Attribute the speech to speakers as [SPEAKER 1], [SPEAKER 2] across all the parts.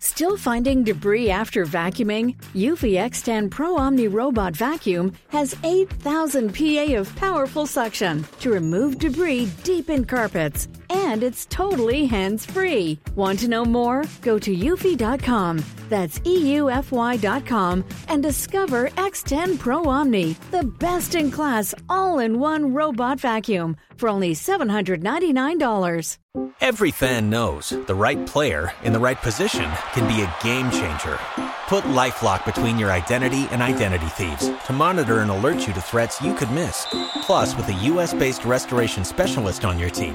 [SPEAKER 1] Still finding debris after vacuuming? Eufy X10 Pro Omni Robot Vacuum has 8,000 PA of powerful suction to remove debris deep in carpets. And it's totally hands free. Want to know more? Go to eufy.com. That's E EUFY.com and discover X10 Pro Omni, the best in class all in one robot vacuum for only $799.
[SPEAKER 2] Every fan knows the right player in the right position can be a game changer. Put LifeLock between your identity and identity thieves to monitor and alert you to threats you could miss. Plus, with a U.S.-based restoration specialist on your team,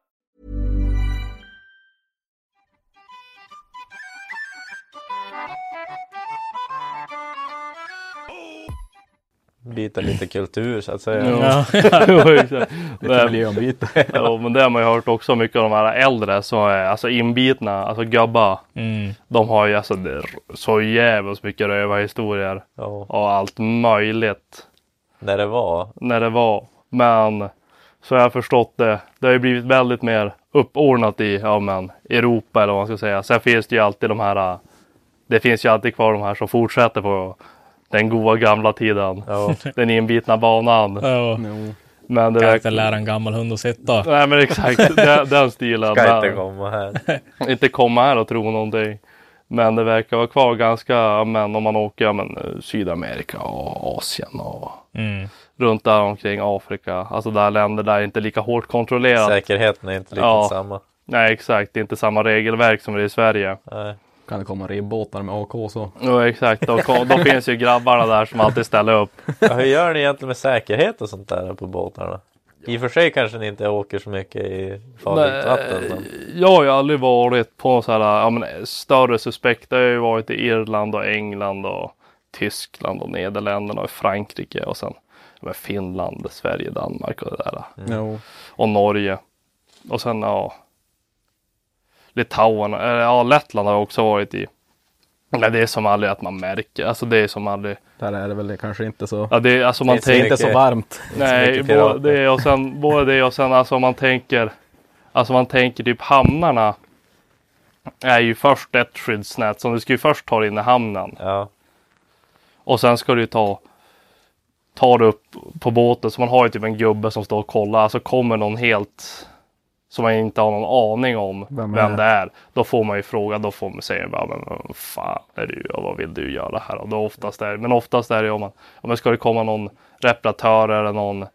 [SPEAKER 3] byta lite kultur så att säga.
[SPEAKER 4] Ja, jo, exakt.
[SPEAKER 5] Lite
[SPEAKER 4] Men-
[SPEAKER 5] miljöombyte.
[SPEAKER 4] Jo, men det har man ju hört också mycket av de här äldre som är alltså inbitna, alltså gubbar.
[SPEAKER 5] Mm.
[SPEAKER 4] De har ju alltså det är så jävligt mycket rövarhistorier
[SPEAKER 3] Ja,
[SPEAKER 4] och allt möjligt
[SPEAKER 3] när det var.
[SPEAKER 4] när det var. Men så har jag förstått det. Det har ju blivit väldigt mer uppordnat i ja, men, Europa eller vad man ska säga. Sen finns det ju alltid de här. äh, Det finns ju alltid kvar de här som fortsätter på den goda gamla tiden.
[SPEAKER 3] Ja,
[SPEAKER 4] Den inbitna banan.
[SPEAKER 5] Ja,
[SPEAKER 4] Men det
[SPEAKER 5] kan
[SPEAKER 4] verkar-
[SPEAKER 5] inte lära en gammal hund att sitta.
[SPEAKER 4] Nej men exakt, den, den stilen.
[SPEAKER 3] ska
[SPEAKER 4] Men-
[SPEAKER 3] inte komma här.
[SPEAKER 4] inte komma här och tro någonting. Men det verkar vara kvar ganska, ja, men om man åker ja, men, eh, Sydamerika och Asien och
[SPEAKER 5] Mm.
[SPEAKER 4] runt där omkring Afrika. Alltså där länder där det inte är lika hårt kontrollerat.
[SPEAKER 3] Säkerheten är inte riktigt
[SPEAKER 4] Ja.
[SPEAKER 3] samma.
[SPEAKER 4] Nej exakt, det är inte samma regelverk som det är i Sverige.
[SPEAKER 3] Nej.
[SPEAKER 5] Kan det komma ribbåtar med AK så?
[SPEAKER 4] Jo exakt, då, ko- då finns ju grabbarna där som alltid ställer upp.
[SPEAKER 3] Ja, hur gör ni egentligen med säkerhet och sånt där på båtarna? I och för sig kanske ni inte åker så mycket i farligt
[SPEAKER 4] Nej.
[SPEAKER 3] vatten. Men...
[SPEAKER 4] Jag har ju aldrig varit på så här, ja, men, större suspekter. Jag har ju varit i Irland och England och Tyskland och Nederländerna och Frankrike och sen ja, men, Finland, Sverige, Danmark och det där.
[SPEAKER 5] Jo.
[SPEAKER 4] Och Norge. Och sen ja. Litauen, eller ja Lettland har jag också varit i. Nej det är som aldrig att man märker, alltså det är som aldrig.
[SPEAKER 5] Där är det väl kanske inte så.
[SPEAKER 4] Ja, det är, alltså man
[SPEAKER 3] Finns det
[SPEAKER 4] tänker.
[SPEAKER 3] inte
[SPEAKER 5] Inte så
[SPEAKER 3] mycket-
[SPEAKER 5] varmt.
[SPEAKER 4] Nej,
[SPEAKER 3] mycket pirater.
[SPEAKER 4] både det och sen, både det och sen alltså om man tänker. Alltså man tänker typ hamnarna. Är ju först ett skyddsnät som du ska ju först ta dig in i hamnen.
[SPEAKER 3] Ja,
[SPEAKER 4] Och sen ska du ju ta. Ta det upp på båten så man har ju typ en gubbe som står och kollar. Alltså kommer någon helt. Som man inte har någon aning om
[SPEAKER 5] Vem
[SPEAKER 4] vem,
[SPEAKER 5] är det?
[SPEAKER 4] det är. Då får man ju fråga. Då får man säga bara, men vad fan är du och vad vill du göra här? Och då oftast är, men oftast är det ju om man. Om det ska det komma någon reparatör eller någon.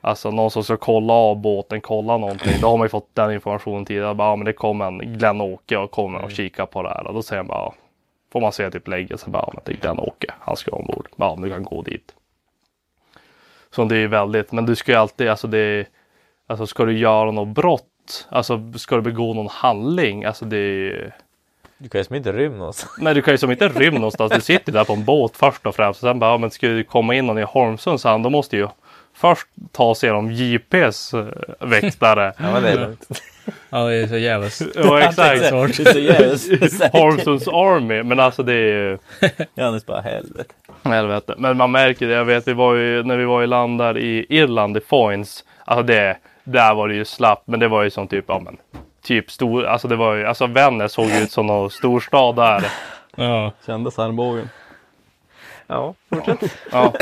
[SPEAKER 4] Alltså någon som ska kolla av båten, kolla någonting. Då har man ju fått den informationen tidigare. Bara, ja, men det kom en Glenn-Åke och kommer
[SPEAKER 5] Mm.
[SPEAKER 4] och kika på det här. Och då säger han bara, ja. får man se typ lägga sig bara, ja, men det är Glenn-Åke, han ska ombord. Ja, men du kan gå dit. Så det är ju väldigt, men du ska ju alltid, alltså det är, alltså ska du göra något brott, alltså ska du begå någon handling, alltså det är
[SPEAKER 3] du kan ju som inte rymma oss.
[SPEAKER 4] Nej, du kan ju som inte rymma någonstans. Du sitter där på en båt först och främst. Och sen bara, ja, men ska du komma in någon i Holmsunds hamn, då måste ju först ta sig igenom JPs eh, väktare.
[SPEAKER 3] Ja, men det är lugnt.
[SPEAKER 5] Ja, det är så jävligt.
[SPEAKER 4] ja, exakt.
[SPEAKER 5] Svårt.
[SPEAKER 6] Det är så jävligt säkert.
[SPEAKER 4] Holmsunds Army, men alltså det är ju
[SPEAKER 6] Johannes bara helvete.
[SPEAKER 4] helvete. Men man märker det. Jag vet, vi var ju, när vi var i land där i Irland, i Foynes. Alltså det, där var det ju slappt. Men det var ju som typ, ja men, typ stor, alltså det var ju, alltså Vännäs såg ju ut som någon storstad där.
[SPEAKER 5] Ja.
[SPEAKER 6] Kändes armbågen.
[SPEAKER 3] Ja,
[SPEAKER 4] Ja.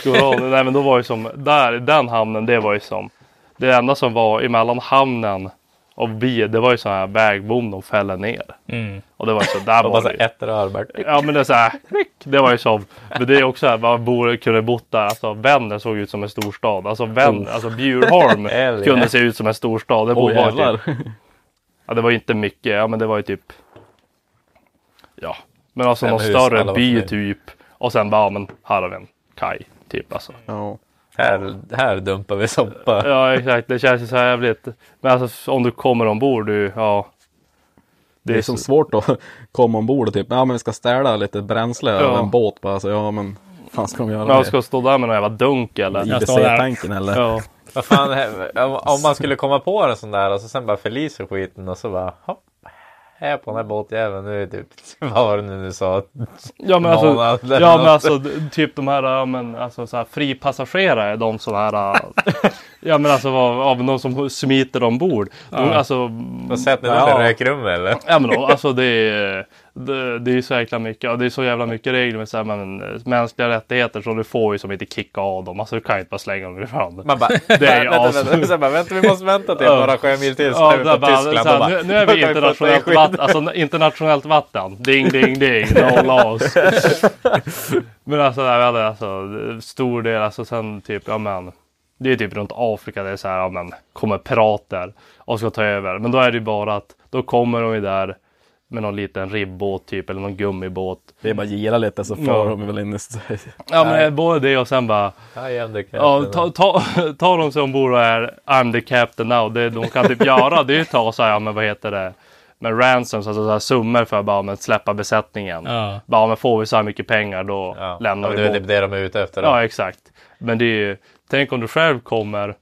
[SPEAKER 4] Stora Nej men då var ju som, där, den hamnen det var ju som, det enda som var emellan hamnen och vi, det var ju sån här vägbom de fällde ner.
[SPEAKER 5] Mm.
[SPEAKER 4] Och det var ju så, där
[SPEAKER 3] och bara
[SPEAKER 4] var
[SPEAKER 3] så
[SPEAKER 4] det
[SPEAKER 3] här
[SPEAKER 4] ju.
[SPEAKER 3] ett rörbart.
[SPEAKER 4] Ja men det är så här, klick. det var ju som, men det är också här, man borde kunde bott där, alltså Vännäs såg ut som en storstad. Alltså Vän, alltså Bjurholm
[SPEAKER 3] Hell yeah.
[SPEAKER 4] kunde se ut som en storstad. Det
[SPEAKER 5] Oh. Åh
[SPEAKER 4] borde vara typ
[SPEAKER 5] jävlar.
[SPEAKER 4] Ja, det var ju inte mycket. Ja, men det var ju typ. Ja, men alltså
[SPEAKER 3] Fem
[SPEAKER 4] någon
[SPEAKER 3] hus, alla
[SPEAKER 4] större
[SPEAKER 3] var
[SPEAKER 4] by
[SPEAKER 3] förbi.
[SPEAKER 4] typ. Och sen bara, ja, men här har vi en kaj. Typ alltså.
[SPEAKER 5] Ja.
[SPEAKER 3] Här, här dumpar vi soppa.
[SPEAKER 4] Ja exakt, det känns ju så jävligt. Men alltså om du kommer ombord, du, ja.
[SPEAKER 5] Det är som svårt att komma ombord och typ, ja men vi ska ställa lite bränsle
[SPEAKER 4] Ja.
[SPEAKER 5] över en båt bara. Så ja men, fan ska de göra
[SPEAKER 4] Men jag
[SPEAKER 5] det?
[SPEAKER 4] ska stå där med någon jävla dunk eller?
[SPEAKER 5] I IBC-tanken eller?
[SPEAKER 4] Ja.
[SPEAKER 3] Vad fan, he- om, om man skulle komma på en sån där och så sen bara förliser skiten och så bara hopp. Här på den här båtjäveln nu är det typ, vad var det nu du sa?
[SPEAKER 4] Ja men alltså,
[SPEAKER 3] Månad eller
[SPEAKER 4] ja,
[SPEAKER 3] något.
[SPEAKER 4] men alltså d- typ de här, ja, men, alltså, så här fripassagerare, de som här, äh, ja men alltså av, av någon som smiter ombord. De, Alltså,
[SPEAKER 3] Och sett ni
[SPEAKER 4] Ja.
[SPEAKER 3] något rökrum eller?
[SPEAKER 4] ja men då, alltså det är, det, det är så jäkla mycket, och det är så jävla mycket regler med så här, men, eh, mänskliga rättigheter så du får ju som inte kicka av dem, alltså du kan ju inte bara slänga dem i handen.
[SPEAKER 3] Man bara,
[SPEAKER 4] Det är
[SPEAKER 3] vänta, vänta,
[SPEAKER 4] awesome.
[SPEAKER 3] vänta, Sen bara, vänta, vi måste vänta till
[SPEAKER 4] Ja.
[SPEAKER 3] några sjömil till så
[SPEAKER 4] Ja,
[SPEAKER 3] är vi
[SPEAKER 4] där
[SPEAKER 3] på
[SPEAKER 4] bara,
[SPEAKER 3] Tyskland.
[SPEAKER 4] så här,
[SPEAKER 3] Då bara,
[SPEAKER 4] nu, nu är
[SPEAKER 3] då kan fatta i
[SPEAKER 4] vi internationellt vatten,
[SPEAKER 3] skiten.
[SPEAKER 4] alltså, internationellt vatten. Ding, ding, ding. Nolla oss. Men alltså, där, vi hade alltså stor del, alltså sen typ, ja men. Det är typ runt Afrika, det är så här, ja men, kommer pirater och ska ta över. Men då är det ju bara att, då kommer de ju där med någon liten ribbåt typ, eller någon gummibåt.
[SPEAKER 5] Det är bara gila lite så
[SPEAKER 4] Ja.
[SPEAKER 5] far de väl in i sig.
[SPEAKER 4] Ja men både det och sen bara,
[SPEAKER 3] Ja, igen, det kan jag
[SPEAKER 4] Ja,
[SPEAKER 3] inte.
[SPEAKER 4] ta, ta, tar de sig ombord och är I'm the captain now. Det de kan typ göra det är ju ta så här, ja, men vad heter det, med ransoms, alltså så här summor för att bara men, släppa besättningen.
[SPEAKER 5] Ja.
[SPEAKER 4] Bara men får vi så här mycket pengar då
[SPEAKER 3] ja.
[SPEAKER 4] lämnar
[SPEAKER 3] ja,
[SPEAKER 4] vi
[SPEAKER 3] Det är
[SPEAKER 4] båten.
[SPEAKER 3] typ det de är ute efter. Då.
[SPEAKER 4] Ja, exakt. Men det är ju, tänk om du själv kommer,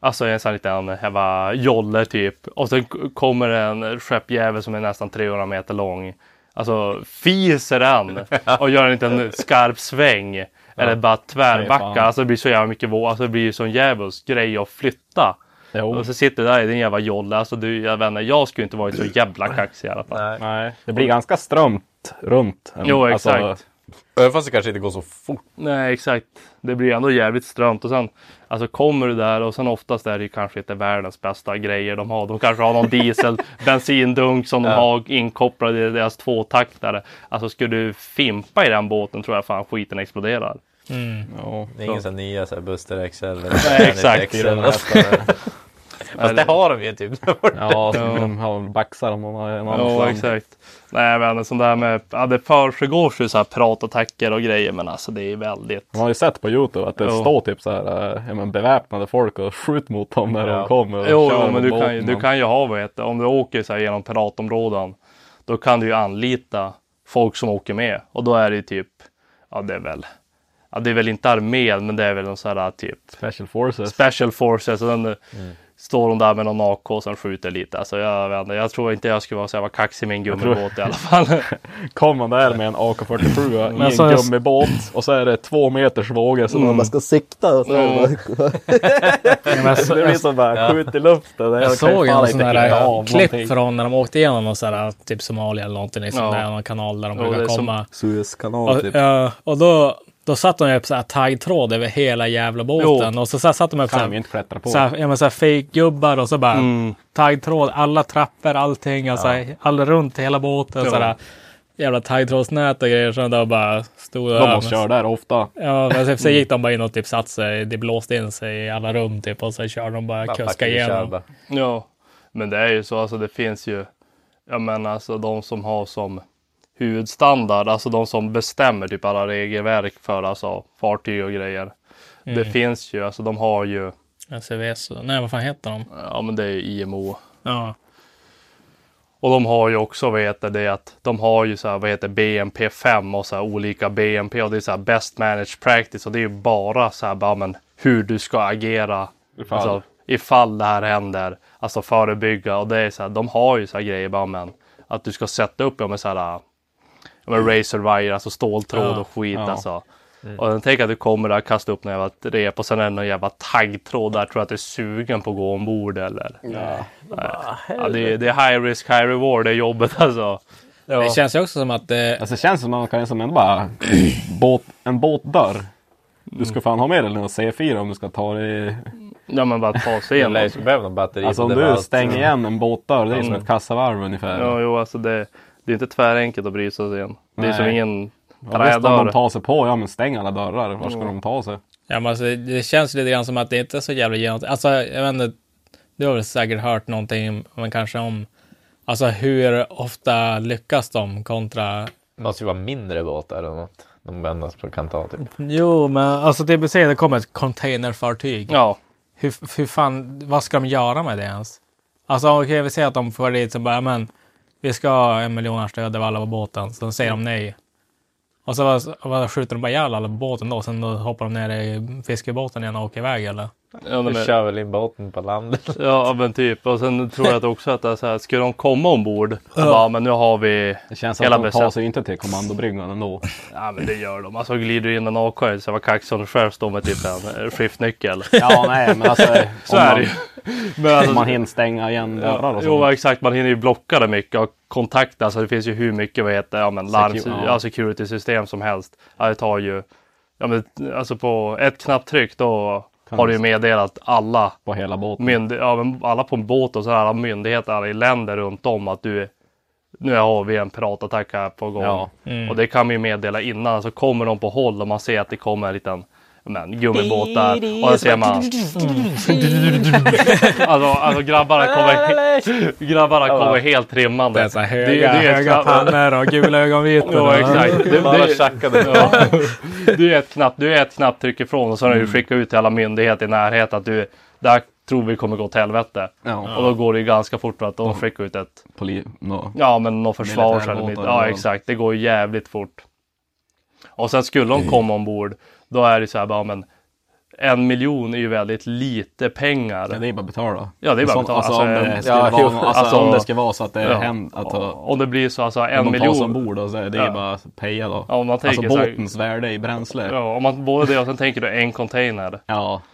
[SPEAKER 4] alltså i en sån här liten jävla jolle typ, och sen k- kommer en skeppjävel som är nästan 300 meter lång, alltså fiser han och gör en liten skarp sväng. Eller bara
[SPEAKER 5] Nej,
[SPEAKER 4] tvärbacka,
[SPEAKER 5] fan.
[SPEAKER 4] alltså det blir så jävla mycket våg, alltså det blir ju sån djävulsk grej att flytta.
[SPEAKER 5] Jo.
[SPEAKER 4] Och så sitter du där i din jävla jolle, alltså du, jag vet inte, jag skulle inte varit så jävla kaxig i alla fall.
[SPEAKER 3] Nej.
[SPEAKER 5] Nej, det blir ganska strömt runt. Alltså,
[SPEAKER 4] Jo, exakt.
[SPEAKER 3] Även fast det kanske inte går så fort.
[SPEAKER 4] Nej exakt. Det blir ändå jävligt strömt och sen alltså kommer du där och sen oftast är det ju kanske inte världens bästa grejer de har. De kanske har någon diesel bensindunk som de har inkopplad i deras tvåtaktare. Alltså skulle du fimpa i den båten tror jag fan skiten exploderar.
[SPEAKER 5] Ja.
[SPEAKER 3] Det är ingen sån nya så här Buster XL eller
[SPEAKER 4] Nej, exakt.
[SPEAKER 3] Planet XL. Fast det har de ju typ.
[SPEAKER 5] Ja, så de har väl baxar om någon annan
[SPEAKER 4] Ja
[SPEAKER 5] land.
[SPEAKER 4] exakt. Nej men sånt där med, ja det försiggår ju så här pratattacker och grejer men alltså det är väldigt.
[SPEAKER 5] Man har ju sett på Youtube att det
[SPEAKER 4] Jo.
[SPEAKER 5] står typ så här, eh, ja, men beväpnade folk och skjut mot dem när
[SPEAKER 3] Ja.
[SPEAKER 5] de kommer. Och
[SPEAKER 4] Jo,
[SPEAKER 5] kör
[SPEAKER 4] jo
[SPEAKER 5] med
[SPEAKER 4] men du kan, ju,
[SPEAKER 5] båten.
[SPEAKER 4] du kan ju ha vad heter, om du åker så här genom piratområden. Då kan du ju anlita folk som åker med och då är det ju typ, ja det är väl, ja det är väl inte armén men det är väl någon sån här typ
[SPEAKER 5] Special Forces.
[SPEAKER 4] special forces. Och sen eh,
[SPEAKER 7] Mm.
[SPEAKER 4] står de där med någon AK och sen skjuter lite. Alltså jag vet inte, jag tror inte jag skulle vara så jävla kaxig med en
[SPEAKER 5] tror-
[SPEAKER 4] gummibåt i alla fall.
[SPEAKER 5] Kom man där med en AK47
[SPEAKER 4] Men
[SPEAKER 5] i
[SPEAKER 4] så-
[SPEAKER 5] en gummibåt och så är det två meters vågor som man bara ska sikta. och Så
[SPEAKER 7] Jag,
[SPEAKER 5] det blir som bara skjut i luften. Jag, kan ju
[SPEAKER 7] såg
[SPEAKER 5] fan
[SPEAKER 7] en
[SPEAKER 5] inte
[SPEAKER 7] sån
[SPEAKER 5] klara
[SPEAKER 7] där
[SPEAKER 5] av
[SPEAKER 7] klipp
[SPEAKER 5] någonting.
[SPEAKER 7] från när de åkte igenom någon sån här, typ Somalia eller någonting, liksom,
[SPEAKER 4] Ja.
[SPEAKER 7] där någon kanal där de
[SPEAKER 4] Jo,
[SPEAKER 7] brukar
[SPEAKER 4] det är som-
[SPEAKER 7] komma.
[SPEAKER 6] Suezkanal
[SPEAKER 7] Och,
[SPEAKER 6] typ.
[SPEAKER 7] ja, och då, då satt de ju upp så här taggtråd över hela jävla båten. Och så, så här, satt de upp så
[SPEAKER 5] Kan vi
[SPEAKER 7] här,
[SPEAKER 5] inte klättra på.
[SPEAKER 7] så här, ja, men så här fake-gubbar och så bara taggtråd, alla trappor, allting, alltså, all runt hela båten.
[SPEAKER 4] Ja.
[SPEAKER 7] Så här, jävla taggtrådsnät och grejer. Så då bara stod
[SPEAKER 5] De måste köra där ofta.
[SPEAKER 7] Ja, men sen- sen gick de bara in och typ satt sig. Det blåste in sig i alla rum typ och sen körde de bara kuska igenom.
[SPEAKER 4] Ja, men det är ju så alltså det finns ju. Jag menar alltså de som har som huvudstandard, alltså de som bestämmer typ alla regelverk för alltså fartyg och grejer. Det finns ju, alltså de har ju,
[SPEAKER 7] SVS, nej vad fan heter de?
[SPEAKER 4] ja men det är ju IMO.
[SPEAKER 7] Ja,
[SPEAKER 4] Och de har ju också, vad heter det, att de har ju så här, vad heter BNP 5 och så här olika BNP och det är så här best managed practice och det är ju bara så här, bara, men hur du ska agera. Ifall. Alltså, ifall det här händer, alltså förebygga och det är så här, de har ju så här grejer bara, men att du ska sätta upp, ja men så här, ja, men razor wire, alltså ståltråd och skit alltså. Och sen tänk att du kommer där, kastar upp någon jävla rep och sen är det någon jävla taggtråd där, tror jag att du är sugen på att gå ombord eller? Ja, det, är, det är high risk, high reward det är jobbet alltså.
[SPEAKER 7] det känns ju också som att det...
[SPEAKER 5] Alltså det känns som att man kan som ändå bara båt, en båtdörr. Du ska fan ha med dig en C4 om du ska ta dig.
[SPEAKER 4] Ja men bara ta sig
[SPEAKER 3] Det
[SPEAKER 4] in.
[SPEAKER 3] lär ju behöva någon batteri.
[SPEAKER 5] Alltså
[SPEAKER 3] på
[SPEAKER 5] om
[SPEAKER 3] det
[SPEAKER 5] du
[SPEAKER 3] valvet.
[SPEAKER 5] stänger igen en båtdörr, det är som
[SPEAKER 4] Mm.
[SPEAKER 5] ett kassavarv ungefär.
[SPEAKER 4] Ja, jo, alltså det, det är inte tvärenkelt att bry sig in. Det är
[SPEAKER 5] Nej.
[SPEAKER 4] som ingen
[SPEAKER 5] Ja, visst, om de
[SPEAKER 4] trädörr. Mm.
[SPEAKER 5] tar sig på, ja men stäng alla dörrar. Var ska de ta sig?
[SPEAKER 7] Ja, men alltså, det känns lite grann som att det inte är så jävla genomtänkt. Alltså, jag vet inte, du har väl säkert hört någonting, men kanske om alltså hur ofta lyckas de kontra...
[SPEAKER 3] Det måste ju vara mindre båtar eller något. de endast kan ta typ.
[SPEAKER 7] Jo, men alltså TBC, det kommer ett containerfartyg.
[SPEAKER 4] Ja,
[SPEAKER 7] Hur, hur fan, vad ska de göra med det ens? Alltså okej, vi säger att de får dit så bara, men vi ska ha en miljoners död av alla på båten. Så då säger de nej. Och så vad, vad skjuter de bara ihjäl alla på båten då? Sen då hoppar de ner i fiskebåten igen och åker iväg eller?
[SPEAKER 4] ja,
[SPEAKER 3] Du
[SPEAKER 4] nej, men,
[SPEAKER 3] kör väl in båten på landet.
[SPEAKER 4] ja men typ. Och sen tror jag att också att det är så här, ska de komma ombord? Och bara, men nu har vi...
[SPEAKER 5] Det känns
[SPEAKER 4] Hela
[SPEAKER 5] som att de tar
[SPEAKER 4] besätt-
[SPEAKER 5] sig inte till kommandobryggan ändå.
[SPEAKER 4] Ja men det gör de. Alltså glider in en AK så var Kaxon själv står med typ en eh, skiftnyckel.
[SPEAKER 5] Ja, nej, men alltså.
[SPEAKER 4] Så
[SPEAKER 5] om
[SPEAKER 4] är
[SPEAKER 5] man-
[SPEAKER 4] det ju. Men
[SPEAKER 5] Om
[SPEAKER 4] alltså,
[SPEAKER 5] man hinner stänga igen dörrar och
[SPEAKER 4] Jo
[SPEAKER 5] sånt.
[SPEAKER 4] men exakt, man hinner ju blocka det mycket och kontakta. Alltså det finns ju hur mycket vad heter, det, ja, men larm,
[SPEAKER 5] Secu- ja.
[SPEAKER 4] ja. security-system som helst. Ja, det tar ju, ja, men, alltså på ett knapptryck då
[SPEAKER 5] Kan
[SPEAKER 4] har
[SPEAKER 5] du-
[SPEAKER 4] du ju meddelat alla,
[SPEAKER 5] På hela båten.
[SPEAKER 4] mynd, ja, men alla på en båt och så här, alla myndigheter alla i länder runt om att du är- nu har vi en piratattack här på gång.
[SPEAKER 5] Ja.
[SPEAKER 4] Och det kan man ju meddela innan. Så kommer de på håll och man ser att det kommer en liten men, gummibåt där. Och då ser man... Alltså, alltså grabbarna kommer, grabbarna kommer helt trimmande.
[SPEAKER 7] Det är så här
[SPEAKER 4] Det- det
[SPEAKER 7] höga,
[SPEAKER 4] är ett
[SPEAKER 7] höga
[SPEAKER 4] knapp-
[SPEAKER 7] pannor och gula ögonvitor.
[SPEAKER 4] Ja,
[SPEAKER 7] och-
[SPEAKER 4] exakt. Det,
[SPEAKER 3] Bara
[SPEAKER 4] det,
[SPEAKER 3] tjackade.
[SPEAKER 4] du är ett knappt, du är ett knappt tryck ifrån och så har du ju skickat ut till alla myndigheter i närheten att du, det här tror vi kommer gå till helvete.
[SPEAKER 5] Ja.
[SPEAKER 4] Och då går det ju ganska fort för att de skickar ut ett
[SPEAKER 5] Poli- nå.
[SPEAKER 4] Ja, men någon försvars eller mitt.
[SPEAKER 5] Militärbåtar
[SPEAKER 4] Ja,
[SPEAKER 5] eller-
[SPEAKER 4] exakt. Det går ju jävligt fort. Och sen skulle de komma ombord, då är det så här bara, men en miljon är ju väldigt lite
[SPEAKER 5] Ja,
[SPEAKER 4] pengar.
[SPEAKER 5] det är bara att betala.
[SPEAKER 4] Ja, det är bara
[SPEAKER 5] Sånt-
[SPEAKER 4] att betala.
[SPEAKER 5] Alltså, om,
[SPEAKER 4] Alltså,
[SPEAKER 5] det skulle
[SPEAKER 3] ja,
[SPEAKER 5] vara,
[SPEAKER 3] jo,
[SPEAKER 5] alltså,
[SPEAKER 4] alltså-
[SPEAKER 5] om det ska vara så att det
[SPEAKER 4] Ja.
[SPEAKER 5] händer att ta,
[SPEAKER 4] Om det blir så, alltså en
[SPEAKER 5] de tas
[SPEAKER 4] miljon.
[SPEAKER 5] ombord och så är det
[SPEAKER 4] Ja.
[SPEAKER 5] är bara att peja då.
[SPEAKER 4] Ja, om man
[SPEAKER 5] alltså
[SPEAKER 4] tänker så här-
[SPEAKER 5] båtens värde i bränsle. Ja.
[SPEAKER 4] Ja, om man både det och sen tänker du en container.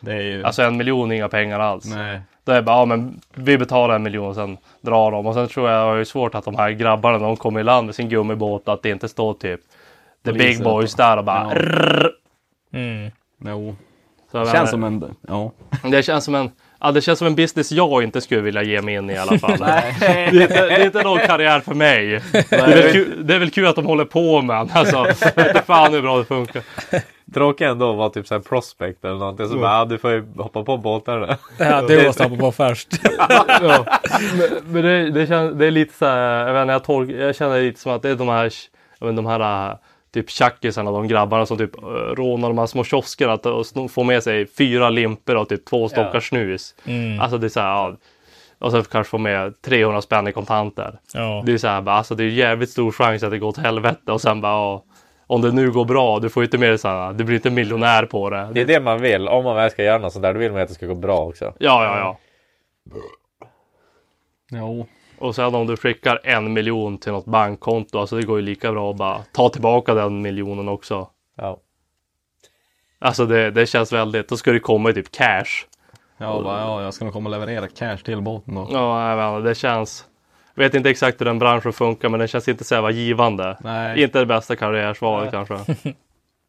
[SPEAKER 5] det är ju...
[SPEAKER 4] Alltså en miljon är inga pengar alls.
[SPEAKER 5] nej.
[SPEAKER 4] Då är det bara, ja men vi betalar en miljon och sen drar de. Och sen tror jag det är ju svårt att de här grabbarna, när de kommer i land med sin gummibåt, att det inte står typ the big
[SPEAKER 5] Poliser.
[SPEAKER 4] boys där och bara...
[SPEAKER 5] Ja. Jo.
[SPEAKER 4] Så
[SPEAKER 5] Det
[SPEAKER 4] jag menar-
[SPEAKER 5] känns som en... Ja.
[SPEAKER 4] Det känns som en, ja, det känns som en business jag inte skulle vilja ge mig in i i alla fall. det, är inte, det är inte någon karriär för mig. Det är, väl kul, det är väl kul att de håller på med den. Alltså, jag vet inte fan hur bra det funkar.
[SPEAKER 3] Tråkigt ändå att vara typ såhär prospect eller någonting. Så bara, ja, du får ju hoppa på båtar.
[SPEAKER 7] Det här du måste hoppa på först.
[SPEAKER 4] Ja. Men, men det, det, känns, det är lite så här, jag, vet inte, jag, tolk, jag känner det lite som att det är de här, jag vet, inte, de här äh, typ tjackisarna, de grabbarna som typ äh, rånar de här små kioskerna att- och sno- får med sig fyra limper och typ två stockar snus. Alltså det är så här, ja. Och sen kanske få med 300 spänn i kontanter.
[SPEAKER 7] Ja.
[SPEAKER 4] Det är så här, bara, alltså det är jävligt stor chans att det går till helvete och sen bara, ja, om det nu går bra, du får ju inte med dig så här, du blir inte miljonär på det.
[SPEAKER 3] Det är det man vill. Om man väl ska göra något sånt där, då vill man ju att det ska gå bra också.
[SPEAKER 4] Ja, ja, ja.
[SPEAKER 5] Jo.
[SPEAKER 4] Och sen om du skickar en miljon till något bankkonto, alltså det går ju lika bra att bara ta tillbaka den miljonen också.
[SPEAKER 3] Ja.
[SPEAKER 4] Alltså det, det känns väldigt, då ska det komma i typ cash.
[SPEAKER 5] Ja, bara, ja, jag ska nog komma och leverera cash till båten då.
[SPEAKER 4] Ja, jag vet inte, det känns. Jag vet inte exakt hur den branschen funkar, men det känns inte så jävla givande.
[SPEAKER 5] Nej.
[SPEAKER 4] Inte det bästa karriärsvalet kanske.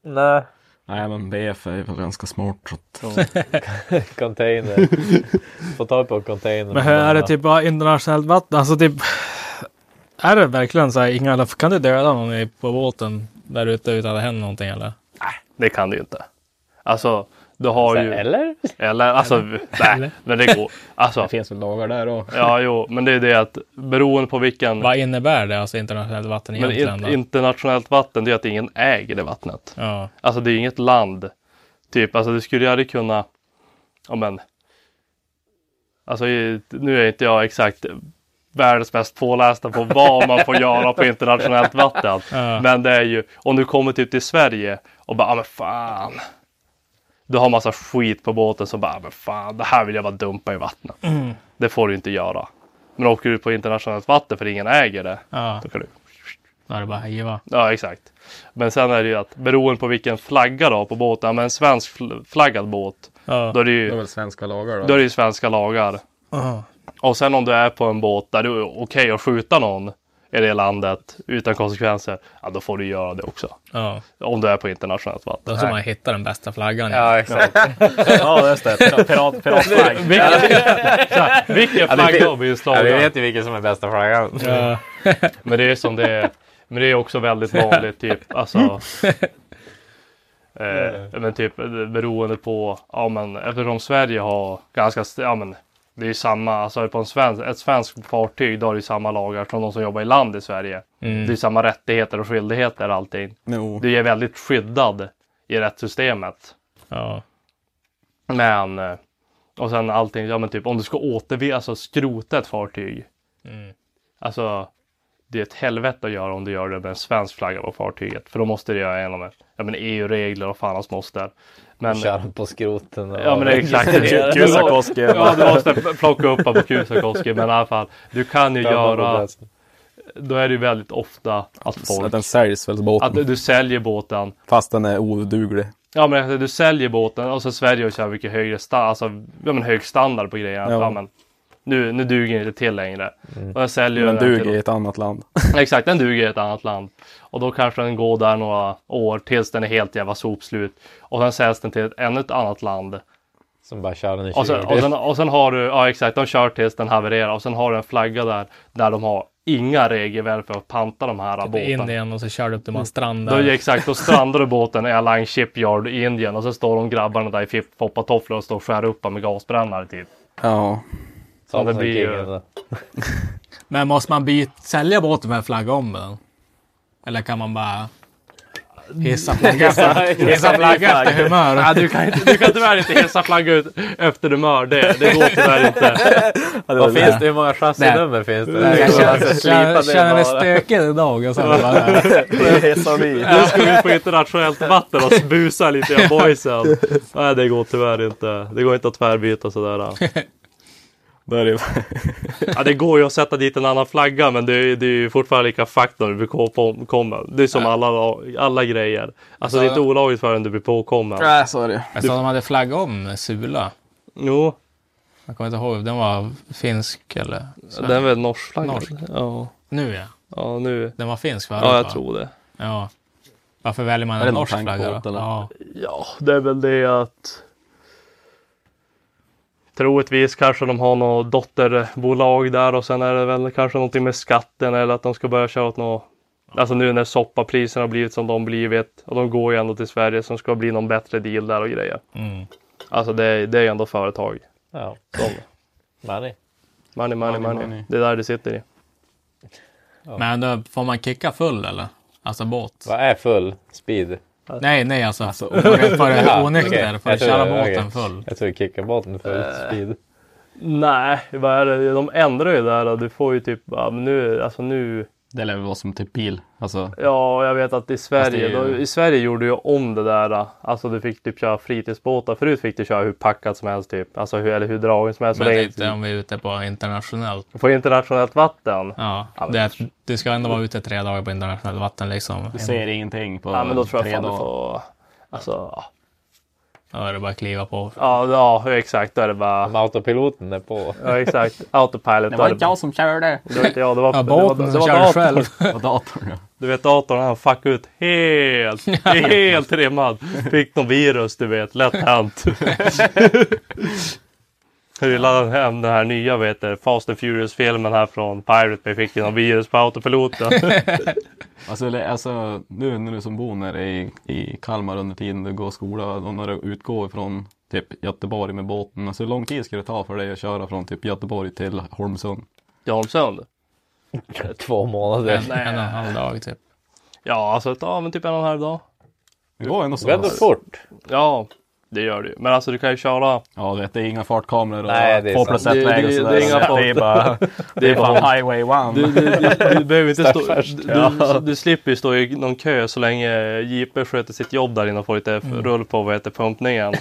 [SPEAKER 3] Nej.
[SPEAKER 5] Nej, men BF är väl ganska smart. så att-
[SPEAKER 3] Container. Få tag på en container.
[SPEAKER 7] Men hur är det typ bara internationellt vatten? Alltså typ. Är det verkligen så här, inga, kan du döda någon i- på båten där ute utan att det händer någonting eller?
[SPEAKER 4] Det kan du ju inte. Alltså, du har ju...
[SPEAKER 3] Eller?
[SPEAKER 4] Eller, alltså, nej, men det går. Alltså,
[SPEAKER 5] Det finns väl dagar där då.
[SPEAKER 4] ja, jo, men det är det att beroende på vilken...
[SPEAKER 7] Vad innebär det, alltså internationellt vatten
[SPEAKER 4] Mm. Men
[SPEAKER 7] egentligen?
[SPEAKER 4] in,
[SPEAKER 7] då?
[SPEAKER 4] internationellt vatten, det är att ingen äger det vattnet.
[SPEAKER 7] ja.
[SPEAKER 4] Alltså det är inget land. Typ, alltså du skulle ju aldrig kunna, ja men. Alltså i- nu är inte jag exakt världens mest pålästa på vad man får göra på internationellt vatten. Men det är ju, om du kommer typ till Sverige och bara, ja men fan. Du har massa skit på båten som bara, "Ja, men fan, det här vill jag bara dumpa i vattnet. Det får du inte göra. Men åker du ut på internationellt vatten för ingen äger det,
[SPEAKER 7] ja,
[SPEAKER 4] då kan du
[SPEAKER 7] då är det bara hiva.
[SPEAKER 4] Ja, exakt. Men sen är det ju att beroende på vilken flagga du har på båten, ja, men en svensk fl- flaggad båt,
[SPEAKER 7] Ja.
[SPEAKER 4] då är det
[SPEAKER 5] Det är
[SPEAKER 4] ju,
[SPEAKER 5] väl svenska lagar då.
[SPEAKER 4] då är det ju svenska lagar.
[SPEAKER 7] Ja.
[SPEAKER 4] Och sen om du är på en båt där det är okej att skjuta någon i det landet utan konsekvenser, ja då får du göra det också.
[SPEAKER 7] Ja.
[SPEAKER 4] Om du är på internationellt vatten.
[SPEAKER 7] Då ska man hitta den bästa flaggan.
[SPEAKER 3] Ja, exakt.
[SPEAKER 5] Ja, just det. Pirat, piratflagg.
[SPEAKER 4] Vilken, vilken flagga
[SPEAKER 3] Ja,
[SPEAKER 4] har blivit
[SPEAKER 3] vi
[SPEAKER 4] slagen?
[SPEAKER 3] vet ju vilken som är bästa flaggan.
[SPEAKER 7] Ja.
[SPEAKER 4] Men det är som det är. Men det är också väldigt vanligt typ. Alltså, eh, men typ eh, beroende på. Ja men eftersom Sverige har ganska. st- Ja men Det är ju samma, alltså på en svensk, ett svenskt fartyg då är det ju samma lagar som de som jobbar i land i Sverige. Det är samma rättigheter och skyldigheter allting.
[SPEAKER 6] Jo.
[SPEAKER 4] Du är väldigt skyddad i rättssystemet.
[SPEAKER 7] Ja.
[SPEAKER 4] Men, eh, och sen allting, ja men typ om du ska återvinna, alltså skrota ett fartyg.
[SPEAKER 7] Mm.
[SPEAKER 4] Alltså, det är ett helvete att göra om du gör det med en svensk flagga på fartyget. För då måste du göra genom ja, men EU-regler och fan hans moster. Men,
[SPEAKER 3] Kör på skroten. Och
[SPEAKER 4] Ja men exakt. Du-
[SPEAKER 5] Kusakoski.
[SPEAKER 4] Ja du måste plocka upp honom på Kusakoski. Men i alla fall, du kan ju göra, då är det ju väldigt ofta att
[SPEAKER 6] Att
[SPEAKER 4] folk,
[SPEAKER 6] den säljs väl båten.
[SPEAKER 4] att du säljer båten
[SPEAKER 6] Fast den är oduglig.
[SPEAKER 4] Ja men alltså, du säljer båten och så Sverige och kör mycket högre sta- alltså, ja, men hög standard på grejerna.
[SPEAKER 6] Ja. Mm.
[SPEAKER 4] Ja. men, nu, nu duger inte till längre. Och jag säljer
[SPEAKER 6] Den
[SPEAKER 4] den här
[SPEAKER 6] duger i ett annat land.
[SPEAKER 4] Till, exakt, den duger i ett annat land. Och då kanske den går där några år tills den är helt jävla sopslut. Och sen säljs den till ett, ännu ett annat land.
[SPEAKER 3] Som bara kör den i
[SPEAKER 4] Och sen, och, sen,
[SPEAKER 3] kyl.
[SPEAKER 4] och sen har du, ja exakt, de kör tills den havererar. Och sen har du en flagga där, där de har inga regelverk för att panta de här
[SPEAKER 7] Till
[SPEAKER 4] båtarna.
[SPEAKER 7] Indien och så körde upp till man
[SPEAKER 4] Mm. Då,
[SPEAKER 7] strandar.
[SPEAKER 4] ja, exakt, då strandade båten i Alang Shipyard i Indien och så står de grabbarna där i fipp- foppatofflor och står och skär upp dem med gasbrännare typ.
[SPEAKER 6] Ja.
[SPEAKER 3] Sånt
[SPEAKER 4] det
[SPEAKER 3] som
[SPEAKER 4] blir ju-
[SPEAKER 3] kingen då.
[SPEAKER 7] Men måste man byta, sälja båten med en flagga om den? Eller kan man bara hissa flaggan efter, hissa flagga efter humör?
[SPEAKER 4] du, kan inte, du kan tyvärr inte hissa flagga ut efter humör, det, det går tyvärr inte.
[SPEAKER 3] Vad finns det? Hur många chassinummer finns det? det?
[SPEAKER 7] Jag
[SPEAKER 3] är
[SPEAKER 7] känner,
[SPEAKER 3] alltså
[SPEAKER 7] känner,
[SPEAKER 3] slipade
[SPEAKER 7] känner mig
[SPEAKER 3] bara.
[SPEAKER 7] stökig idag. Och sen bara,
[SPEAKER 4] Nu ska vi ut på internationellt vatten och busa lite i boysen. Nej det går tyvärr inte. Det går inte att tvärbyta sådär.
[SPEAKER 6] Då är det ju...
[SPEAKER 4] Ja, det går ju att sätta dit en annan flagga men det är, det är ju fortfarande lika fuck när du blir ko- på- kommer. Det är som alla, alla grejer. Alltså det är inte olagligt förrän du blir påkommen.
[SPEAKER 6] Nej, så är det.
[SPEAKER 7] jag sa att de hade flagga om Sula.
[SPEAKER 4] Jo,
[SPEAKER 7] Jag kommer inte ihåg, den var finsk eller?
[SPEAKER 4] den är väl norsk flagga?
[SPEAKER 7] Norsk.
[SPEAKER 4] Ja,
[SPEAKER 7] Nu ja,
[SPEAKER 4] ja nu.
[SPEAKER 7] den var finsk förut
[SPEAKER 4] Ja, jag
[SPEAKER 7] va?
[SPEAKER 4] tror det.
[SPEAKER 7] Ja. Varför väljer man
[SPEAKER 6] Är det
[SPEAKER 7] en
[SPEAKER 6] någon
[SPEAKER 7] norsk flagga
[SPEAKER 6] tankbåt,
[SPEAKER 7] då?
[SPEAKER 6] eller?
[SPEAKER 7] Ja.
[SPEAKER 4] Ja, det är väl det att Troligtvis kanske de har något dotterbolag där och sen är det väl kanske någonting med skatten eller att de ska börja köra åt något. Alltså nu när soppapriserna har blivit som de blivit och de går ju ändå till Sverige som ska det bli någon bättre deal där och grejer.
[SPEAKER 7] Mm.
[SPEAKER 4] Alltså det, är- det är ju ändå företag.
[SPEAKER 3] Ja,
[SPEAKER 4] De,
[SPEAKER 3] money.
[SPEAKER 4] money, money, money,
[SPEAKER 6] money.
[SPEAKER 4] Det är där det sitter i.
[SPEAKER 7] Men då får man kicka full eller? Alltså båt?
[SPEAKER 3] Vad är full? Speed? Ah,
[SPEAKER 7] Nej, nej alltså. Får du- får du onykter?
[SPEAKER 3] okej.
[SPEAKER 7] Får du
[SPEAKER 3] Jag tror-
[SPEAKER 7] köra
[SPEAKER 3] okej.
[SPEAKER 7] båten full?
[SPEAKER 3] Jag tror vi kickar båten full speed.
[SPEAKER 4] Nej, vad är det? De ändrar ju där och du får ju typ, ja, men nu, alltså nu
[SPEAKER 5] Det lär väl vara som typ bil. Alltså,
[SPEAKER 4] Ja, jag vet att i Sverige,
[SPEAKER 5] Fast det är ju-
[SPEAKER 4] då, i Sverige gjorde ju om det där. Alltså du fick typ köra fritidsbåtar. Förut fick du köra hur packat som helst typ. Alltså hur, eller hur dragen som helst.
[SPEAKER 7] Men
[SPEAKER 4] Så länge-
[SPEAKER 7] inte om vi är ute på internationellt.
[SPEAKER 4] På internationellt vatten. Ja.
[SPEAKER 7] Ja,
[SPEAKER 4] men-
[SPEAKER 7] det, är- du ska ändå vara ute tre dagar på internationellt vatten liksom.
[SPEAKER 5] du ser ingenting på
[SPEAKER 4] men då tror
[SPEAKER 5] tre
[SPEAKER 4] jag fan du
[SPEAKER 5] dagar.
[SPEAKER 4] får... Alltså, ja.
[SPEAKER 7] Ja, det är bara att kliva på.
[SPEAKER 4] ja, ja, exakt. Då är det bara...
[SPEAKER 3] Men autopiloten är på.
[SPEAKER 4] Ja, exakt. Autopilot.
[SPEAKER 5] Det
[SPEAKER 4] då är
[SPEAKER 5] var inte jag som körde.
[SPEAKER 4] Det var inte jag. Det var,
[SPEAKER 7] Ja,
[SPEAKER 4] det var,
[SPEAKER 7] båten
[SPEAKER 4] det
[SPEAKER 7] som
[SPEAKER 4] var
[SPEAKER 7] körde
[SPEAKER 4] datorn.
[SPEAKER 7] själv.
[SPEAKER 5] Det var datorn ja.
[SPEAKER 4] Du vet datorn, han fuckade ut helt. Helt rimmad. Fick någon virus, du vet. Lätt hänt. Hur laddade han hem den här nya, vet du, Fast and Furious-filmen här från Pirate Bay. Fick ju någon virus på autopiloten.
[SPEAKER 5] Alltså, eller, alltså nu när du som bor nere i, i Kalmar under tiden du går skola och när du utgår från typ Göteborg med båten. Alltså hur lång tid ska det ta för dig att köra från typ Göteborg till Holmsund?
[SPEAKER 4] Jarlsund?
[SPEAKER 3] Två månader.
[SPEAKER 7] En, en och en halv dag typ.
[SPEAKER 4] Ja, alltså ja, men typ en och en halv dag.
[SPEAKER 5] Det går ändå så.
[SPEAKER 3] Det är ändå
[SPEAKER 5] pass.
[SPEAKER 3] fort.
[SPEAKER 4] Ja, det gör det ju. Men alltså du kan ju köra.
[SPEAKER 5] Ja, du vet, det är inga fartkameror och
[SPEAKER 3] Nej, det är
[SPEAKER 5] två
[SPEAKER 3] sant.
[SPEAKER 5] plus ett
[SPEAKER 4] Det-
[SPEAKER 5] läge och
[SPEAKER 4] det-
[SPEAKER 5] sådär.
[SPEAKER 4] det är inga fart.
[SPEAKER 5] det är bara, det är bara highway one.
[SPEAKER 4] Du, du, du, du behöver inte stå...
[SPEAKER 3] Staffars.
[SPEAKER 4] Du, du, du slipper ju stå i någon kö så länge JP sköter sitt jobb där inne och får lite
[SPEAKER 7] Mm.
[SPEAKER 4] rull på vad heter pumpningen.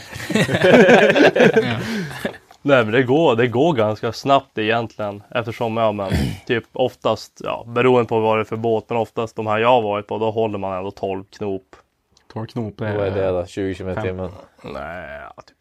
[SPEAKER 4] Nej men det går, det går ganska snabbt egentligen eftersom ja men typ oftast, ja beroende på vad det är för båt men oftast de här jag har varit på då håller man ändå 12 knop.
[SPEAKER 5] Torknop.
[SPEAKER 3] Vad är det då? 20 km i timmen.
[SPEAKER 4] Nej, ja, typ,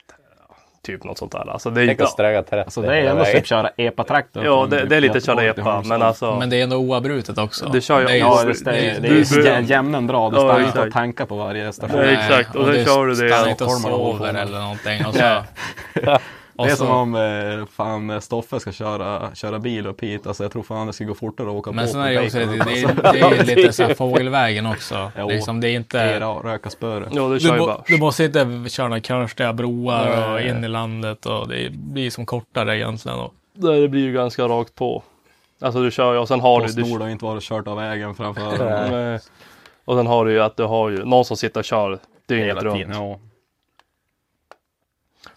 [SPEAKER 4] typ något sånt där. Alltså det är,
[SPEAKER 3] Tänk att
[SPEAKER 4] ja,
[SPEAKER 3] sträga 30.
[SPEAKER 5] Alltså det är ändå typ köra epa-traktor.
[SPEAKER 4] ja
[SPEAKER 5] från
[SPEAKER 4] det,
[SPEAKER 5] typ
[SPEAKER 4] det är lite
[SPEAKER 5] Göteborg
[SPEAKER 4] köra
[SPEAKER 5] till
[SPEAKER 4] epa
[SPEAKER 5] Holmsund.
[SPEAKER 4] men alltså.
[SPEAKER 7] Men det är ändå oavbrutet också.
[SPEAKER 4] Du kör ju
[SPEAKER 7] Det är
[SPEAKER 5] Ja,
[SPEAKER 4] av-
[SPEAKER 5] visst, det, är- det
[SPEAKER 4] Du-
[SPEAKER 5] är jä- jämna
[SPEAKER 4] Ja,
[SPEAKER 5] drag. Du står
[SPEAKER 4] exakt.
[SPEAKER 5] och tanka på varje station.
[SPEAKER 4] Nej, exakt. Och sen kör du det.
[SPEAKER 7] Stannar inte och
[SPEAKER 5] Stockholm har hållit
[SPEAKER 7] sover
[SPEAKER 5] på med.
[SPEAKER 7] eller någonting. Och så,
[SPEAKER 4] Nej.
[SPEAKER 6] Det är
[SPEAKER 7] Och
[SPEAKER 6] som
[SPEAKER 7] så,
[SPEAKER 6] om eh, fan Stoffe ska köra, köra bil upp hit. Alltså jag tror fan det ska gå fortare att åka
[SPEAKER 7] men
[SPEAKER 6] båt
[SPEAKER 7] sen är det ju
[SPEAKER 6] till
[SPEAKER 7] också det,
[SPEAKER 6] Dayton.
[SPEAKER 7] det,
[SPEAKER 6] Alltså,
[SPEAKER 7] det är ju lite så här fågelvägen också.
[SPEAKER 6] Jo.
[SPEAKER 7] Liksom, det är inte...
[SPEAKER 6] Era, röka spöre.
[SPEAKER 4] Ja, du
[SPEAKER 7] Du,
[SPEAKER 4] kör ju
[SPEAKER 7] må,
[SPEAKER 4] bara.
[SPEAKER 7] du måste inte köra några konstiga broar och
[SPEAKER 4] Nej.
[SPEAKER 7] in i landet och det blir som kortare egentligen. Och,
[SPEAKER 4] Nej, det blir ju ganska rakt på. Alltså du kör ju och sen har du... du
[SPEAKER 6] Postnord har ju inte varit och kört av vägen framför
[SPEAKER 3] Nej.
[SPEAKER 6] dem.
[SPEAKER 4] Nej. och sen har du ju att du har ju någon som sitter och kör dygnet
[SPEAKER 6] hela
[SPEAKER 4] runt.
[SPEAKER 6] tiden. Ja.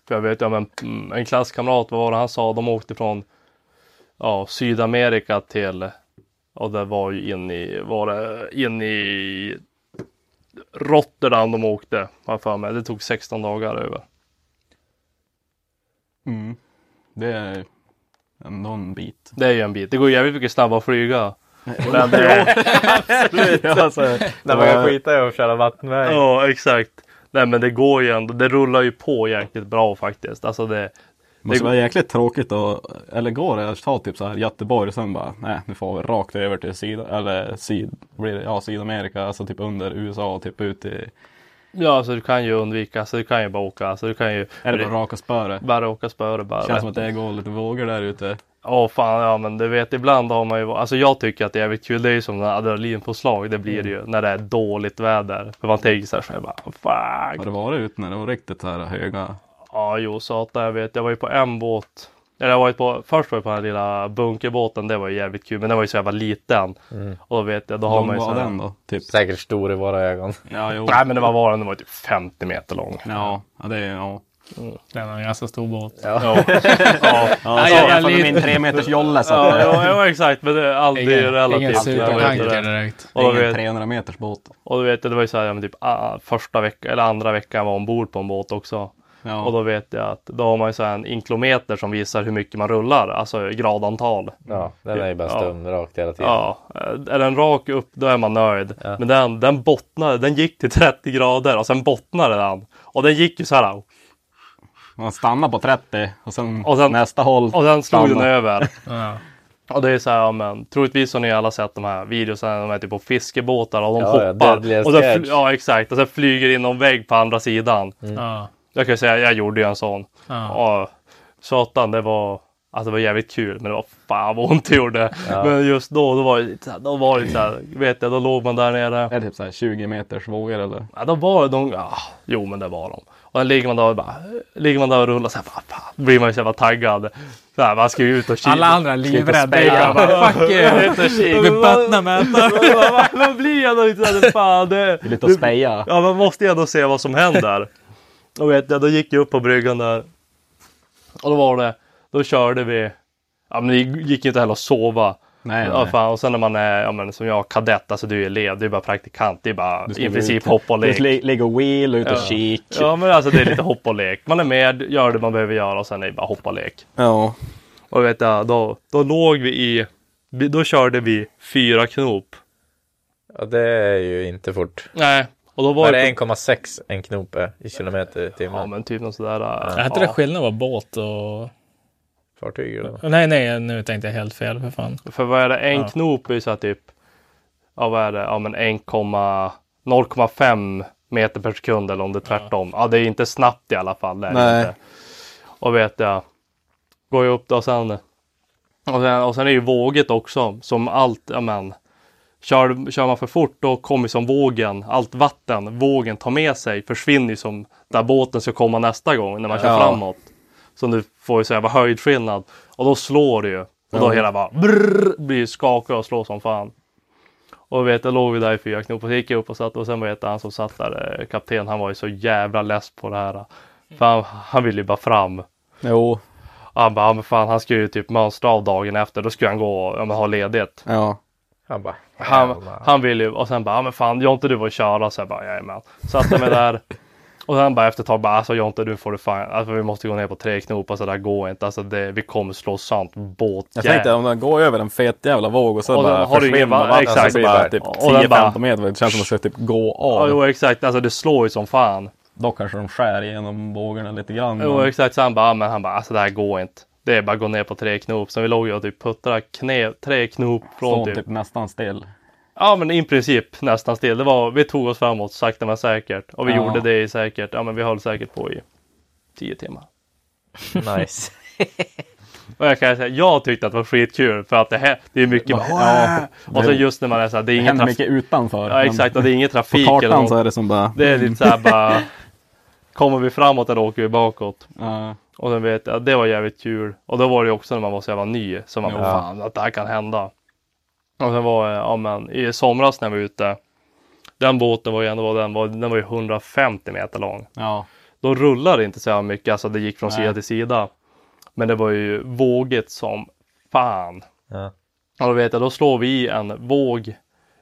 [SPEAKER 4] För jag vet ju, men mm, en klasskamrat, vad var det han sa? De åkte från ja, Sydamerika till, och det var ju in i, var det in i Rotterdam de åkte, har jag för mig. Det tog 16 dagar över.
[SPEAKER 6] Mm. Det är någon bit.
[SPEAKER 4] Det är ju en bit. Det går ju jävligt mycket snabbare att flyga. Men det,
[SPEAKER 6] Ja, alltså,
[SPEAKER 3] När man kan skita i att köra vattenväg.
[SPEAKER 4] ja, exakt. Nej, men det går ju ändå. Det rullar ju på jäkligt bra faktiskt. Alltså det,
[SPEAKER 6] måste vara jäkligt tråkigt att, eller går det att ta typ så här Göteborg sen bara, nej nu får vi rakt över till syd, eller syd, blir det, ja, Sydamerika, alltså typ under USA, typ ut i,
[SPEAKER 4] ja, alltså du kan ju undvika. Alltså du kan ju bara åka. Alltså du kan ju
[SPEAKER 6] är det bara raka spöre?
[SPEAKER 4] bara åka spöre bara.
[SPEAKER 6] Känns som att det går lite vågor där ute.
[SPEAKER 4] Ja fan, ja men du vet ibland har man ju, alltså jag tycker att det är jävligt kul, det är ju som när adrenalinpåslag, det
[SPEAKER 6] Mm.
[SPEAKER 4] blir det ju när det är dåligt väder. För man tänker så här själv bara,
[SPEAKER 6] Har
[SPEAKER 4] fuck.
[SPEAKER 6] det varit ute när det var riktigt så här höga?
[SPEAKER 4] Ja jo satan jag vet, jag var ju på en båt. Eller jag var ju på, först var jag på den här lilla bunkerbåten, det var ju jävligt kul, men den var ju så jävla liten. Och då vet jag, då har man
[SPEAKER 6] Mm. Lång
[SPEAKER 4] ju så
[SPEAKER 6] var
[SPEAKER 4] här,
[SPEAKER 6] den då? Typ?
[SPEAKER 3] Säkert stor i våra ögon.
[SPEAKER 6] Ja, jo.
[SPEAKER 4] Nej men det var var den, den var ju typ 50 meter lång.
[SPEAKER 6] Ja, ja, det är, ja.
[SPEAKER 7] det är en ganska stor båt.
[SPEAKER 4] Ja, ja,
[SPEAKER 6] Ja,
[SPEAKER 7] jag- jag
[SPEAKER 6] jag får
[SPEAKER 7] lite-
[SPEAKER 6] min tre meters jolle så
[SPEAKER 4] ja,
[SPEAKER 6] att
[SPEAKER 4] ja, ja exakt, men det är aldrig relativt.
[SPEAKER 7] ingen
[SPEAKER 4] jag vet inte
[SPEAKER 7] supertanker
[SPEAKER 4] det.
[SPEAKER 7] direkt.
[SPEAKER 6] det
[SPEAKER 4] Och då
[SPEAKER 6] är ingen
[SPEAKER 4] vet,
[SPEAKER 6] 300 meters båt.
[SPEAKER 4] Och du vet, det var ju så här, ja, men typ ah, första veckan eller andra veckan var ombord på en båt också.
[SPEAKER 6] Ja.
[SPEAKER 4] Och då vet jag att då har man ju så här en inklometer som visar hur mycket man rullar, alltså i gradantal.
[SPEAKER 3] Ja, den är ju bara stum rakt hela tiden.
[SPEAKER 4] Ja, Eh, är den rak upp då är man nöjd. Men den, den bottnade, den gick till 30 grader och sen bottnade den. Och den gick ju så här
[SPEAKER 6] Man stannar på 30 och sen,
[SPEAKER 4] Och sen-
[SPEAKER 6] nästa håll.
[SPEAKER 4] och den slog den
[SPEAKER 6] stannar.
[SPEAKER 4] över.
[SPEAKER 7] Ja.
[SPEAKER 4] Och det är så här, ja, men troligtvis har ni alla sett de här videorna, de är typ på fiskebåtar och de
[SPEAKER 3] Ja, ja,
[SPEAKER 4] hoppar.
[SPEAKER 3] Deadliest
[SPEAKER 4] och sen, fly-
[SPEAKER 3] Catch.
[SPEAKER 4] ja, exakt. Och sen flyger in någon vägg på andra sidan.
[SPEAKER 7] Ja.
[SPEAKER 4] Jag kan ju säga, jag gjorde ju en sån.
[SPEAKER 7] Mm. Ja.
[SPEAKER 4] Ja, satan det var Alltså det var jävligt kul men det var fan vad ont det gjorde. Men just då, då var det lite så här- då var det lite så här, vet jag, då låg man där nere.
[SPEAKER 6] Är det typ så här 20 meters vågor eller?
[SPEAKER 4] Ja, då var det de, ja, jo men det var de. Och sen ligger man där och bara, ligger man där och rullar så här, fan, fan, då blir man ju så jävla taggad. Så här, man Typ ska ju ut och kika.
[SPEAKER 7] Alla andra är livrädda. Jag bara,
[SPEAKER 4] Jag
[SPEAKER 7] fuck you!
[SPEAKER 4] vet inte,
[SPEAKER 7] Vi bottnar mätare.
[SPEAKER 4] Vad blir jag då inte så här, fan det...
[SPEAKER 6] Lite att speja.
[SPEAKER 4] Ja, man måste ju ändå se vad som händer. Och vet jag, då gick jag upp på bryggan där. Och då var det, då körde vi. Ja, men det gick ju inte heller att sova.
[SPEAKER 6] Nej,
[SPEAKER 4] Ja,
[SPEAKER 6] nej.
[SPEAKER 4] fan. Och sen när man är, ja, men, som jag, kadett, alltså du är elev, du är bara praktikant, det är bara
[SPEAKER 6] Du
[SPEAKER 4] i
[SPEAKER 6] ska gå
[SPEAKER 4] princip
[SPEAKER 6] ut-
[SPEAKER 4] hopp och
[SPEAKER 6] Du ska
[SPEAKER 4] lek.
[SPEAKER 6] li- ligga och wheel ut och kik.
[SPEAKER 4] Ja, men alltså det är lite hopp och lek. Man är med, gör det man behöver göra och sen är det bara hopp och lek.
[SPEAKER 6] Ja.
[SPEAKER 4] Och vet jag, då, då låg vi i, vi- då körde vi fyra knop.
[SPEAKER 3] Ja, det är ju inte fort.
[SPEAKER 4] Nej. Och då var
[SPEAKER 3] Var det
[SPEAKER 4] det,
[SPEAKER 3] 1,6 en knop är i kilometer i
[SPEAKER 4] ja
[SPEAKER 3] timmen?
[SPEAKER 4] men typ något sådär.
[SPEAKER 7] Jag hette det skillnad på båt och...
[SPEAKER 3] Fartyg eller?
[SPEAKER 7] Nej, nej, nu tänkte jag helt fel. För fan.
[SPEAKER 4] För vad är det, en knop är ju så här typ, ja vad är det, ja men 1,0,5 meter per sekund eller om det är tvärtom. Ja, det är inte snabbt i alla fall. Det är det
[SPEAKER 6] Nej.
[SPEAKER 4] Inte. Och vet jag, går jag upp då och sen, och sen, och sen är ju våget också som allt, ja men, kör, kör man för fort då kommer som vågen, allt vatten vågen tar med sig försvinner ju som där båten ska komma nästa gång när man kör
[SPEAKER 6] Ja.
[SPEAKER 4] framåt. Så du får ju säga vad höjdskillnad. Och då slår det ju. Och då hela bara brrr, blir skakig och slår som fan. Och vet, jag låg vi där i fyra knop och så gick jag upp och satt och sen vet jag han som satt där, eh, kapten, han var ju så jävla less på det här. För han, han ville ju bara fram.
[SPEAKER 6] Jo.
[SPEAKER 4] Han bara, ja, men fan han ska ju typ mönstra av dagen efter, då ska han gå och ja, men, ha ledigt.
[SPEAKER 6] Ja.
[SPEAKER 3] Han bara,
[SPEAKER 4] Han, han ville ju, och sen bara, ja, men fan Jonte du var och köra, så jag bara, jajamän. Satte mig där. Och sen bara efter ett tag bara, alltså Jonte du får du fan, alltså, vi måste gå ner på tre knopar så det här går inte. Alltså det, vi kommer slå sant båt.
[SPEAKER 6] Jag tänkte om den går över en fet jävla våg och så
[SPEAKER 4] Och
[SPEAKER 6] bara
[SPEAKER 4] den har du
[SPEAKER 6] försvinner
[SPEAKER 4] ingen va-
[SPEAKER 6] vattnet.
[SPEAKER 4] exakt.
[SPEAKER 6] Exakt. Så blir det typ
[SPEAKER 4] Och den bara-
[SPEAKER 6] 10-15 meter. Det känns som att man ska typ gå
[SPEAKER 4] Ja,
[SPEAKER 6] av.
[SPEAKER 4] jo exakt, alltså det slår ju som fan.
[SPEAKER 6] Då kanske de skär igenom vågorna lite grann.
[SPEAKER 4] Jo
[SPEAKER 6] men-
[SPEAKER 4] exakt, så han bara, ja, men han bara, alltså det här går inte. Det är bara att gå ner på tre knop. Så vi låg ju och typ puttrade knä, tre knop från
[SPEAKER 6] Står
[SPEAKER 4] typ.
[SPEAKER 6] typ nästan still.
[SPEAKER 4] Ja men i princip nästan still. Det var, vi tog oss framåt sakta men säkert. Och vi
[SPEAKER 6] Ja.
[SPEAKER 4] gjorde det i säkert, ja men vi höll säkert på i tio timmar.
[SPEAKER 3] Nice.
[SPEAKER 4] Och jag kan säga, jag tyckte att det var skitkul för att det, här, det är mycket bara, ja. Och så just när man är så här, det är
[SPEAKER 6] Det
[SPEAKER 4] ingen
[SPEAKER 6] händer
[SPEAKER 4] trafik.
[SPEAKER 6] mycket utanför.
[SPEAKER 4] Ja exakt, och det är ingen
[SPEAKER 6] På
[SPEAKER 4] trafik. eller
[SPEAKER 6] kartan
[SPEAKER 4] något.
[SPEAKER 6] så är det som bara...
[SPEAKER 4] Det är lite så här bara. Kommer vi framåt eller åker vi bakåt?
[SPEAKER 6] Ja.
[SPEAKER 4] Och sen vet jag, det var jävligt kul. Och då var det ju också när man var så jävla ny. Så man
[SPEAKER 6] Ja.
[SPEAKER 4] bara, fan att det här kan hända. Och sen var jag, ja men i somras när jag var ute. Den båten var ju ändå, den var, den var ju 150 meter lång.
[SPEAKER 6] ja.
[SPEAKER 4] Då rullade det inte så jävla mycket, alltså det gick från
[SPEAKER 6] Nej.
[SPEAKER 4] sida till sida. Men det var ju vågigt som fan.
[SPEAKER 3] Ja.
[SPEAKER 4] Och då vet jag, då slår vi i en våg,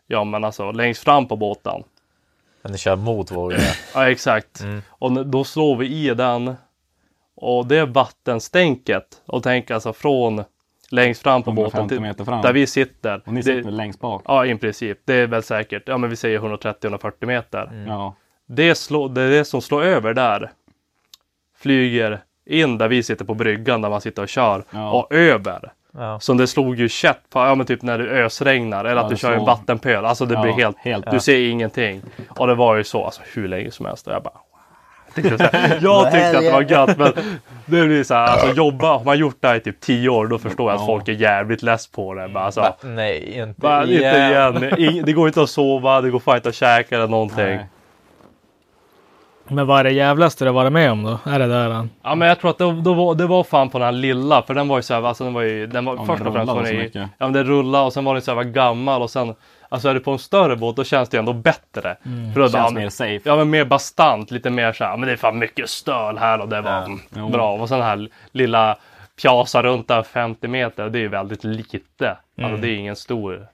[SPEAKER 4] ja men alltså längst fram på båten.
[SPEAKER 3] Men ni kör mot vågorna.
[SPEAKER 4] Ja exakt.
[SPEAKER 6] Mm.
[SPEAKER 4] Och n- då slår vi i den. Och det är vattenstänket. Och tänk alltså från längst fram på båten
[SPEAKER 6] 150
[SPEAKER 4] till
[SPEAKER 6] meter fram.
[SPEAKER 4] där vi sitter.
[SPEAKER 6] Och ni
[SPEAKER 4] Det-
[SPEAKER 6] sitter längst bak.
[SPEAKER 4] Ja i princip. Det är väl säkert. Ja men vi säger 130-140
[SPEAKER 6] Mm.
[SPEAKER 4] meter.
[SPEAKER 6] Ja.
[SPEAKER 4] Det, slår, det är det som slår över där. Flyger in där vi sitter på bryggan där man sitter och kör.
[SPEAKER 6] Ja.
[SPEAKER 4] Och över.
[SPEAKER 3] Ja.
[SPEAKER 4] Så det slog ju kätt på, ja men typ när det ösregnar eller
[SPEAKER 6] Ja,
[SPEAKER 4] att du
[SPEAKER 6] det
[SPEAKER 4] kör i en
[SPEAKER 6] slår.
[SPEAKER 4] vattenpöl. Alltså det
[SPEAKER 6] Ja,
[SPEAKER 4] blir helt,
[SPEAKER 6] helt.
[SPEAKER 4] du ser ingenting. Och det var ju så, alltså hur länge som helst. Och jag bara, jag tyckte, så här, jag tyckte att det var gött men det blir så här, alltså jobba, har man gjort det här i typ 10 år då förstår jag att folk är jävligt less på det. Bara, alltså,
[SPEAKER 3] Nej, inte
[SPEAKER 4] bara, inte
[SPEAKER 3] igen.
[SPEAKER 4] igen. Ing- det går inte att sova, det går fan inte att käka eller någonting.
[SPEAKER 6] Nej.
[SPEAKER 7] Men vad är det jävlaste du har varit med om då? Är det där? äh? han?
[SPEAKER 4] Ja men jag tror att det, då var, det var fan på den här lilla för den var ju såhär, alltså den var ju, den var
[SPEAKER 6] den
[SPEAKER 4] först och främst var
[SPEAKER 6] rullade
[SPEAKER 4] den
[SPEAKER 6] så
[SPEAKER 4] ju-
[SPEAKER 6] mycket.
[SPEAKER 4] Ja men den rullade och sen var den såhär gammal och sen, alltså är du på en större båt då känns det ju ändå bättre. För då,
[SPEAKER 6] Mm. Känns
[SPEAKER 4] ja,
[SPEAKER 6] mer
[SPEAKER 4] men-
[SPEAKER 6] safe.
[SPEAKER 4] Ja men mer bastant, lite mer såhär, men det är fan mycket stöl här och det var mm,
[SPEAKER 6] Jo.
[SPEAKER 4] bra. Och sen den här lilla pjasa runt där 50 meter, det är ju väldigt lite.
[SPEAKER 6] Mm.
[SPEAKER 4] Alltså det är ingen stor.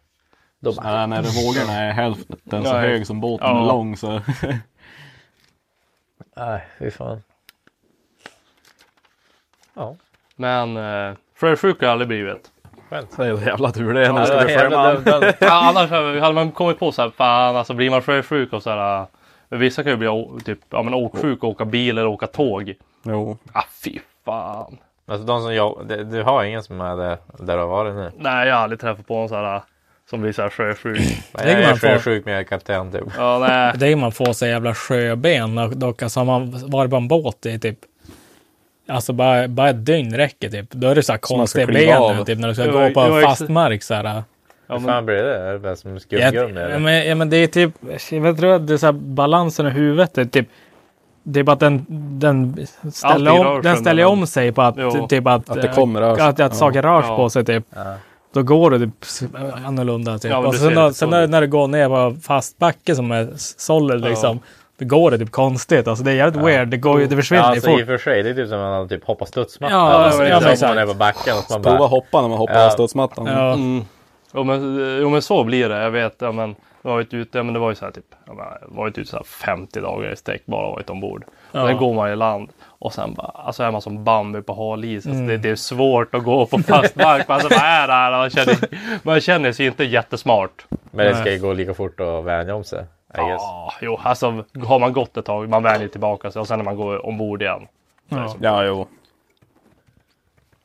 [SPEAKER 6] Ja, när vågorna är hälften så
[SPEAKER 4] Ja, ja.
[SPEAKER 6] hög som båten
[SPEAKER 4] Ja.
[SPEAKER 6] är lång så...
[SPEAKER 3] Nej, fy fan.
[SPEAKER 4] Men eh, sjösjuk har jag aldrig blivit.
[SPEAKER 6] det är jävla tur det
[SPEAKER 3] Ja,
[SPEAKER 6] är
[SPEAKER 3] det var jävla dumt.
[SPEAKER 4] Ja, annars hade hade man kommit på så här, fan alltså blir man sjösjuk och så här. äh, Vissa kan ju bli å- typ, ja, men åksjuk och åka bil eller åka tåg.
[SPEAKER 6] Jo.
[SPEAKER 4] Ah, fy fan.
[SPEAKER 3] Alltså de som jobb... det- Du har ingen som är där, där du har varit nu?
[SPEAKER 4] Nej, jag har aldrig träffat på någon så här äh, som blir så här sjösjuk.
[SPEAKER 3] Nej,
[SPEAKER 7] Det kan
[SPEAKER 3] jag är
[SPEAKER 7] man få.
[SPEAKER 3] sjösjuk men jag är kapten typ.
[SPEAKER 4] Ja, nej.
[SPEAKER 7] Det är ju man får sig jävla sjöben och dock alltså har man varit på en båt i typ Alltså bara, bara ett dygn räcker typ. Då är det så här
[SPEAKER 6] man ska
[SPEAKER 7] konstiga
[SPEAKER 6] kliva
[SPEAKER 7] ben nu,
[SPEAKER 6] av.
[SPEAKER 7] typ när du ska
[SPEAKER 4] Det var-
[SPEAKER 7] gå på
[SPEAKER 4] det var
[SPEAKER 7] fast
[SPEAKER 4] ex-
[SPEAKER 7] mark så här.
[SPEAKER 4] Ja,
[SPEAKER 3] Hur
[SPEAKER 4] men,
[SPEAKER 3] fan blir det? Är det bara som
[SPEAKER 7] Jag,
[SPEAKER 3] skumgummi eller?
[SPEAKER 7] men, ja, men det är typ, jag tror att det är så här, balansen i huvudet är typ det är bara att den, den ställer,
[SPEAKER 4] Allting rör
[SPEAKER 7] om,
[SPEAKER 4] sig
[SPEAKER 7] den ställer
[SPEAKER 4] mellan-
[SPEAKER 7] om sig på att,
[SPEAKER 4] Jo.
[SPEAKER 7] typ att,
[SPEAKER 6] Att det kommer röra sig.
[SPEAKER 7] att, att saker rör sig
[SPEAKER 4] Ja.
[SPEAKER 7] på sig. Typ. Då går det typ s- annorlunda. Typ.
[SPEAKER 4] Ja, men
[SPEAKER 7] och
[SPEAKER 4] du
[SPEAKER 7] sen,
[SPEAKER 4] ser
[SPEAKER 7] då,
[SPEAKER 4] det,
[SPEAKER 7] sen
[SPEAKER 4] så.
[SPEAKER 7] när, när du går ner på fast backe som är s- solid,
[SPEAKER 4] Ja.
[SPEAKER 7] liksom, då går det typ konstigt. Alltså, det är jävligt weird. Det, går, ju- det
[SPEAKER 3] Ja,
[SPEAKER 7] försvinner ju
[SPEAKER 3] alltså i
[SPEAKER 7] fort.
[SPEAKER 3] och för sig, det är typ som att man har typ hoppar studsmatta.
[SPEAKER 7] Ja,
[SPEAKER 3] alltså,
[SPEAKER 7] ja, men
[SPEAKER 3] det är som
[SPEAKER 7] exakt.
[SPEAKER 3] man är på backen och så man
[SPEAKER 6] Prova
[SPEAKER 3] bara...
[SPEAKER 6] hoppa när man hoppar
[SPEAKER 3] Ja.
[SPEAKER 6] av studsmattan. Mm.
[SPEAKER 7] Ja.
[SPEAKER 4] jo, men, jo, men så blir det. Jag vet, ja, men jag har varit ute, men det var ju så här typ, jag bara, varit ute så här 50 dagar i sträck, bara varit ombord.
[SPEAKER 7] Ja.
[SPEAKER 4] Sen går man i land och sen bara, alltså är man som Bambi på hal is. Alltså, det, det är svårt att gå på fast mark. Alltså, vad är det här? Man känner, man känner sig inte jättesmart.
[SPEAKER 3] Men det ska ju gå lika fort att vänja om sig. I guess.
[SPEAKER 4] Ja, jo, alltså har man gått ett tag, man vänjer tillbaka sig och sen när man går ombord igen.
[SPEAKER 6] Ja, jo.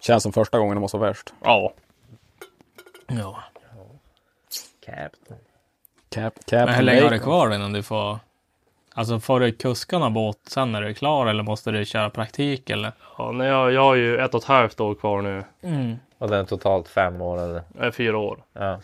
[SPEAKER 6] Känns som första gången det måste vara värst.
[SPEAKER 4] Ja,
[SPEAKER 7] Ja.
[SPEAKER 3] Captain.
[SPEAKER 6] Cap,
[SPEAKER 7] Men hur länge har du kvar innan du får... Alltså får du kuska någon båt sen när du är klar eller måste du köra praktik eller?
[SPEAKER 4] ja nej, jag, jag har ju ett och ett halvt år kvar nu.
[SPEAKER 3] Och den är totalt fem år eller?
[SPEAKER 4] Jag är fyra år.
[SPEAKER 3] Ja.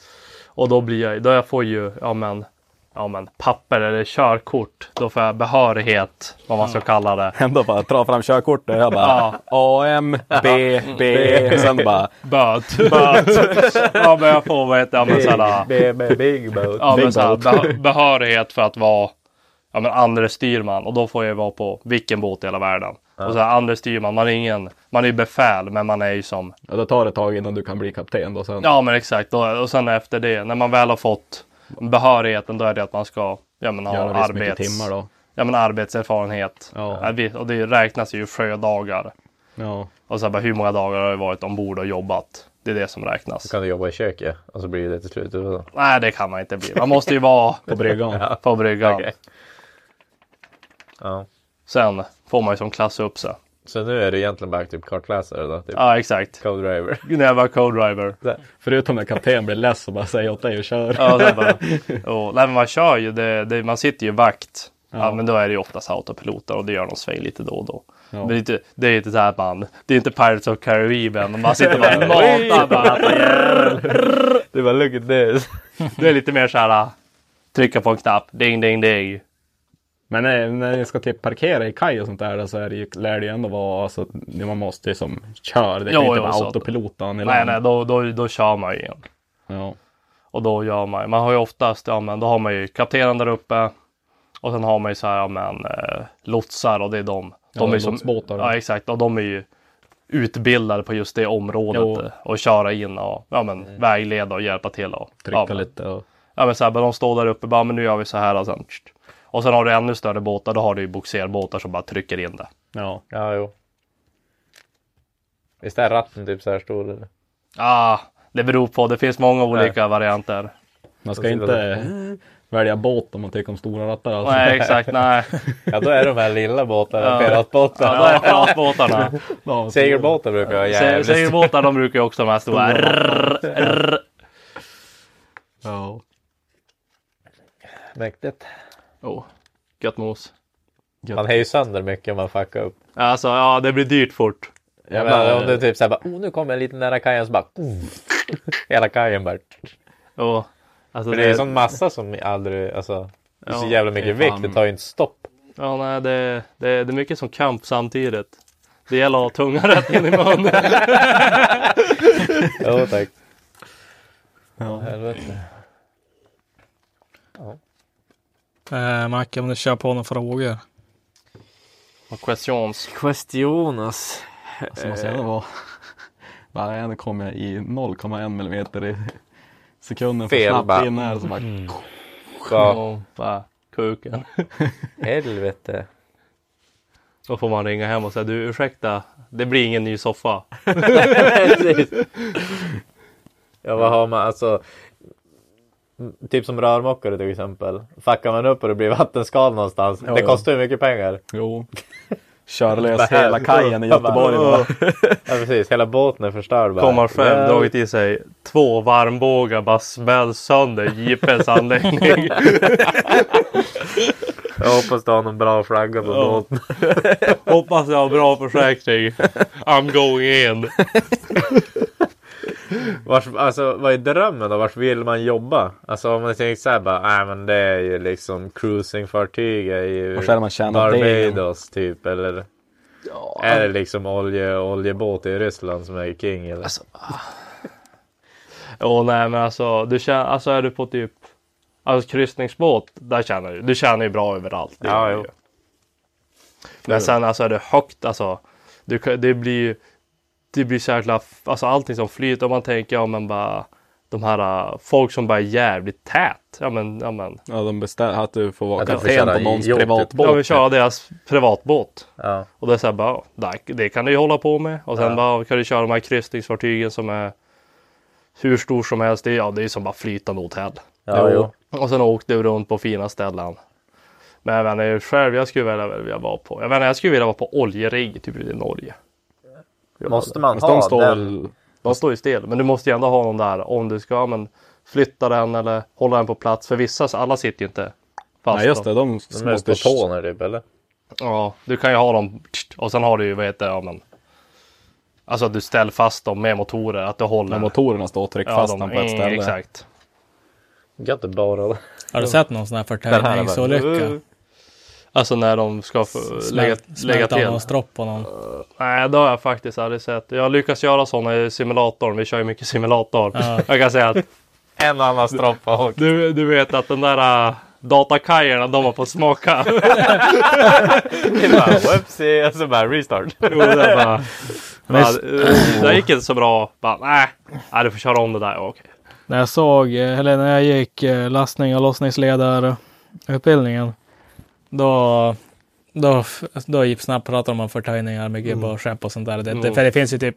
[SPEAKER 4] Och då blir jag, då jag får ju, ja men, ja men papper eller körkort. Då får jag behörighet, vad man ska kalla det.
[SPEAKER 6] Ändå bara dra fram körkortet. Jag bara AM, B, B. Sen bara
[SPEAKER 4] Böt. Böt. ja men jag får, vad heter det, ja, men sådär.
[SPEAKER 3] Big, big boat.
[SPEAKER 4] Ja, men
[SPEAKER 6] Big
[SPEAKER 4] så här,
[SPEAKER 6] boat.
[SPEAKER 4] behö- behörighet för att vara ja, men andre styrman och då får jag vara på vilken båt i hela världen. Och så här, andre styrman, man är ingen, man är ju befäl, men man är ju som,
[SPEAKER 6] Ja, då tar det ett tag innan du kan bli kapten då sen.
[SPEAKER 4] ja men exakt, och, och sen efter det, när man väl har fått behörigheten, då är det att man ska ja, men, ha
[SPEAKER 6] Göra visst mycket
[SPEAKER 4] arbets,
[SPEAKER 6] timmar då.
[SPEAKER 4] ja, men, arbetserfarenhet.
[SPEAKER 6] Ja.
[SPEAKER 4] Ja, vi- Och det räknas ju sjödagar.
[SPEAKER 6] Ja.
[SPEAKER 4] Och så här, bara, hur många dagar har jag varit ombord och jobbat? Det är det som räknas.
[SPEAKER 3] Så kan du jobba i köket och så blir det till slut. Så.
[SPEAKER 4] Nej, det kan man inte bli. Man måste ju vara
[SPEAKER 6] På bryggan.
[SPEAKER 4] på bryggan.
[SPEAKER 3] Okej. Ja.
[SPEAKER 4] Sen får man ju som klassa upp sig.
[SPEAKER 3] Så nu är du egentligen bara typ kartläsare då? Typ.
[SPEAKER 4] Ja, exakt.
[SPEAKER 3] Code driver.
[SPEAKER 4] När jag var co-driver.
[SPEAKER 6] Förutom när kapten blir less och bara säger åt dig att köra.
[SPEAKER 4] Ja, och sen bara, och, nej, men man kör ju, det, det, man sitter ju vakt. Ja. men då är det ju oftast autopiloter och det gör de sväng lite då och då. Men det är inte, det är inte så här att man, det är inte Pirates of Caribbean. och Man sitter och bara matar bara.
[SPEAKER 3] Det var look at this.
[SPEAKER 4] Det är lite mer så här, trycka på en knapp, ding ding ding.
[SPEAKER 6] Men när, när jag ska typ parkera i kaj och sånt där så är det ju, lär det ju ändå vara alltså, det man måste ju som köra. Det kan
[SPEAKER 4] Jo,
[SPEAKER 6] ju inte
[SPEAKER 4] jo,
[SPEAKER 6] vara
[SPEAKER 4] så-
[SPEAKER 6] autopilotan i
[SPEAKER 4] Nej,
[SPEAKER 6] land.
[SPEAKER 4] nej, då, då, då kör man ju igen.
[SPEAKER 6] Ja.
[SPEAKER 4] Och då gör man ju, man har ju oftast, ja men då har man ju kaptenen där uppe. Och sen har man ju så här, ja men eh, lotsar och det är de. De
[SPEAKER 6] Ja,
[SPEAKER 4] är ju som,
[SPEAKER 6] lotsbåtar.
[SPEAKER 4] ja exakt, och de är ju utbildade på just det området.
[SPEAKER 6] Jo.
[SPEAKER 4] eh, Och köra in och ja, men, vägleda och hjälpa till. Och,
[SPEAKER 6] Trycka
[SPEAKER 4] ja, men-
[SPEAKER 6] lite och...
[SPEAKER 4] Ja men så här, men de står där uppe, bara men nu gör vi så här och sen. tst. Och sen har du ännu större båtar, då har du ju bogserbåtar som bara trycker in det.
[SPEAKER 6] Ja.
[SPEAKER 3] Ja, jo. Visst är ratten typ så här stor eller?
[SPEAKER 4] Ah, det beror på, det finns många olika varianter.
[SPEAKER 6] Man ska
[SPEAKER 3] Och
[SPEAKER 6] inte välja båt om man tycker om stora rattar. Alltså.
[SPEAKER 4] Nej exakt, nej.
[SPEAKER 3] Ja, då är de här lilla båtarna,
[SPEAKER 4] Ja.
[SPEAKER 3] piratbåtarna.
[SPEAKER 4] Ja, då är det piratbåtarna.
[SPEAKER 6] Ja,
[SPEAKER 3] Segelbåtar brukar jag ha
[SPEAKER 4] Se-
[SPEAKER 3] jävligt.
[SPEAKER 4] Segelbåtar de brukar ju också de här stora. rrrr, rrrr.
[SPEAKER 6] Ja.
[SPEAKER 3] Mäktigt.
[SPEAKER 4] Oh, gött mos.
[SPEAKER 3] Man hejar ju sönder mycket om man fuckar upp.
[SPEAKER 4] Alltså ja, det blir dyrt fort.
[SPEAKER 3] Jag menar, om du typ såhär bara, oh nu kommer jag lite nära kajen så bara, oh. Hela kajen bara.
[SPEAKER 4] Oh, alltså,
[SPEAKER 3] För det är ju sån massa som aldrig, alltså. Det är så
[SPEAKER 4] Ja,
[SPEAKER 3] jävla mycket
[SPEAKER 6] det är fan-
[SPEAKER 3] vikt, det tar ju inte stopp.
[SPEAKER 4] Ja, nej, det, det, det är mycket som kamp samtidigt. Det gäller att ha tungan rätt in i munnen.
[SPEAKER 3] Jo tack.
[SPEAKER 6] Ja.
[SPEAKER 3] Helvete.
[SPEAKER 7] Eh, Macke, om du kör på några frågor.
[SPEAKER 4] Och questions.
[SPEAKER 8] Questionas.
[SPEAKER 6] Så måste jag alltså, ändå vara... Bara en kom jag i 0,1 millimeter i sekunden för
[SPEAKER 3] Fel,
[SPEAKER 6] snabbt
[SPEAKER 3] bara.
[SPEAKER 6] in här. Så bara,
[SPEAKER 3] Ja,
[SPEAKER 4] Och bara kuken.
[SPEAKER 3] helvete.
[SPEAKER 4] Då får man ringa hem och säga du ursäkta, det blir ingen ny soffa.
[SPEAKER 3] Precis. ja, vad har man alltså? m- Typ som rörmokare till exempel. Fuckar man upp och det blir vattenskal någonstans. det
[SPEAKER 6] ja.
[SPEAKER 3] kostar ju mycket pengar.
[SPEAKER 6] jo. Kör lös hela kajen i Göteborg.
[SPEAKER 3] Ja,
[SPEAKER 6] bara.
[SPEAKER 3] precis. Hela båten är förstörd bara.
[SPEAKER 4] Kommer själv,
[SPEAKER 3] Ja.
[SPEAKER 4] dragit i sig två varmbågar, bara smälls sönder JPs anläggning.
[SPEAKER 3] Jag hoppas du har någon bra flagga på båten.
[SPEAKER 4] Hoppas jag har bra försäkring. I'm going in.
[SPEAKER 3] Vars, alltså, vad är drömmen då? Vars vill man jobba? Alltså om man tänker såhär bara, nej men det är ju liksom cruisingfartyg är ju
[SPEAKER 6] Och så hade man tjänat degen.
[SPEAKER 3] Barbados typ eller? Är det liksom olje, oljebåt i Ryssland som är king eller?
[SPEAKER 4] Åh nej men alltså, du tjänar, alltså är du på typ alltså, kryssningsbåt, där tjänar du. Du tjänar ju bra överallt. det
[SPEAKER 3] Ja,
[SPEAKER 4] gör du
[SPEAKER 3] jo.
[SPEAKER 4] ju. Men sen alltså är det högt alltså. Du, kan- det blir ju, det blir så jäkla, alltså allting som flyter. Om man tänker, ja men bara de här äh, folk som bara är jävligt tät. Ja men, ja men.
[SPEAKER 6] Ja, de bestämde att du får vara
[SPEAKER 3] Att du får
[SPEAKER 6] kapten
[SPEAKER 3] köra
[SPEAKER 6] på
[SPEAKER 3] i
[SPEAKER 6] någons
[SPEAKER 3] jobb, typ.
[SPEAKER 6] privatbåt.
[SPEAKER 4] De vill köra deras privatbåt.
[SPEAKER 3] Ja.
[SPEAKER 4] Och det är så här bara, ja, där- det kan du ju hålla på med. Och sen bara, kan du köra de här kryssningsfartygen som är hur stor som helst. Det är, ja, det är som bara flytande hotell.
[SPEAKER 3] Ja, jo.
[SPEAKER 4] Och sen åkte du runt på fina ställen. Men jag vet inte, själv jag skulle vilja, vilja vara på, jag vet inte, jag skulle vilja vara på oljerigg typ i Norge.
[SPEAKER 3] Måste man
[SPEAKER 6] Fast de
[SPEAKER 3] ha
[SPEAKER 6] står
[SPEAKER 3] den?
[SPEAKER 6] väl...
[SPEAKER 4] De står ju still, men du måste ju ändå ha någon där om du ska ja, men, flytta den eller hålla den på plats. För vissa, så alla sitter ju inte fast.
[SPEAKER 6] Nej just det,
[SPEAKER 4] då.
[SPEAKER 6] de
[SPEAKER 3] De är
[SPEAKER 6] måste...
[SPEAKER 3] på tå nu typ eller?
[SPEAKER 4] Ja, du kan ju ha dem och sen har du ju, vad heter det, ja, men, Alltså att du ställer fast dem med motorer, att du håller.
[SPEAKER 6] När motorerna står och trycker fast dem på
[SPEAKER 4] mm,
[SPEAKER 6] ett ställe.
[SPEAKER 4] Exakt.
[SPEAKER 3] Göteborg.
[SPEAKER 7] Har du sett någon sån här
[SPEAKER 4] Uh,
[SPEAKER 7] förtävlingsolycka?
[SPEAKER 4] Alltså när de ska få lägga,
[SPEAKER 7] Smält-
[SPEAKER 4] lägga
[SPEAKER 7] Smält av
[SPEAKER 4] till.
[SPEAKER 7] någon stropp på någon.
[SPEAKER 4] Nej, det har jag faktiskt aldrig sett. Jag lyckas göra sådana i simulatorn. Vi kör ju mycket simulator.
[SPEAKER 7] Ja.
[SPEAKER 4] Jag kan säga att
[SPEAKER 3] En annan stropp har åkt.
[SPEAKER 4] du, du vet att de där äh, datakajerna, de har fått smaka.
[SPEAKER 3] Det bara whoopsie och så bara restart.
[SPEAKER 4] Jo, det är bara, bara, eh, det gick inte så bra. Bara, nej, nej, du får köra om det där. Ja, Okej.
[SPEAKER 7] När jag såg, eh, eller när jag gick eh, lastning och lossningsledarutbildningen. Då, då, f- då gick snabbt pratade de om förtöjningar med gubb och skepp och sånt där. Det, det,
[SPEAKER 4] Mm.
[SPEAKER 7] för det finns ju typ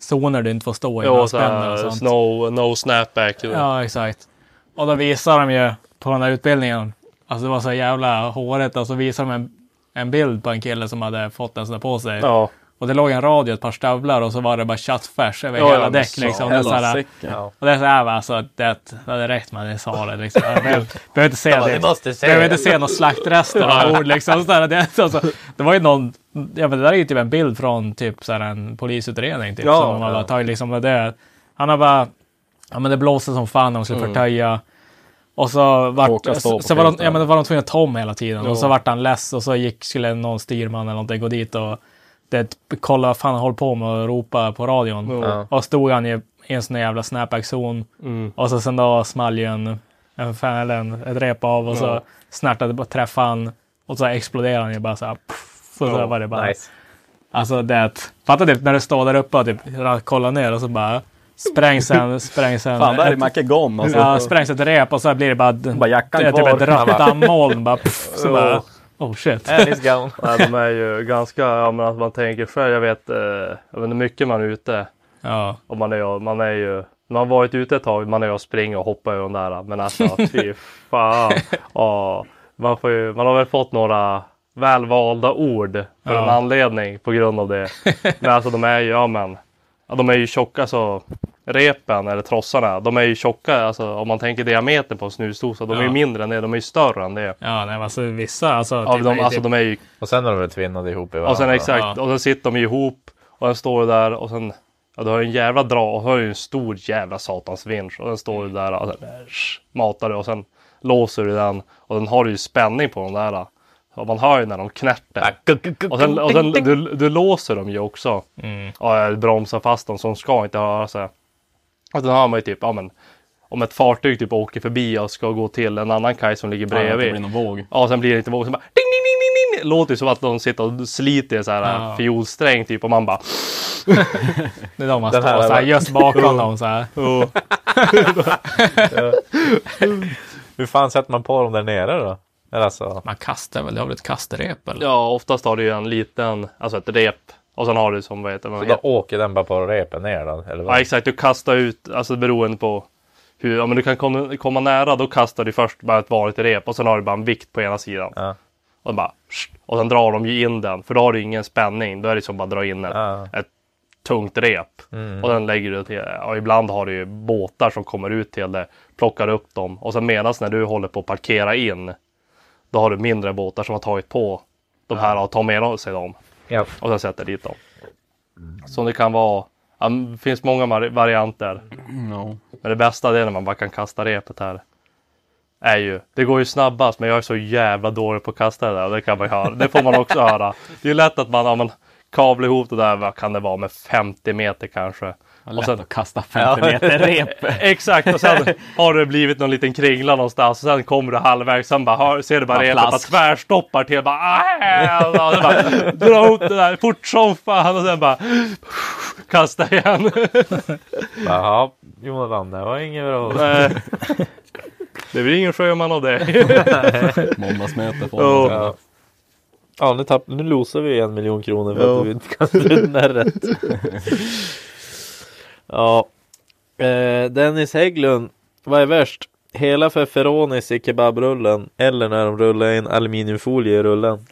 [SPEAKER 7] zoner du inte får stå i.
[SPEAKER 4] Jo, så
[SPEAKER 7] handspänner och
[SPEAKER 4] här,
[SPEAKER 7] sånt.
[SPEAKER 4] snow, no snapback.
[SPEAKER 7] Ja, exakt. Och då visar de ju på den här utbildningen. Alltså det var så jävla håret. Och så visar de en, en bild på en kille som hade fått en sån där på sig.
[SPEAKER 4] ja.
[SPEAKER 7] Och det låg en radio, ett par stövlar och så var det bara köttfärs över
[SPEAKER 4] Ja, ja,
[SPEAKER 7] hela
[SPEAKER 4] men
[SPEAKER 7] däck
[SPEAKER 4] så
[SPEAKER 7] liksom. Det är så här, och det är så här, va, alltså, det, det hade räckt med det sa det liksom. Jag behöver, behöver inte se det.
[SPEAKER 3] måste se
[SPEAKER 7] Behöver
[SPEAKER 3] det.
[SPEAKER 7] "Oh," inte se några slaktrester av ord liksom. Så där, det, alltså, det var ju någon Ja men det där är ju typ en bild från typ så här en polisutredning. Typ,
[SPEAKER 3] Ja,
[SPEAKER 7] som de har
[SPEAKER 3] ja.
[SPEAKER 7] bara tagit liksom med det. Han har bara, ja men det blåste som fan när de skulle förtöja. Och så
[SPEAKER 6] Råkade
[SPEAKER 7] vart,
[SPEAKER 6] stå
[SPEAKER 7] så,
[SPEAKER 6] på
[SPEAKER 7] så var de,
[SPEAKER 6] skylten.
[SPEAKER 7] ja, men då var de tvungna att ta om hela tiden.
[SPEAKER 6] Ja.
[SPEAKER 7] Och så vart han less och så gick, skulle någon styrman eller någonting gå dit och det, kolla vad fan han håller på med och ropa på radion.
[SPEAKER 3] Ja.
[SPEAKER 7] Och stod han i, i en sån där jävla snapback-zon. Och så sen då small ju en, en, fan, eller en, ett rep av och så
[SPEAKER 6] Ja.
[SPEAKER 7] snärtade bara träffade han. Och så exploderade han ju bara så här. Pff, och så
[SPEAKER 6] Ja,
[SPEAKER 7] var det bara.
[SPEAKER 3] Nice.
[SPEAKER 7] Alltså det. är ett- Fatta typ när du står där uppe och typ kollar ner och så bara sprängs en, sprängs en.
[SPEAKER 6] Fan, där är
[SPEAKER 7] ett-
[SPEAKER 6] Macke gone alltså.
[SPEAKER 7] Ja, sprängs ett rep och så blir det bara,
[SPEAKER 3] Bara jackan
[SPEAKER 7] det är typ
[SPEAKER 3] kvar.
[SPEAKER 7] ett rött moln. Bara, pff, så
[SPEAKER 4] Ja.
[SPEAKER 7] bara, oh shit.
[SPEAKER 3] And it's gone.
[SPEAKER 4] Nej, de är ju ganska, ja men att man tänker själv, jag vet, eh, jag vet inte mycket man är ute.
[SPEAKER 7] Ja,
[SPEAKER 4] Och man är, man är ju, man har varit ute ett tag, man är och springer och hoppar i de där. Men alltså fy fan. Ja, man, får ju, man har väl fått några välvalda ord för
[SPEAKER 7] Ja.
[SPEAKER 4] en anledning på grund av det. Men alltså de är ju, ja men. Ja, de är ju tjocka så. Repen eller trossarna, de är ju tjocka. Alltså om man tänker diameter på en snusdosa. De är ju
[SPEAKER 7] Ja.
[SPEAKER 4] mindre än det, de är ju större än det.
[SPEAKER 7] ja nej, men alltså vissa alltså.
[SPEAKER 4] Ja,
[SPEAKER 7] typ-
[SPEAKER 4] de, alltså de är ju
[SPEAKER 3] Och sen har de väl tvinnade ihop i varandra.
[SPEAKER 4] och sen exakt,
[SPEAKER 7] Ja.
[SPEAKER 4] och sen sitter de ju ihop och den står ju där och sen Ja du har ju en jävla dra och så har du ju en stor jävla satans vinsch och den står ju där och sen äsch, matar du och sen låser du den och den har ju spänning på den där. Och man hör ju när de knärter. Och sen, och sen du, du låser dem ju också.
[SPEAKER 7] Mm.
[SPEAKER 4] Och eh, bromsar fast dem så de ska inte höra sig. Och sen har man ju typ, ja men om ett fartyg typ åker förbi och ska gå till en annan kaj som ligger
[SPEAKER 6] Fan, att det
[SPEAKER 4] bredvid.
[SPEAKER 6] blir någon våg.
[SPEAKER 4] Ja, sen blir det inte våg. Sen bara ding, ding, ding, ding, ding. Låter ju som att de sitter och sliter i en så här
[SPEAKER 7] Ja.
[SPEAKER 4] fiolsträng typ och man bara...
[SPEAKER 7] Det är de man
[SPEAKER 3] Den här
[SPEAKER 7] står så
[SPEAKER 3] var-
[SPEAKER 7] här, just bakom dem så här.
[SPEAKER 3] Hur fan sätter man på dem där nere då? Eller alltså,
[SPEAKER 7] Man kastar väl, det har väl ett kastrep eller?
[SPEAKER 4] Ja, oftast har du ju en liten, alltså ett rep. Och sen har du som, vad heter det?
[SPEAKER 3] så
[SPEAKER 4] vad
[SPEAKER 3] då
[SPEAKER 4] heter-
[SPEAKER 3] åker den bara på repen ner då? Eller vad?
[SPEAKER 4] Ja, exakt. Du kastar ut, alltså beroende på hur, ja men du kan komma, komma nära, då kastar du först bara ett vanligt rep och sen har du bara en vikt på ena sidan.
[SPEAKER 3] Ja.
[SPEAKER 4] Och, bara, pssst. och sen drar de ju in den, för då har du ingen spänning. Då är det som bara dra in ett,
[SPEAKER 3] Ja. Mm.
[SPEAKER 4] ett tungt rep. Och sen lägger du till, och ibland har du ju båtar som kommer ut till det, plockar upp dem. Och sen medan när du håller på att parkera in, då har du mindre båtar som har tagit på de här och tar med sig dem
[SPEAKER 3] Ja.
[SPEAKER 4] och sen sätter dit dem. Så det kan vara, ja, det finns många vari- varianter.
[SPEAKER 6] Mm, Ja.
[SPEAKER 4] Men det bästa det är när man bara kan kasta repet här. Är ju, det går ju snabbast men jag är så jävla dålig på att kasta det där och det kan man ju höra. Det får man också höra. Det är ju lätt att man, ja, man kavlar ihop det där, vad kan det vara, med 50 meter kanske.
[SPEAKER 6] Ja,
[SPEAKER 4] Och
[SPEAKER 6] Lätt
[SPEAKER 4] sen,
[SPEAKER 6] att kasta 50 meter rep.
[SPEAKER 4] exakt, och sen har det blivit någon liten kringla någonstans och sen kommer du halvvägs, sen bara, hör, ser du bara
[SPEAKER 6] Ja,
[SPEAKER 4] repet bara
[SPEAKER 6] plask.
[SPEAKER 4] tvärstoppar till bara, "Aj!" och så bara dra upp det där fort som fan och sen bara kasta igen.
[SPEAKER 3] Bara, ja, Jonathan, det var inget bra.
[SPEAKER 4] Nej. Det blir ingen sjöman av det.
[SPEAKER 6] Måndagsmöte på
[SPEAKER 4] Ja.
[SPEAKER 6] oh.
[SPEAKER 3] Ja. Ja, nu, tapp, nu losar vi en miljon kronor för att du inte kastade ut den här rätt. ja. Eh, Dennis Hägglund, vad är värst? Hela feferonis i kebabrullen eller när de rullar in aluminiumfolie i rullen?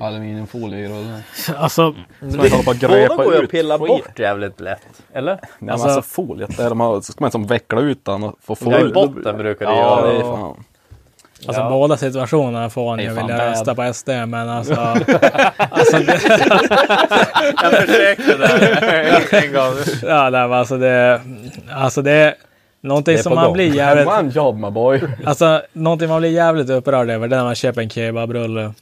[SPEAKER 6] aluminiumfolie i rullen.
[SPEAKER 7] Alltså,
[SPEAKER 6] man håller på att grepa
[SPEAKER 3] Mm. Båda går ju
[SPEAKER 6] ut
[SPEAKER 3] att pilla
[SPEAKER 6] skit.
[SPEAKER 3] bort jävligt lätt. Eller?
[SPEAKER 6] Nej, alltså, alltså foliet där de har, så ska man som veckla ut den och få få
[SPEAKER 3] Ja, i
[SPEAKER 6] ut.
[SPEAKER 3] botten brukar det
[SPEAKER 6] Ja,
[SPEAKER 3] göra.
[SPEAKER 6] det är fan.
[SPEAKER 7] alltså båda situationerna får han
[SPEAKER 6] Det är
[SPEAKER 7] ju
[SPEAKER 6] fan
[SPEAKER 7] vilja
[SPEAKER 6] bad.
[SPEAKER 7] rösta på SD men alltså.
[SPEAKER 3] Jag försökte där en gång.
[SPEAKER 7] Ja, nej, men alltså det, alltså det är någonting
[SPEAKER 3] Det är
[SPEAKER 7] som
[SPEAKER 3] på
[SPEAKER 7] man
[SPEAKER 3] gång.
[SPEAKER 7] blir jävligt,
[SPEAKER 6] One job my boy.
[SPEAKER 7] alltså någonting man blir jävligt upprörd över det är när man köper en kebabrulle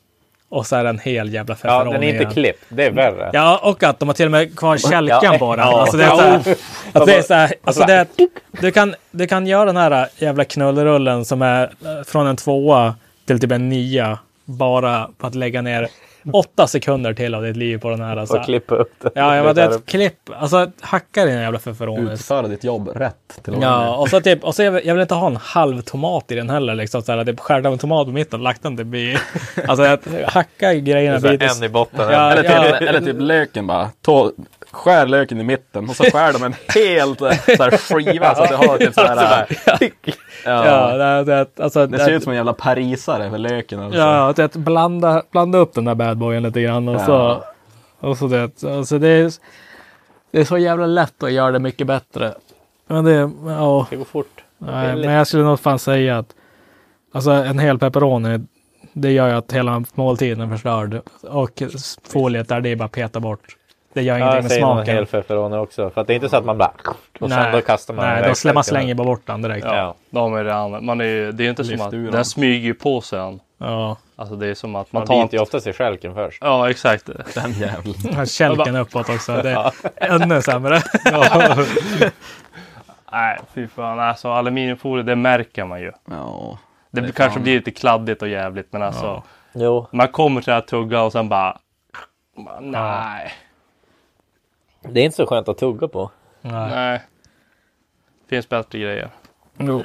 [SPEAKER 7] och så är den hel jävla
[SPEAKER 3] Ja,
[SPEAKER 7] feferoni
[SPEAKER 3] den är inte
[SPEAKER 7] igen.
[SPEAKER 3] klippt. Det är värre.
[SPEAKER 7] Ja, och att de har till och med kvar kälkan
[SPEAKER 3] Ja.
[SPEAKER 7] på den.
[SPEAKER 3] Ja.
[SPEAKER 7] Alltså det är
[SPEAKER 3] Ja,
[SPEAKER 7] så här,
[SPEAKER 3] uff.
[SPEAKER 7] alltså det är så här, alltså det är, du, kan, du kan göra den här jävla knullrullen som är eh, från en tvåa till typ en nia bara på att lägga ner åtta sekunder till av ditt liv på den här. Alltså.
[SPEAKER 3] Och klippa upp det.
[SPEAKER 7] Ja, jag vet, det är
[SPEAKER 3] där
[SPEAKER 7] ett klipp. Alltså hacka din jävla feferonis.
[SPEAKER 6] Utföra ditt jobb rätt till och med.
[SPEAKER 7] Ja, och så typ, och så jag, vill- jag vill inte ha en halv tomat i den heller. Liksom, så här, typ skärde av en tomat på mitten och lagt den typ i... Alltså att hacka grejerna
[SPEAKER 3] uppe.
[SPEAKER 7] bit.
[SPEAKER 3] En i botten.
[SPEAKER 7] Ja,
[SPEAKER 6] Eller,
[SPEAKER 7] ja.
[SPEAKER 6] typ, eller typ löken bara. Ta, skär löken i mitten och så skär de en hel så här, skiva så att du har typ så här.
[SPEAKER 7] Ja,
[SPEAKER 6] Ja.
[SPEAKER 7] det, är- det, är- alltså,
[SPEAKER 6] Det ser ut som en jävla parisare för löken. Alltså.
[SPEAKER 7] Ja, att, att blanda, blanda upp den där badboyen lite grann och så...
[SPEAKER 6] Ja.
[SPEAKER 7] Och så det, alltså det, är, det är så jävla lätt att göra det mycket bättre. Men det, ja,
[SPEAKER 3] Det går fort.
[SPEAKER 7] nej, men jag skulle nog fan säga att alltså en hel pepperoni Det gör ju att hela måltiden är förstörd. Och s- foliet där, det är bara peta bort. Det
[SPEAKER 3] Ja,
[SPEAKER 7] gör ingenting
[SPEAKER 3] jag
[SPEAKER 7] med
[SPEAKER 3] säger någon
[SPEAKER 7] smaken.
[SPEAKER 3] hel pepperoni också. För att det är inte så att man bara... Och sen då kastar man
[SPEAKER 7] Nej,
[SPEAKER 3] iväg
[SPEAKER 7] då slä- man
[SPEAKER 3] sakerna.
[SPEAKER 7] slänger bara bort den direkt. Ja.
[SPEAKER 3] Ja.
[SPEAKER 4] De är redan, man är, ju- det är inte som
[SPEAKER 6] Lyft
[SPEAKER 4] att
[SPEAKER 6] ur
[SPEAKER 4] den
[SPEAKER 6] dem.
[SPEAKER 4] smyger ju på sig en. Alltså det är som att man,
[SPEAKER 3] Man
[SPEAKER 4] tar
[SPEAKER 3] biter ju oftast i stjälken först.
[SPEAKER 4] Ja exakt.
[SPEAKER 6] Den jäveln.
[SPEAKER 7] Kälken uppåt också. Det är ännu sämre.
[SPEAKER 4] Nej fy fan alltså aluminiumfolie det märker man ju.
[SPEAKER 6] Ja.
[SPEAKER 4] Det,
[SPEAKER 6] är
[SPEAKER 4] kanske
[SPEAKER 6] fan-
[SPEAKER 4] blir lite kladdigt och jävligt men alltså.
[SPEAKER 3] Jo.
[SPEAKER 4] Man kommer till att tugga och sen bara. bara, Nej.
[SPEAKER 3] Det är inte så skönt att tugga på.
[SPEAKER 7] Nej.
[SPEAKER 4] Nej. Finns bättre grejer.
[SPEAKER 7] Jo.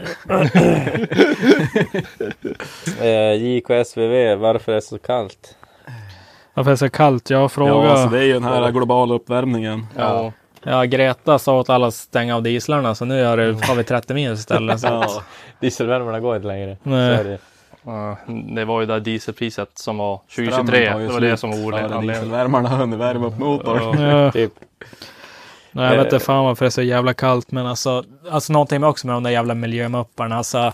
[SPEAKER 3] Eh, JK SVV, varför är det så kallt?
[SPEAKER 7] Varför är det så kallt? Jag
[SPEAKER 6] Ja,
[SPEAKER 7] frågar.
[SPEAKER 6] alltså det är ju den här globala uppvärmningen.
[SPEAKER 4] Ja.
[SPEAKER 7] Ja, Greta sa åt alla att stänga av dieslarna så nu är
[SPEAKER 3] Mm.
[SPEAKER 7] det, har vi 30 minus istället. Så.
[SPEAKER 6] Ja.
[SPEAKER 3] Dieselvärmarna går inte längre.
[SPEAKER 7] Nej.
[SPEAKER 3] Så är det.
[SPEAKER 4] Ja, Det var ju det där dieselpriset som var
[SPEAKER 6] Strömmen
[SPEAKER 4] 2023.
[SPEAKER 6] tar ju
[SPEAKER 4] Det var
[SPEAKER 6] slut
[SPEAKER 4] det som var
[SPEAKER 6] före
[SPEAKER 4] ordet.
[SPEAKER 6] Dieselvärmarna har hunnit värma upp motorn.
[SPEAKER 7] Ja.
[SPEAKER 3] Typ.
[SPEAKER 7] Nej, jag vet inte fan varför det är så jävla kallt, men alltså, alltså någonting med också med de där jävla miljömupparna. Alltså,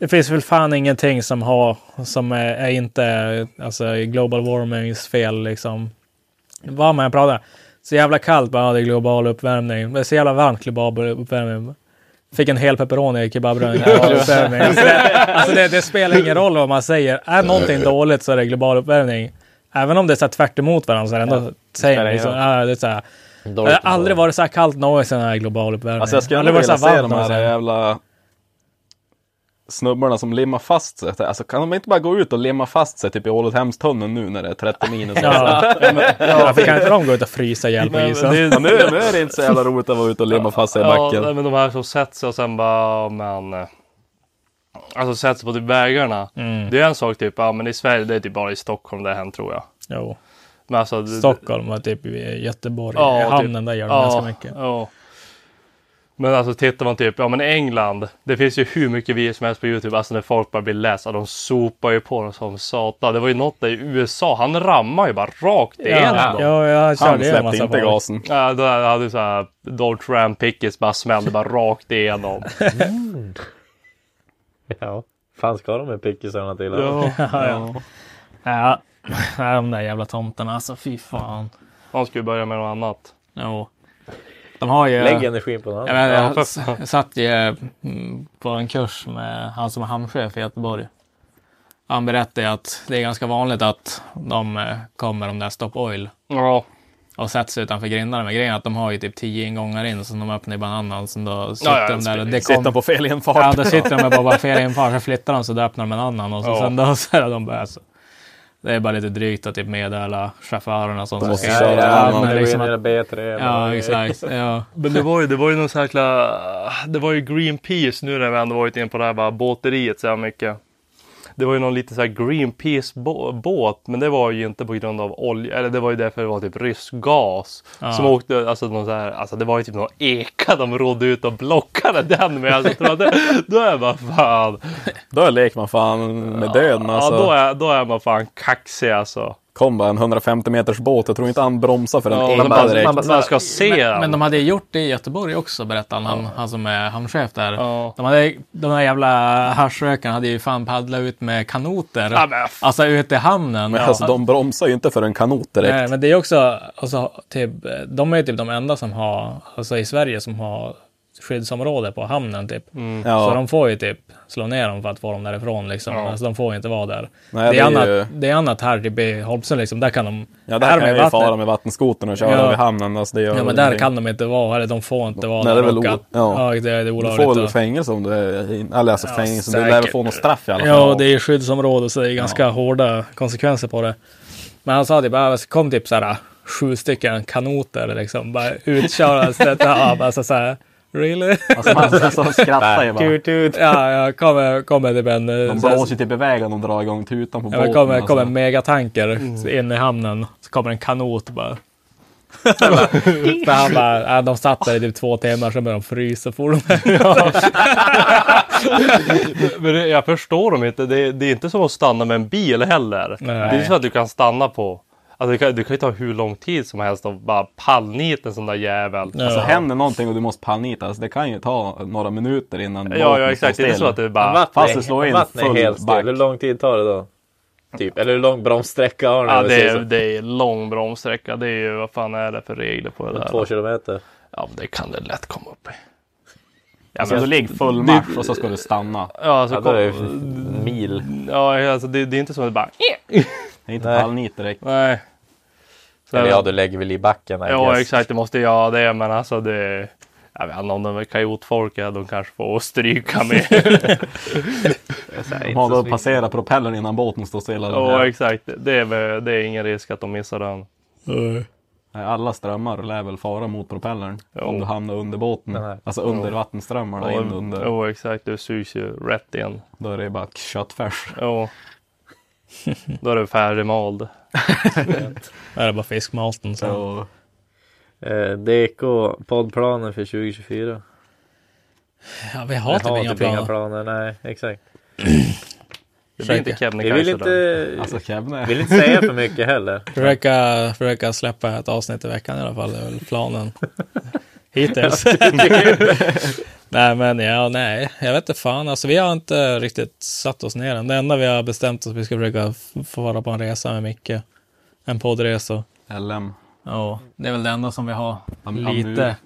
[SPEAKER 7] det finns väl fan ingenting som, har, som är, är inte alltså, global warmings fel liksom. Vad man än pratar. Så jävla kallt, bara ja, det är global uppvärmning. Det är så jävla varmt global uppvärmning. Fick en hel pepperoni i kebabrullen. Global uppvärmning. Alltså, det, alltså det, det spelar ingen roll vad man säger. Är någonting dåligt så är det global uppvärmning. Även om det är så här tvärt emot varandra så är det ändå same.
[SPEAKER 3] ingen
[SPEAKER 7] Liksom,
[SPEAKER 3] roll.
[SPEAKER 7] ja, det är så här,
[SPEAKER 3] Dåligt
[SPEAKER 7] det har
[SPEAKER 3] att
[SPEAKER 7] aldrig
[SPEAKER 3] tugga.
[SPEAKER 7] varit så här kallt någonsin den här global uppvärmningen.
[SPEAKER 6] Alltså jag skulle aldrig
[SPEAKER 7] Aldrig
[SPEAKER 6] vilja
[SPEAKER 7] varit så
[SPEAKER 6] se
[SPEAKER 7] här varmt
[SPEAKER 6] de här
[SPEAKER 7] någonsin.
[SPEAKER 6] jävla snubbarna som limmar fast sig. Alltså kan de inte bara gå ut och limma fast sig typ i Ålidhemstunneln nu när det är 30 minus?
[SPEAKER 7] Ja, ja, varför kan inte de gå ut och frysa ihjäl på isen?
[SPEAKER 6] liksom- Ja, nu, nu är det inte så jävla roligt att vara ute och limma fast sig i
[SPEAKER 4] Ja,
[SPEAKER 6] backen.
[SPEAKER 4] nej, men de här som sätter sig och sen bara, men. eh, Alltså sätter sig på typ vägarna.
[SPEAKER 6] Mm.
[SPEAKER 4] Det är en sak typ, ja men i Sverige, det är typ bara i Stockholm det har hänt tror jag.
[SPEAKER 7] Jo,
[SPEAKER 4] Men alltså, det-
[SPEAKER 7] Stockholm och typ i Göteborg,
[SPEAKER 4] Ja,
[SPEAKER 7] i
[SPEAKER 4] typ.
[SPEAKER 7] hamnen där gör de ganska mycket.
[SPEAKER 4] Ja. Men alltså tittar man typ, ja men England, det finns ju hur mycket videos som helst på Youtube, alltså när folk bara blir lästa, de sopar ju på dem som satan. Det var ju något där i USA, han rammar ju bara rakt igenom
[SPEAKER 7] Ja,
[SPEAKER 4] dem.
[SPEAKER 7] ja, jag
[SPEAKER 6] Han
[SPEAKER 7] körde ju en
[SPEAKER 6] släppte
[SPEAKER 7] massa
[SPEAKER 6] inte
[SPEAKER 7] folk.
[SPEAKER 6] gasen.
[SPEAKER 4] Ja, då hade så här Donald Trump pickets bara smällde bara rakt igenom.
[SPEAKER 3] Ja. Fan ska de med pickisarna till?
[SPEAKER 6] Ja.
[SPEAKER 7] Ja, nej, de där jävla tomtarna alltså, fy fan.
[SPEAKER 4] Han skulle börja med något annat.
[SPEAKER 7] Jo. De har ju...
[SPEAKER 3] Lägg energin på något annat.
[SPEAKER 7] Jag, menar,
[SPEAKER 4] Ja,
[SPEAKER 7] jag
[SPEAKER 4] för
[SPEAKER 7] s- satt ju mm, på en kurs med han som är hamnchef i Göteborg. Han berättade att det är ganska vanligt att de eh, kommer, de där Stop Oil,
[SPEAKER 4] Ja,
[SPEAKER 7] och sätter sig utanför grindarna. Men grejen är att de har ju typ tio ingångar in som de öppnar i bananen. Så då sitter
[SPEAKER 4] Ja, ja, det
[SPEAKER 7] de där och
[SPEAKER 4] spelar
[SPEAKER 7] det
[SPEAKER 6] Sitter
[SPEAKER 7] kom,
[SPEAKER 6] han på fel infart.
[SPEAKER 7] Ja, då sitter de med bara fel infart. Så flyttar de så då öppnar de en annan. Och så,
[SPEAKER 4] Ja.
[SPEAKER 7] sen då så är de bara... Så, det är bara lite drygt att typ meddela chaufförerna sånt.
[SPEAKER 6] Måste
[SPEAKER 7] Ja,
[SPEAKER 6] köra
[SPEAKER 7] ja,
[SPEAKER 6] en annan.
[SPEAKER 7] men
[SPEAKER 3] det
[SPEAKER 7] liksom
[SPEAKER 3] går
[SPEAKER 7] att-
[SPEAKER 3] in i det B3.
[SPEAKER 7] Ja, exakt. Ja.
[SPEAKER 4] men det var ju, det var ju någon sån här jäkla, det var ju Greenpeace nu när vi ändå varit inne på det här bara båteriet så här mycket. Det var ju någon liten så här Greenpeace bå- båt, men det var ju inte på grund av olja, eller det var ju därför det var typ rysk gas som åkte, alltså någon så här, alltså det var ju typ någon eka de rodde ut och blockade den med. Alltså, jag tror att det, då är man fan,
[SPEAKER 6] Då leker man fan med döden alltså.
[SPEAKER 4] ja, då, är, då är man fan kaxig alltså.
[SPEAKER 6] Kom bara en 150 meters båt. Jag tror inte han bromsar för en
[SPEAKER 4] Ja,
[SPEAKER 6] enda
[SPEAKER 4] man, bara,
[SPEAKER 6] direkt.
[SPEAKER 4] man, bara, man ska se den.
[SPEAKER 7] Men de hade gjort det i Göteborg också, berättade han, han som är hamnchef där.
[SPEAKER 4] Ja.
[SPEAKER 7] De, hade, de där jävla haschrökarna hade ju fan paddlat ut med kanoter.
[SPEAKER 4] Ja, men f-
[SPEAKER 7] alltså ut i hamnen.
[SPEAKER 6] Men alltså de bromsar ju inte för en kanot direkt.
[SPEAKER 7] Nej, men det är också, alltså, typ, de är ju typ de enda som har, alltså i Sverige som har skyddsområde på hamnen typ.
[SPEAKER 4] Mm.
[SPEAKER 6] Ja.
[SPEAKER 7] Så de får ju typ slå ner dem för att få dem därifrån liksom. Alltså de får ju inte vara där.
[SPEAKER 6] Nej,
[SPEAKER 7] det, är
[SPEAKER 6] det är
[SPEAKER 7] annat,
[SPEAKER 6] ju-
[SPEAKER 7] det är annat här typ i Holmsund liksom, där kan de...
[SPEAKER 6] Ja, där
[SPEAKER 7] här
[SPEAKER 6] kan
[SPEAKER 7] med
[SPEAKER 6] jag ju
[SPEAKER 7] vattnet-
[SPEAKER 6] fara med vattenskotern och köra
[SPEAKER 7] Ja.
[SPEAKER 6] vid hamnen. Alltså, det gör
[SPEAKER 7] Ja, men
[SPEAKER 6] väl
[SPEAKER 7] där
[SPEAKER 6] ingenting.
[SPEAKER 7] kan de inte vara, eller de får inte vara
[SPEAKER 6] Nej, det är
[SPEAKER 7] där
[SPEAKER 6] väl
[SPEAKER 7] och
[SPEAKER 6] o-
[SPEAKER 7] att-
[SPEAKER 6] ja.
[SPEAKER 7] ja, det, är- det är
[SPEAKER 6] Du
[SPEAKER 7] olagligt.
[SPEAKER 6] får väl
[SPEAKER 7] ja.
[SPEAKER 6] fängelse om du är in- eller alltså fängelse. Du lär väl
[SPEAKER 7] säkert.
[SPEAKER 6] få något straff i alla fall.
[SPEAKER 7] Ja, och det är ju skyddsområde så det är ganska hårda konsekvenser på det. Men han sa typ, ah, det kom typ så här sju stycken kanoter liksom, bara utkörda stötta av. Alltså så här, really?
[SPEAKER 6] Alltså, man alltså, skrattar ju bara.
[SPEAKER 7] ja, ja, kommer, kommer typ en... eh,
[SPEAKER 6] De
[SPEAKER 7] så här-
[SPEAKER 6] blåser ju typ iväg om de drar igång tutan på
[SPEAKER 7] Ja,
[SPEAKER 6] båten.
[SPEAKER 7] men kommer, kommer en
[SPEAKER 6] alltså.
[SPEAKER 7] megatanker in i hamnen, så kommer en kanot bara. För han bara, äh, de satt där i typ två timmar, sen började de frysa och for de
[SPEAKER 4] Men det, jag förstår dem inte. Det, det är inte som att stanna med en bil heller.
[SPEAKER 7] Nej.
[SPEAKER 4] Det är så att du kan stanna på. Alltså, du, kan, du kan ju ta hur lång tid som helst och bara pallnita en sån där jävel. Ja,
[SPEAKER 6] Alltså händer någonting och du måste pannita. Alltså, det kan ju ta några minuter innan
[SPEAKER 4] ja,
[SPEAKER 6] båten står
[SPEAKER 4] exakt. Det är inte så
[SPEAKER 6] still.
[SPEAKER 4] att du bara...
[SPEAKER 6] Fast du slår in
[SPEAKER 3] Vattnet är
[SPEAKER 6] full
[SPEAKER 3] helt
[SPEAKER 6] back.
[SPEAKER 3] still. Hur lång tid tar det då? Typ. Eller hur lång bromssträcka har ni?
[SPEAKER 4] Ja,
[SPEAKER 3] om vi
[SPEAKER 4] det,
[SPEAKER 3] säger så?
[SPEAKER 4] är, det är lång bromssträcka. Det är ju, vad fan är det för regler på det där?
[SPEAKER 3] Två kilometer.
[SPEAKER 4] Ja, men det kan det lätt komma upp i. Alltså,
[SPEAKER 6] Ja, men då Alltså, ligger full match och så ska du stanna.
[SPEAKER 4] Ja, alltså,
[SPEAKER 3] Ja, då
[SPEAKER 4] ja,
[SPEAKER 3] är det ju
[SPEAKER 4] kom,
[SPEAKER 3] en mil.
[SPEAKER 4] ja, alltså det, det är inte som att det bara...
[SPEAKER 6] Det är inte
[SPEAKER 3] Nej.
[SPEAKER 6] pallnit direkt.
[SPEAKER 4] Nej. Så,
[SPEAKER 3] Eller ja, du lägger väl i backen. I
[SPEAKER 4] Ja,
[SPEAKER 3] guess.
[SPEAKER 4] exakt. Det måste jag det, men alltså det... Jag vet inte om de är kajotfolka, de kanske får stryka med.
[SPEAKER 6] De har då passerat propellern innan båten står stilla.
[SPEAKER 4] ja, exakt. Det är, väl- det är ingen risk att de missar den.
[SPEAKER 6] Nej, Alla strömmar lär väl fara mot propellern om du hamnar under båten.
[SPEAKER 3] här.
[SPEAKER 6] Alltså under vattenströmmarna in under.
[SPEAKER 4] Ja, exakt. Du sugs ju rätt in.
[SPEAKER 6] Då är det bara köttfärs.
[SPEAKER 4] Ja. Då är du färdigmald.
[SPEAKER 7] Där är det bara fiskmaten. Så.
[SPEAKER 6] Så,
[SPEAKER 3] Eh, DK, poddplanen för 2024.
[SPEAKER 7] Ja, vi har
[SPEAKER 3] Jag
[SPEAKER 7] typ inga planer.
[SPEAKER 3] planer. Nej, exakt.
[SPEAKER 4] Det
[SPEAKER 3] Vi
[SPEAKER 4] blir inte
[SPEAKER 3] vill
[SPEAKER 4] Kebnekaise då.
[SPEAKER 3] inte,
[SPEAKER 6] alltså Kevne.
[SPEAKER 3] vill inte säga för mycket heller.
[SPEAKER 7] Försöka, försöka släppa ett avsnitt i veckan i alla fall, det är väl planen. Hittills. nej men ja, nej, jag vet inte fan. Alltså vi har inte riktigt satt oss ner än. Det enda vi har bestämt oss att vi ska försöka f- få vara på en resa med Micke. En poddresa.
[SPEAKER 6] LM.
[SPEAKER 7] Ja, det är väl det enda som vi har
[SPEAKER 6] ja, nu-
[SPEAKER 7] lite,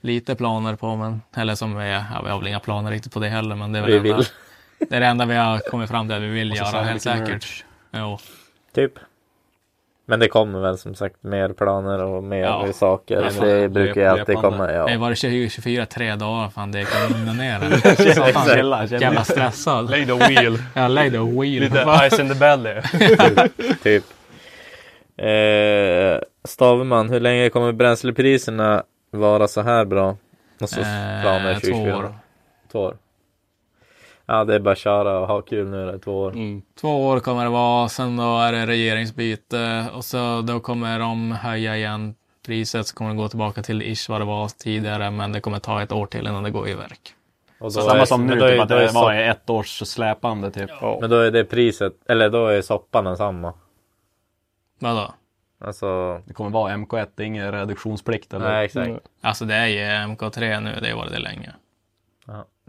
[SPEAKER 7] lite planer på. Men, eller som vi, ja, vi har väl inga planer riktigt på det heller. Men det är väl
[SPEAKER 3] Vi
[SPEAKER 7] det enda,
[SPEAKER 3] vill. Alltså,
[SPEAKER 7] det är det enda vi har kommit fram till att vi vill
[SPEAKER 6] så
[SPEAKER 7] göra
[SPEAKER 6] samlar vi
[SPEAKER 7] helt
[SPEAKER 6] lite
[SPEAKER 7] säkert. Jo.
[SPEAKER 3] Typ. Men det kommer väl som sagt mer planer och mer
[SPEAKER 7] Ja.
[SPEAKER 3] saker.
[SPEAKER 7] Ja,
[SPEAKER 3] det
[SPEAKER 6] men-
[SPEAKER 3] brukar ju alltid
[SPEAKER 6] Löpande.
[SPEAKER 3] komma.
[SPEAKER 7] Det
[SPEAKER 3] Ja.
[SPEAKER 7] var det 2024 tre dagar, fan det kan lugna ner det.
[SPEAKER 3] Exakt.
[SPEAKER 6] Chilla,
[SPEAKER 7] Jävla
[SPEAKER 6] chilla.
[SPEAKER 7] stressad.
[SPEAKER 4] Lay the wheel.
[SPEAKER 7] Jag lay the wheel. Eh,
[SPEAKER 4] Lite ice in the belly.
[SPEAKER 3] typ. Eh, Staveman, hur länge kommer bränslepriserna vara så här bra? Och så planer
[SPEAKER 7] Eh,
[SPEAKER 3] 2024.
[SPEAKER 7] två år.
[SPEAKER 3] Två år. Ja, det är bara att köra och ha kul nu då, i två år.
[SPEAKER 4] Mm.
[SPEAKER 7] Två år kommer det vara, sen då är det regeringsbyte och så då kommer de höja igen priset så kommer det gå tillbaka till ish vad det var tidigare men det kommer ta ett år till innan det går i verk.
[SPEAKER 3] Och då är-
[SPEAKER 6] Samma som nu,
[SPEAKER 3] men då är-
[SPEAKER 6] typ att
[SPEAKER 3] då är
[SPEAKER 6] det var
[SPEAKER 3] sopp-
[SPEAKER 6] ett års släpande typ.
[SPEAKER 3] Men då är det priset, eller då är soppan densamma.
[SPEAKER 7] Vadå?
[SPEAKER 3] Alltså,
[SPEAKER 6] Det kommer vara MK1, det är ingen reduktionsplikt eller?
[SPEAKER 3] nej exakt.
[SPEAKER 7] Alltså det är ju MK3 nu, det har varit det länge.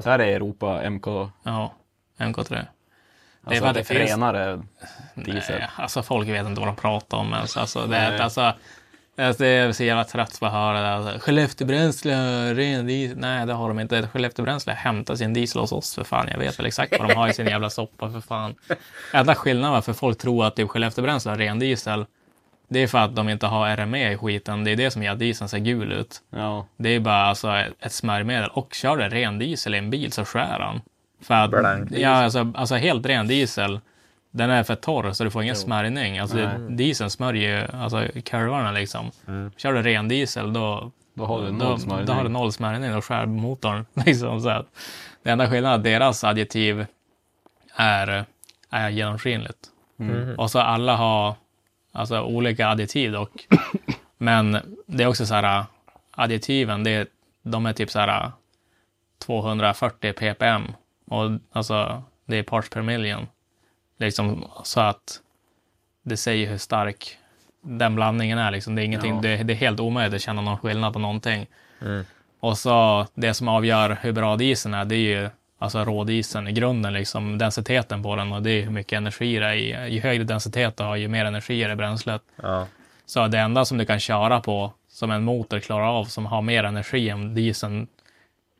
[SPEAKER 6] Så här är Europa MK,
[SPEAKER 7] Ja, MK3. Det är
[SPEAKER 6] alltså
[SPEAKER 7] för att
[SPEAKER 6] det
[SPEAKER 7] det finns
[SPEAKER 6] renare diesel.
[SPEAKER 7] Nej, alltså folk vet inte vad de pratar om ens. Alltså, det, är- alltså, alltså, det är så jävla trött på att höra det. här. Alltså, Skellefteåbränsle, ren diesel. Nej, det har de inte. Skellefteåbränsle hämtar sin diesel hos oss för fan. Jag vet väl exakt vad de har i sin jävla soppa för fan. Enda skillnaden varför folk tror att typ Skellefteåbränsle har ren diesel, det är för att de inte har RME i skiten. Det är det som gör att dieseln ser gul ut.
[SPEAKER 6] Ja.
[SPEAKER 7] Det är bara alltså ett- ett smörjmedel. Och kör du ren diesel i en bil så skär han. För att,
[SPEAKER 3] Blank diesel.
[SPEAKER 7] ja, alltså, alltså helt ren diesel, den är för torr så du får ingen smörjning. Alltså, dieseln smörjer ju alltså, kurvorna liksom. Kör du ren diesel då,
[SPEAKER 6] Mm. Då har du
[SPEAKER 7] då,
[SPEAKER 6] noll smörjning.
[SPEAKER 7] då har du noll smörjning och skär motorn. Liksom, så att, det enda skillnaden är att deras adjektiv är, är genomskinligt.
[SPEAKER 6] Mm.
[SPEAKER 7] Och så alla har alltså, olika adjektiv dock. Men det är också så här, additiven, det, de är typ så här 240 ppm. Och alltså, det är parts per million. Liksom så att det säger hur stark den blandningen är. Liksom. Det, är ingenting,
[SPEAKER 6] Ja.
[SPEAKER 7] det, det är helt omöjligt att känna någon skillnad på någonting. Och så det som avgör hur bra dieseln är, det är ju alltså rådieseln i grunden, liksom densiteten på den och det är hur mycket energi det är i. Ju högre densitet du har, ju mer energi är det i bränslet.
[SPEAKER 3] Ja.
[SPEAKER 7] Så det enda som du kan köra på, som en motor klarar av, som har mer energi än dieseln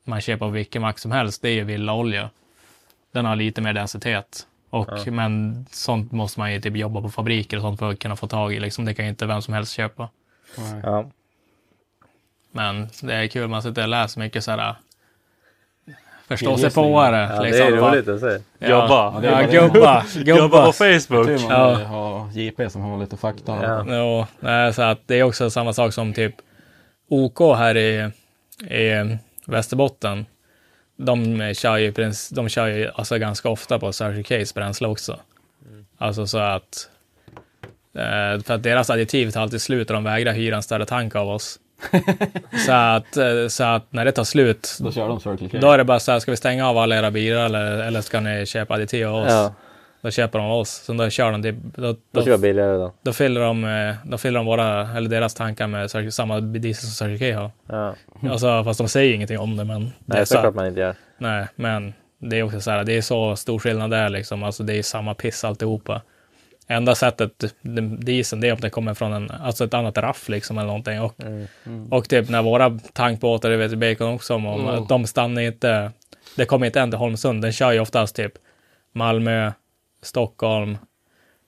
[SPEAKER 7] man köper på vilken mack som helst, det är ju villaolja. Den har lite mer densitet. Och, Men sånt måste man ju typ jobba på fabriker och sånt för att kunna få tag i. Liksom, det kan ju inte vem som helst köpa.
[SPEAKER 3] Ja.
[SPEAKER 7] Men det är kul, man sitter och läser mycket så här äh, förståsigpåare.
[SPEAKER 3] ja, det
[SPEAKER 7] liksom.
[SPEAKER 3] är
[SPEAKER 7] Bara,
[SPEAKER 3] roligt att se.
[SPEAKER 7] Ja,
[SPEAKER 4] Jobba.
[SPEAKER 7] Ja, gubba.
[SPEAKER 4] Jobba
[SPEAKER 7] Gubba.
[SPEAKER 4] på Facebook.
[SPEAKER 6] Tur man
[SPEAKER 7] Ja.
[SPEAKER 6] har JP som har lite fakta.
[SPEAKER 3] Ja.
[SPEAKER 7] Jo, nej, så att det är också samma sak som typ OK här i, i Västerbotten. De kör ju, i princip- de kör ju alltså ganska ofta på Circle K's bränsle också. Alltså så att... eh, För att deras additiv tar alltid slut och de vägrar hyra en större tank av oss. så, att, eh, så att när det tar slut,
[SPEAKER 6] Då kör de Circle K.
[SPEAKER 7] Då är det bara så här, ska vi stänga av alla era bilar eller, eller ska ni köpa additiv av oss?
[SPEAKER 3] Ja.
[SPEAKER 7] Då köper de av oss. Sen då kör de, det- då,
[SPEAKER 3] Då kör jag
[SPEAKER 7] då,
[SPEAKER 3] billigare då.
[SPEAKER 7] då, fyller de, eh, då fyller de våra, eller deras tankar med Circle- samma diesel som Circle K har.
[SPEAKER 3] Ja.
[SPEAKER 7] Alltså, fast de säger ingenting om det. Men det är
[SPEAKER 3] Nej,
[SPEAKER 7] så här-
[SPEAKER 3] såklart man inte gör.
[SPEAKER 7] nej, men det är också så här, det är så stor skillnad där liksom. Alltså det är samma piss alltihopa. Enda sättet, den- dieseln, det är om det kommer från en, alltså ett annat raff liksom eller någonting. Och, och typ när våra tankbåtar, det vet Bacon också om, om att de stannar inte, det kommer inte ända till Holmsund. Den kör ju oftast typ Malmö, Stockholm,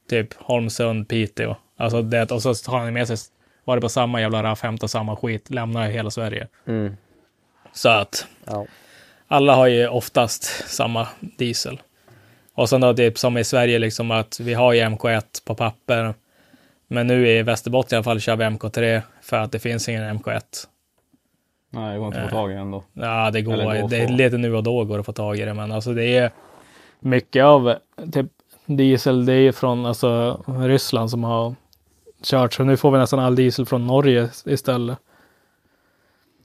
[SPEAKER 7] typ Holmsund, Piteå. Alltså det, och så tar han med sig, var det på samma jävla raff, hämtar samma skit, lämnar hela Sverige. Så att
[SPEAKER 3] Ja.
[SPEAKER 7] alla har ju oftast samma diesel. Och sen då typ som i Sverige liksom att vi har ju MK1 på papper. Men nu i Västerbotten i alla fall kör vi MK3 för att det finns ingen MK1.
[SPEAKER 6] Nej, det går inte att få tag i ändå.
[SPEAKER 7] Ja, det
[SPEAKER 6] Eller gå
[SPEAKER 7] går.
[SPEAKER 6] och
[SPEAKER 7] Det är
[SPEAKER 6] få.
[SPEAKER 7] lite nu och då går det att få tag i det, men alltså det är mycket av typ diesel. Det är från alltså Ryssland som har kört, så nu får vi nästan all diesel från Norge istället.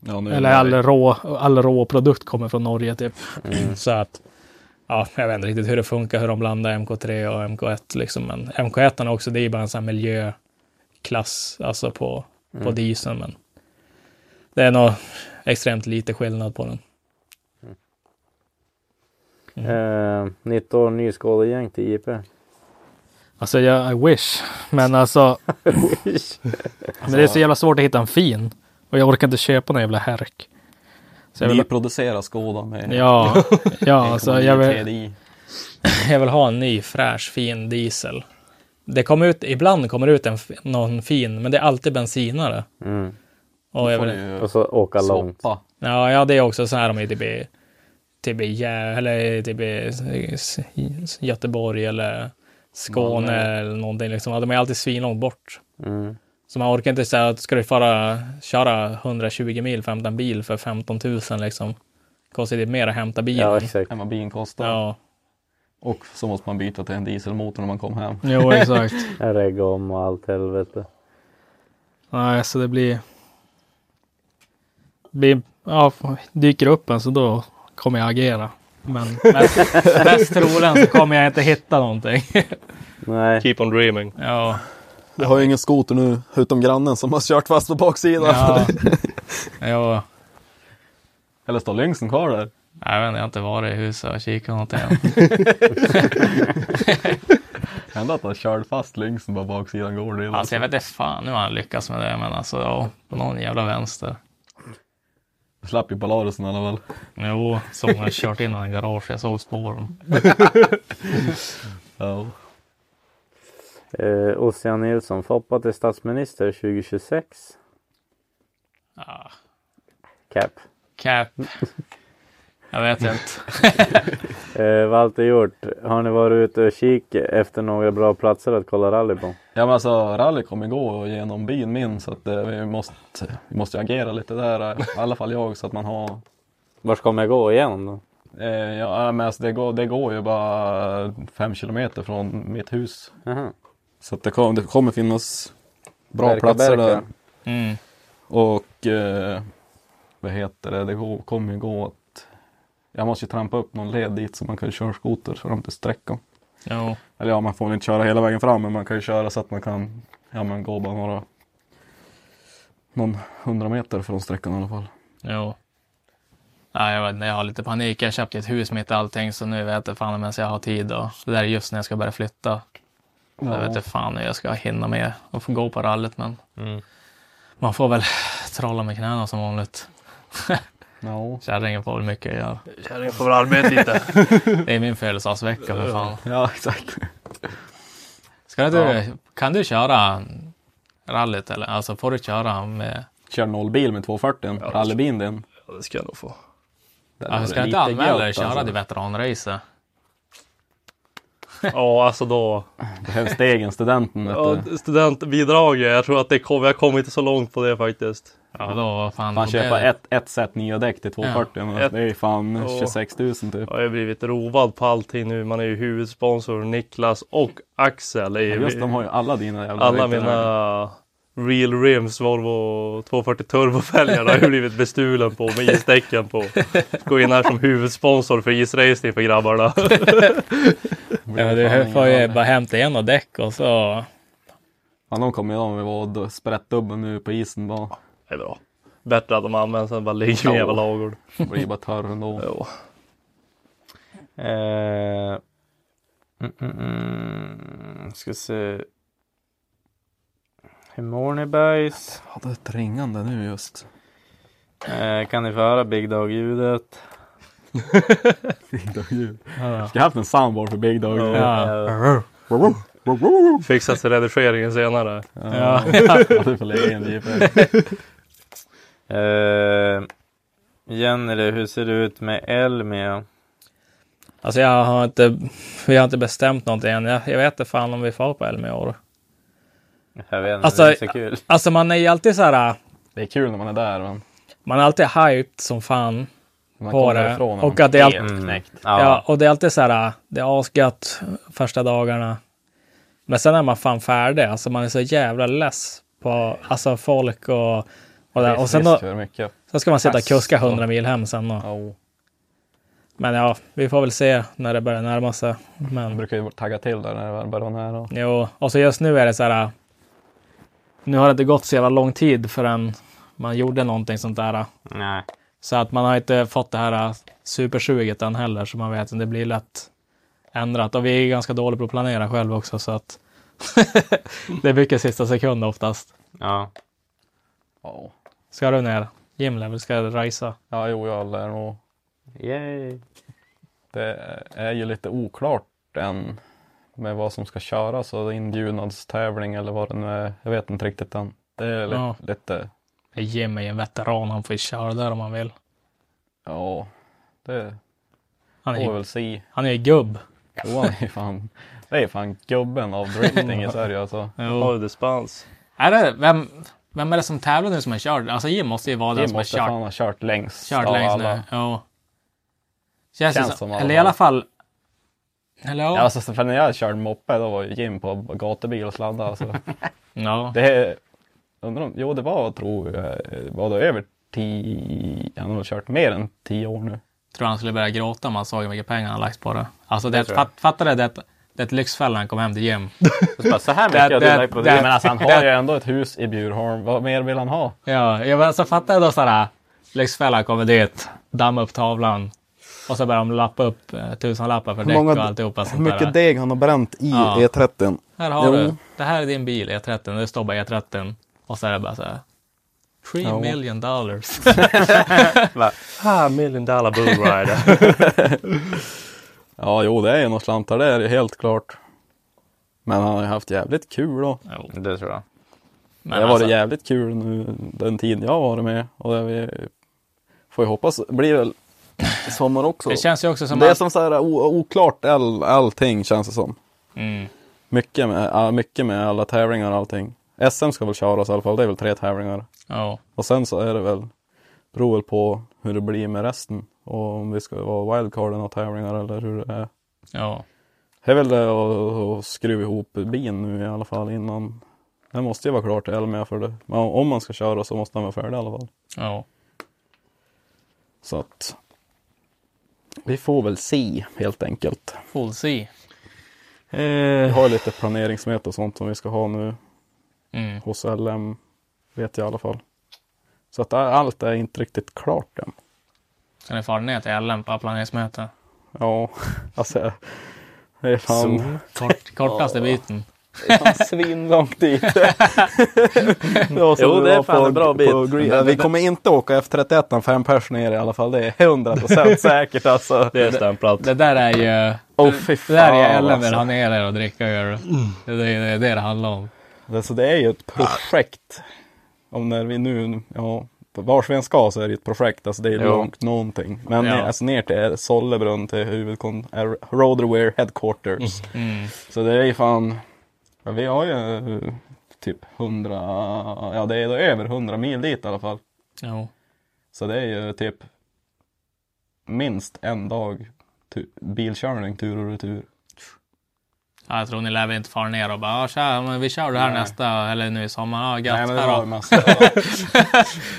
[SPEAKER 6] Ja, nu
[SPEAKER 7] Eller all rå, all råprodukt kommer från Norge typ. Så att, ja, jag vet inte riktigt hur det funkar, hur de blandar MK3 och MK1 liksom. Men MK1 är också, det är ju bara en sån här miljöklass, alltså på, på dieseln. Men det är nog extremt lite skillnad på den.
[SPEAKER 3] Eh, 19 nyskådegäng till JP.
[SPEAKER 7] Alltså, jag I wish, men alltså, men det är så jävla svårt att hitta en fin. Och jag orkar inte köpa någon jävla härk. Så jag vill,
[SPEAKER 6] Nyproducerar Skoda med
[SPEAKER 7] ja, ja, alltså jag vill,
[SPEAKER 6] TDI.
[SPEAKER 7] jag vill ha en ny fräsch fin diesel. Det kommer ut, ibland kommer det ut en, f- någon fin, men det är alltid bensinare.
[SPEAKER 3] Mm.
[SPEAKER 7] Och jag
[SPEAKER 6] Får
[SPEAKER 7] vill,
[SPEAKER 6] ju
[SPEAKER 3] Och så åka långt.
[SPEAKER 6] soppa.
[SPEAKER 7] ja, ja, det är också så här om i typ, typ, i Gä- eller typ i s- s- Göteborg eller Skåne eller någonting. Liksom. Ja, De är alltid svinlångt bort.
[SPEAKER 3] Mm.
[SPEAKER 7] Så man orkar inte säga att ska du fara, köra 120 mil, 15 bil för 15 000 liksom. Kostar det mer att hämta bilen.
[SPEAKER 3] Ja,
[SPEAKER 7] Ja,
[SPEAKER 3] exakt.
[SPEAKER 6] Än vad bilen kostar. Och så måste man byta till en dieselmotor när man kommer hem.
[SPEAKER 7] jo exakt.
[SPEAKER 3] En regg om och allt helvete.
[SPEAKER 7] Nej, så det blir... blir ja, dyker upp en så då kommer jag agera. Men mest, mest troligen så kommer jag inte hitta någonting.
[SPEAKER 3] Nej.
[SPEAKER 4] Keep on dreaming.
[SPEAKER 7] Ja,
[SPEAKER 6] Jag har ju ingen skoter nu, utom grannen som har kört fast på baksidan.
[SPEAKER 7] ja. Jo.
[SPEAKER 6] Eller står längsten kvar där?
[SPEAKER 7] Jag vet inte, jag har inte varit i huset och kikat någonting än.
[SPEAKER 6] Hände att han körde fast längsten på baksidan går det.
[SPEAKER 7] Alltså jag vet inte fan hur han lyckas med det, men alltså ja, på någon jävla vänster.
[SPEAKER 6] Slapp ju Polarusen i alla fall.
[SPEAKER 7] Jo, som jag kört in i en garage, jag såg spåren.
[SPEAKER 6] Ja.
[SPEAKER 3] Eh, Ossian Nilsson, Foppa till statsminister 2026.
[SPEAKER 7] Ah,
[SPEAKER 3] Cap.
[SPEAKER 7] cap. Jag vet inte.
[SPEAKER 3] Eh, Walter Hjort, har ni varit ute och kik efter några bra platser att kolla rally på?
[SPEAKER 6] ja men alltså rally kommer gå genom byn min så att eh, vi måste, vi måste ju agera lite där. eh, I alla fall jag så att man har
[SPEAKER 3] Vart kommer jag gå igen då?
[SPEAKER 6] Eh, ja, men alltså det, går, det går ju bara fem kilometer från mitt hus.
[SPEAKER 3] Aha.
[SPEAKER 6] Så att det, kom, det kommer finnas bra
[SPEAKER 3] Berka,
[SPEAKER 6] platser
[SPEAKER 3] Berka.
[SPEAKER 6] där.
[SPEAKER 7] Mm.
[SPEAKER 6] Och eh, vad heter det, det går, kommer ju gå att jag måste ju trampa upp någon led dit så man kan köra skoter fram till sträckan.
[SPEAKER 7] Jo.
[SPEAKER 6] Eller ja, man får väl inte köra hela vägen fram men man kan ju köra så att man kan ja, men gå bara några någon hundra meter från sträckan i alla fall.
[SPEAKER 7] Jo. Ja, jag, vet, inte, jag har lite panik. Jag köpte ett hus mitt i allting så nu vet jag fan om ens jag har tid. Och det där är just när jag ska börja flytta. Så Jag vet inte fan hur jag ska hinna med och få gå på rallyt men
[SPEAKER 6] Mm.
[SPEAKER 7] man får väl trolla med knäna som vanligt.
[SPEAKER 6] Ja.
[SPEAKER 7] Kärringen får väl mycket att göra.
[SPEAKER 4] Kärringen får väl arbeta lite.
[SPEAKER 7] Det är min födelsedagsvecka för fan.
[SPEAKER 6] ja, exakt.
[SPEAKER 7] Ska du, Kan du köra rallyt eller alltså får du köra med...
[SPEAKER 6] Kör nollbil med 240, ja, rallybilen din.
[SPEAKER 4] Ja, det ska jag nog få.
[SPEAKER 7] Alltså, ska du inte
[SPEAKER 6] lite
[SPEAKER 7] anmäla dig
[SPEAKER 6] gött,
[SPEAKER 7] och köra
[SPEAKER 6] alltså.
[SPEAKER 7] det veteranracet?
[SPEAKER 4] Ja, alltså då.
[SPEAKER 6] Behövs stegen, studenten vet
[SPEAKER 4] Ja,
[SPEAKER 6] du.
[SPEAKER 4] studentbidraget. Jag tror att det kom, jag kom inte så långt på det faktiskt.
[SPEAKER 7] Ja, då vad fan.
[SPEAKER 6] Fan
[SPEAKER 7] det-
[SPEAKER 6] köpa ett, ett set nya däck till 240, men
[SPEAKER 4] Ett-
[SPEAKER 6] det är ju fan
[SPEAKER 4] Åh.
[SPEAKER 6] 26 000 typ.
[SPEAKER 4] Jag har ju blivit rovad på allting nu. Man är ju huvudsponsor. Niklas och Axel. Är ju
[SPEAKER 6] Just de har ju alla dina jävla
[SPEAKER 4] Alla
[SPEAKER 6] däck där.
[SPEAKER 4] mina Real Rims Volvo 240 Turbo-fälgar har jag blivit bestulen på med isdäcken på. Gå in här som huvudsponsor för isracing för grabbarna.
[SPEAKER 7] Ja, du får ju bara hämta en och däck och så...
[SPEAKER 6] Ja, de kommer ju om vi var och sprätt dubben nu på isen bara.
[SPEAKER 4] Det är bra. Bättre att de används än bara ligger i en jävla ladugård.
[SPEAKER 6] Det blir bara törr ändå.
[SPEAKER 4] Jo.
[SPEAKER 3] Eh, Mm, mm, mm. Ska se. Hur mår ni boys?
[SPEAKER 5] Ja, det är ett ringande nu just.
[SPEAKER 3] Eh, kan ni få höra Big Dog-ljudet?
[SPEAKER 5] Big Dog ljud.
[SPEAKER 7] Ja.
[SPEAKER 5] Ska jag haft en soundboard för Big Dog. Ja.
[SPEAKER 7] Ja.
[SPEAKER 4] Fixas till redigeringen senare.
[SPEAKER 7] Ja.
[SPEAKER 5] du får lägga in det.
[SPEAKER 3] Eh, Jenny, hur ser det ut med Elmia?
[SPEAKER 7] Alltså jag har inte, vi har inte bestämt någonting än. Jag, jag vet inte fan om vi får på Elmia i år.
[SPEAKER 3] Jag vet inte,
[SPEAKER 7] Alltså,
[SPEAKER 3] det är så kul.
[SPEAKER 7] Alltså man är ju alltid så här,
[SPEAKER 5] Det är kul när man är där men
[SPEAKER 7] man är alltid hyped som fan
[SPEAKER 5] man
[SPEAKER 7] på
[SPEAKER 5] kommer
[SPEAKER 7] det.
[SPEAKER 5] därifrån när man
[SPEAKER 7] Och att det är alltid
[SPEAKER 3] Mm.
[SPEAKER 7] Ja.
[SPEAKER 3] Ja.
[SPEAKER 7] och det är alltid så här, det är asgött första dagarna. Men sen är man fan färdig, alltså man är så jävla less på alltså folk och, och, det. och sen, då,
[SPEAKER 5] Fisk för mycket.
[SPEAKER 7] sen ska man sitta och
[SPEAKER 5] fast
[SPEAKER 7] kuska
[SPEAKER 5] och-
[SPEAKER 7] 100 mil hem sen. Och,
[SPEAKER 5] Ja,
[SPEAKER 7] Men ja, vi får väl se när det börjar närma sig.
[SPEAKER 5] man
[SPEAKER 7] Men
[SPEAKER 5] brukar ju tagga till där när det väl börjar vara nära.
[SPEAKER 7] jo, och så just nu är det så här, nu har det inte gått så jävla lång tid förrän man gjorde någonting sånt där.
[SPEAKER 3] Nej.
[SPEAKER 7] Så att man har inte fått det här äh, supersuget än heller, så man vet att det blir lätt ändrat. Och vi är ganska dåliga på att planera själva också, så att det är mycket sista sekund oftast.
[SPEAKER 3] Ja.
[SPEAKER 5] Ja,
[SPEAKER 7] Ska du ner? Jim lär väl ska rejsa.
[SPEAKER 5] ja jo, jag lär nog.
[SPEAKER 3] Yay.
[SPEAKER 5] Det är ju lite oklart än med vad som ska köras och inbjudnadstävling eller vad det nu är. Jag vet inte riktigt än. Det är li-
[SPEAKER 7] Ja.
[SPEAKER 5] lite,
[SPEAKER 7] Jim är ju en veteran, han får ju köra där om han vill.
[SPEAKER 5] ja, det
[SPEAKER 7] Han är
[SPEAKER 5] får vi
[SPEAKER 7] ju,
[SPEAKER 5] väl se.
[SPEAKER 7] han är ju gubb.
[SPEAKER 5] Johan är ju fan, det är fan gubben av drifting i Sverige alltså.
[SPEAKER 4] Oj, dispens.
[SPEAKER 7] Är det, vem, vem är det som tävlar nu som har kört? Alltså Jim måste ju vara den
[SPEAKER 5] Jim
[SPEAKER 7] som har
[SPEAKER 5] måste
[SPEAKER 7] kört,
[SPEAKER 5] fan ha kört längst
[SPEAKER 7] kört
[SPEAKER 5] av
[SPEAKER 7] längst
[SPEAKER 5] alla.
[SPEAKER 7] nu. Ja. Känns, det
[SPEAKER 5] Känns
[SPEAKER 7] som,
[SPEAKER 5] som alla.
[SPEAKER 7] eller i alla fall. Eller ja.
[SPEAKER 5] Ja, alltså, för när jag körde moppe då var ju Jim på gatubil och sladdade. Alltså.
[SPEAKER 7] ja.
[SPEAKER 5] Det är, undrar om, jo det var tror jag, var det över tio, han har väl kört mer än tio år nu.
[SPEAKER 7] tror han skulle börja gråta om han såg hur mycket pengar han lagt på det. Alltså det,
[SPEAKER 3] tror jag.
[SPEAKER 7] fat, fattar du? Det, är ett- det är ett Lyxfällan han kom hem till gym.
[SPEAKER 3] Så, bara, så här mycket
[SPEAKER 7] Det-
[SPEAKER 3] har du
[SPEAKER 7] det-
[SPEAKER 3] lagt på
[SPEAKER 7] det-
[SPEAKER 3] det.
[SPEAKER 5] Men alltså han har ju ändå ett hus i Bjurholm, vad mer vill han ha?
[SPEAKER 7] ja, jag men, så fattar jag då sådär. Lyxfällan kommer dit, dammar upp tavlan och så börjar de lappa upp eh, tusenlappar för däck och alltihopa sånt där.
[SPEAKER 6] deg han har bränt i
[SPEAKER 7] Ja.
[SPEAKER 6] E30.
[SPEAKER 7] Här har
[SPEAKER 6] Jo.
[SPEAKER 7] du. Det här är din bil, E30. Det står bara E30. Och så är det bara så här. 3 million dollars.
[SPEAKER 4] Ah, million dollar bull rider.
[SPEAKER 6] Ja, jo det är ju några slantar där, det är helt klart. Men han har ju haft jävligt kul då.
[SPEAKER 7] Jo,
[SPEAKER 3] Det tror jag.
[SPEAKER 7] men
[SPEAKER 6] Det har
[SPEAKER 7] alltså,
[SPEAKER 6] varit jävligt kul nu den tiden jag har varit med. Och det vi får ju hoppas det blir väl i sommar också.
[SPEAKER 7] det känns ju också som
[SPEAKER 6] det är
[SPEAKER 7] att...
[SPEAKER 6] som så här o- oklart all, allting känns det som.
[SPEAKER 7] Mm,
[SPEAKER 6] Mycket med, ja, mycket med alla tävlingar och allting. SM ska väl köras i alla fall, det är väl tre tävlingar.
[SPEAKER 7] ja.
[SPEAKER 6] Och sen så är det väl, beror väl på hur det blir med resten. Och om vi ska vara wildcard i några tävlingar eller hur det är.
[SPEAKER 7] ja.
[SPEAKER 6] Det är väl det att- att skruva ihop bin nu i alla fall innan. Det måste ju vara klart i Elmia för det. Men om man ska köra så måste han vara färdig i alla fall.
[SPEAKER 7] ja.
[SPEAKER 6] Så att vi får väl se helt enkelt.
[SPEAKER 7] Full C. Eh.
[SPEAKER 6] Vi har ju lite planeringsmöte och sånt som vi ska ha nu
[SPEAKER 7] Mm.
[SPEAKER 6] hos LM. Vet jag i alla fall. Så att allt är inte riktigt klart än.
[SPEAKER 7] Ska ni fara ner till LM på planeringsmöte?
[SPEAKER 6] Ja, alltså. Det är fan,
[SPEAKER 7] Kort, kortaste biten.
[SPEAKER 6] det är fan svinlångt dit. det var som
[SPEAKER 3] Jo, det är
[SPEAKER 6] var
[SPEAKER 3] fan en bra bit.
[SPEAKER 6] Green- vi kommer inte åka F31 fem pers ner i alla fall. Det är 100 procent säkert alltså.
[SPEAKER 4] Det är stämplat.
[SPEAKER 7] Det där är ju...
[SPEAKER 6] Åh fy
[SPEAKER 7] Det
[SPEAKER 6] fan.
[SPEAKER 7] där är ju LM vill
[SPEAKER 6] alltså. Mm.
[SPEAKER 7] ha ner er och dricka och göra. Det är det, är det det handlar om.
[SPEAKER 6] Alltså det är ju ett projekt. Om när vi nu, ja, vars vi än ska så är det ett projekt. Alltså det är
[SPEAKER 7] Jo.
[SPEAKER 6] långt någonting. Men
[SPEAKER 7] Ja.
[SPEAKER 6] ner, alltså ner till Sollebrunn till huvudkon, äh, Roderware Headquarters.
[SPEAKER 7] Mm.
[SPEAKER 6] Så det är ju fan, ja, vi har ju eh, typ 100, ja det är då över 100 mil dit i alla fall.
[SPEAKER 7] Jo.
[SPEAKER 6] Så det är ju typ minst en dag tu- bilkörning tur och retur.
[SPEAKER 7] Ja, jag tror ni lär väl inte fara ner och bara "Ja, tja, men vi kör det här
[SPEAKER 6] Nej.
[SPEAKER 7] nästa eller nu i sommar. Ja,
[SPEAKER 6] Nej
[SPEAKER 7] gött.
[SPEAKER 6] men det
[SPEAKER 7] här
[SPEAKER 6] var ju
[SPEAKER 7] då.
[SPEAKER 6] massa,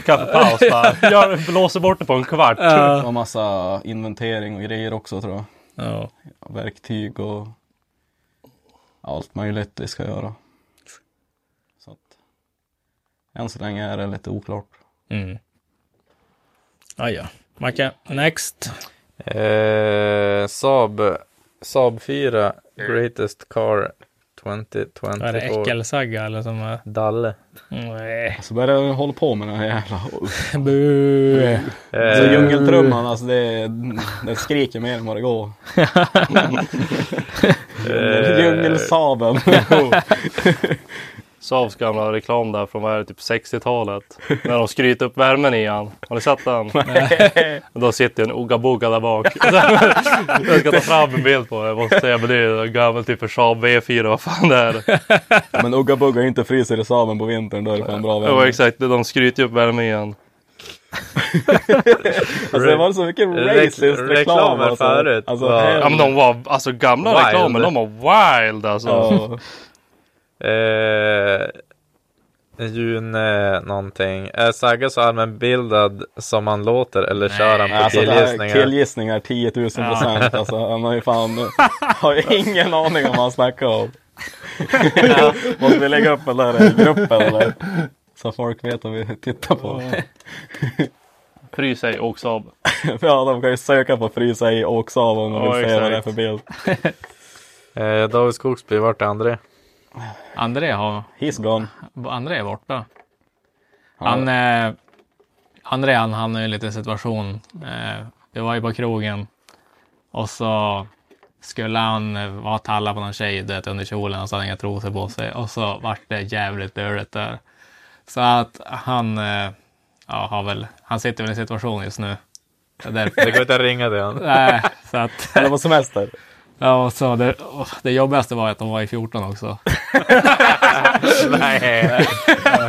[SPEAKER 4] Kaffepaus bara. Jag blåser bort det på en kvart.
[SPEAKER 6] det var massa inventering och grejer också tror jag.
[SPEAKER 7] Ja.
[SPEAKER 6] verktyg och allt möjligt vi ska göra. Så att, än så länge är det lite oklart.
[SPEAKER 7] Mm. Ah, ja. Macke, next.
[SPEAKER 3] Eh, Saab Saab 4 Greatest Car 2024.
[SPEAKER 7] Är det äckelsagga eller som är...
[SPEAKER 3] Dalle.
[SPEAKER 7] Nej.
[SPEAKER 6] Så börjar jag hålla på med den här jävla...
[SPEAKER 7] Bu.
[SPEAKER 6] Alltså
[SPEAKER 3] Eh,
[SPEAKER 6] djungeltrumman, alltså det, den skriker mer än vad det går.
[SPEAKER 3] eh,
[SPEAKER 6] Djungelsabeln.
[SPEAKER 4] Saabs gamla reklam där från vad är det, typ 60-talet. När de skryter upp värmen i han. Har ni sett den? Och Då sitter en Ooga-Booga där bak. jag ska ta fram en bild på det. Jag måste säga, men det är en gammal typ för Saab V4. Vad fan det är.
[SPEAKER 6] Men Ugga Bugga inte fryser i sabeln på vintern, då är det fan bra väder.
[SPEAKER 4] Ja exakt, de skryter ju upp värmen i han.
[SPEAKER 3] eh,
[SPEAKER 6] Alltså det var så mycket
[SPEAKER 3] Re-
[SPEAKER 6] racist reklam.
[SPEAKER 3] reklamer
[SPEAKER 6] alltså.
[SPEAKER 3] förut
[SPEAKER 6] Alltså,
[SPEAKER 3] var-
[SPEAKER 6] hell-
[SPEAKER 4] Ja men de var, alltså gamla
[SPEAKER 3] Wild.
[SPEAKER 4] reklamer, de var wild alltså.
[SPEAKER 6] ja.
[SPEAKER 3] Eh, June eh, någonting. Är Sagge så allmänbildad som han låter eller kör han på
[SPEAKER 6] Alltså det här,
[SPEAKER 3] killgissningar?
[SPEAKER 6] killgissningar 10 000 procent. Alltså, han har ju fan har ju ingen aning om vad han snackar om. Måste vi lägga upp den där i gruppen eller? Så folk vet vad vi tittar på.
[SPEAKER 4] Frys ej och Saab.
[SPEAKER 6] ja, de kan ju söka på frysa i och Saab om de
[SPEAKER 4] Ja,
[SPEAKER 6] vill se vad det är
[SPEAKER 4] exakt.
[SPEAKER 6] för bild.
[SPEAKER 3] eh, David Skogsby, vart är André?
[SPEAKER 7] André, har,
[SPEAKER 6] He's gone.
[SPEAKER 7] André är borta. Han, eh, André han hamnade i en liten situation. Eh, vi var ju på krogen och så skulle han eh, vara talla på någon tjej du vet, under kjolen och så hade han inga trosor på sig och så vart det jävligt dåligt där. Så att han, eh, ja, har väl, han sitter väl i en situation just nu. Det är
[SPEAKER 3] Det
[SPEAKER 7] därför.
[SPEAKER 3] går inte att ringa till honom.
[SPEAKER 7] Nej, så att,
[SPEAKER 6] Han är på semester.
[SPEAKER 7] ja, och så det, och det jobbigaste var att de var i 14 också.
[SPEAKER 3] Nej.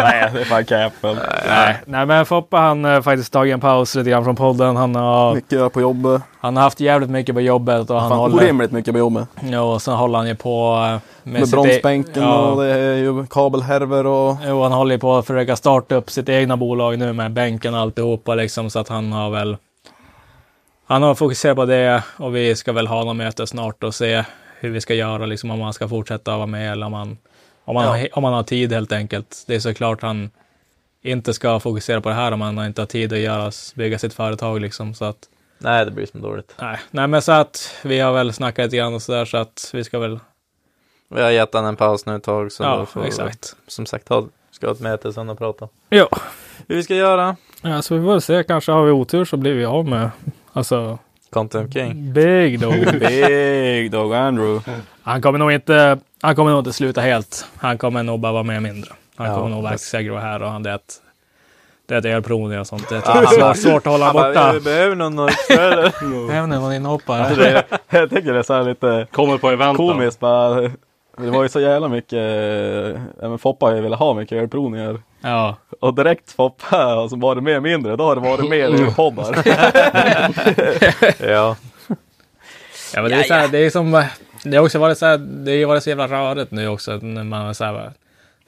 [SPEAKER 6] Nej, det är fan capen.
[SPEAKER 7] Nej, nej men Foppa han eh, faktiskt tagit en paus lite grann från podden. Han har,
[SPEAKER 6] Mycket på jobbet.
[SPEAKER 7] han har haft jävligt mycket på jobbet och han håller,
[SPEAKER 6] orimligt mycket på jobbet.
[SPEAKER 7] ja, och sen håller han ju på eh, med,
[SPEAKER 8] Med
[SPEAKER 7] sitt e-
[SPEAKER 8] bromsbänken
[SPEAKER 7] ja,
[SPEAKER 8] och det är ju kabelhärvor och...
[SPEAKER 7] Jo, han håller ju på att försöka starta upp sitt egna bolag nu med bänken och alltihopa liksom så att han har väl han har fokuserat på det och vi ska väl ha något möte snart och se hur vi ska göra, liksom om han ska fortsätta vara med eller om han, om han, har, om han har tid helt enkelt. Det är såklart han inte ska fokusera på det här om han inte har tid att göra, bygga sitt företag liksom. Så att,
[SPEAKER 3] Nej, det blir som dåligt.
[SPEAKER 7] nej. nej, men så att vi har väl snackat lite grann och sådär så att vi ska väl,
[SPEAKER 3] Vi har gett honom en paus nu ett tag. Så då
[SPEAKER 7] ja,
[SPEAKER 3] får vi-
[SPEAKER 7] exakt.
[SPEAKER 3] Som sagt, ha- ska ha ett möte sen och prata.
[SPEAKER 7] Ja.
[SPEAKER 3] Hur vi ska göra?
[SPEAKER 7] ja, så vi får se, kanske har vi otur så blir vi av med, alltså,
[SPEAKER 3] Content King.
[SPEAKER 7] big dog.
[SPEAKER 6] Big Dog Andrew.
[SPEAKER 7] Han kommer nog inte, han kommer nog inte sluta helt. Han kommer nog bara vara med mindre. Han
[SPEAKER 3] Ja,
[SPEAKER 7] kommer nog vara säker vara här och han det det är ett ölprovning och sånt. Det är
[SPEAKER 3] han bara-
[SPEAKER 7] svårt, svårt att hålla
[SPEAKER 3] Han bara,
[SPEAKER 6] "Eh,
[SPEAKER 7] borta.
[SPEAKER 3] vi behöver någon extra.
[SPEAKER 7] Även om han inhoppar.
[SPEAKER 6] Jag tycker det är så här lite
[SPEAKER 4] Kommer på eventen.
[SPEAKER 6] komiskt bara. Det var ju så jävla mycket, eh, ja, men Foppa har ju velat ha mycket ölprovningar.
[SPEAKER 7] Ja.
[SPEAKER 6] Och direkt Foppa, och så var det mer mindre, då har det varit mer i poddar.
[SPEAKER 3] ja.
[SPEAKER 7] ja men det är så här, det är som, det har också varit så här, det har ju varit så jävla rörigt nu också när man är så här,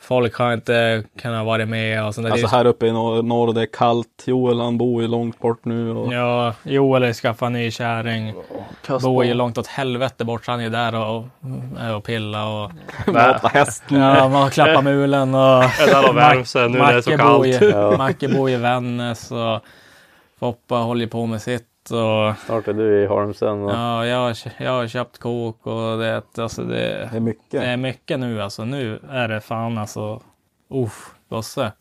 [SPEAKER 7] folk har inte kunnat vara med och sånt där.
[SPEAKER 6] Alltså
[SPEAKER 7] Det är-
[SPEAKER 6] här uppe i norr, norr det är kallt. Joel han bor ju långt bort nu. Och...
[SPEAKER 7] Ja, Joel har skaffat en ny kärring. Bor ju långt åt helvete bort, så han är ju där och, och pillar och
[SPEAKER 4] Nej,
[SPEAKER 7] Ja, man klappar mulen och
[SPEAKER 4] där har värmt sig nu när det är så
[SPEAKER 7] Macke bor
[SPEAKER 4] kallt.
[SPEAKER 7] i- Macke bor i Vännäs och Foppa håller på med sitt. Och,
[SPEAKER 3] Snart är du i Holmsund. och-
[SPEAKER 7] ja, jag, har kö- jag har köpt kok och det, alltså det,
[SPEAKER 8] Det är mycket.
[SPEAKER 7] det är mycket nu alltså. Nu är det fan alltså, uff, gosse.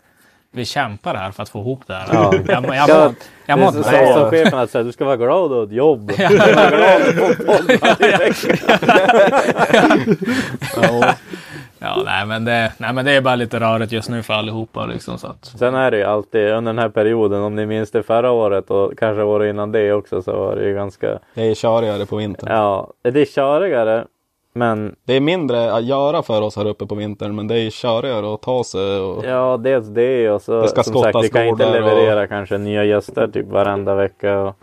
[SPEAKER 7] Vi kämpar här för att få ihop det här.
[SPEAKER 3] Ja.
[SPEAKER 7] Jag, må- jag, må- jag mår inte
[SPEAKER 3] Nej,
[SPEAKER 7] bra.
[SPEAKER 3] som chefen hade sagt, du ska vara glad och ett jobb.
[SPEAKER 7] Ja, nej, men det, nej, men det är bara lite rörigt just nu för allihopa. Liksom, så att,
[SPEAKER 3] Sen är det ju alltid under den här perioden, om ni minns det förra året och kanske året innan det också, så var det ju ganska,
[SPEAKER 6] Det är körigare på vintern.
[SPEAKER 3] ja, det är körigare, men
[SPEAKER 6] Det är mindre att göra för oss här uppe på vintern, men det är körigare att ta sig. Och...
[SPEAKER 3] ja, dels det och så
[SPEAKER 6] Det ska
[SPEAKER 3] som sagt, vi kan
[SPEAKER 6] skottas
[SPEAKER 3] inte
[SPEAKER 6] gårdar och-
[SPEAKER 3] leverera kanske nya gäster typ varenda vecka och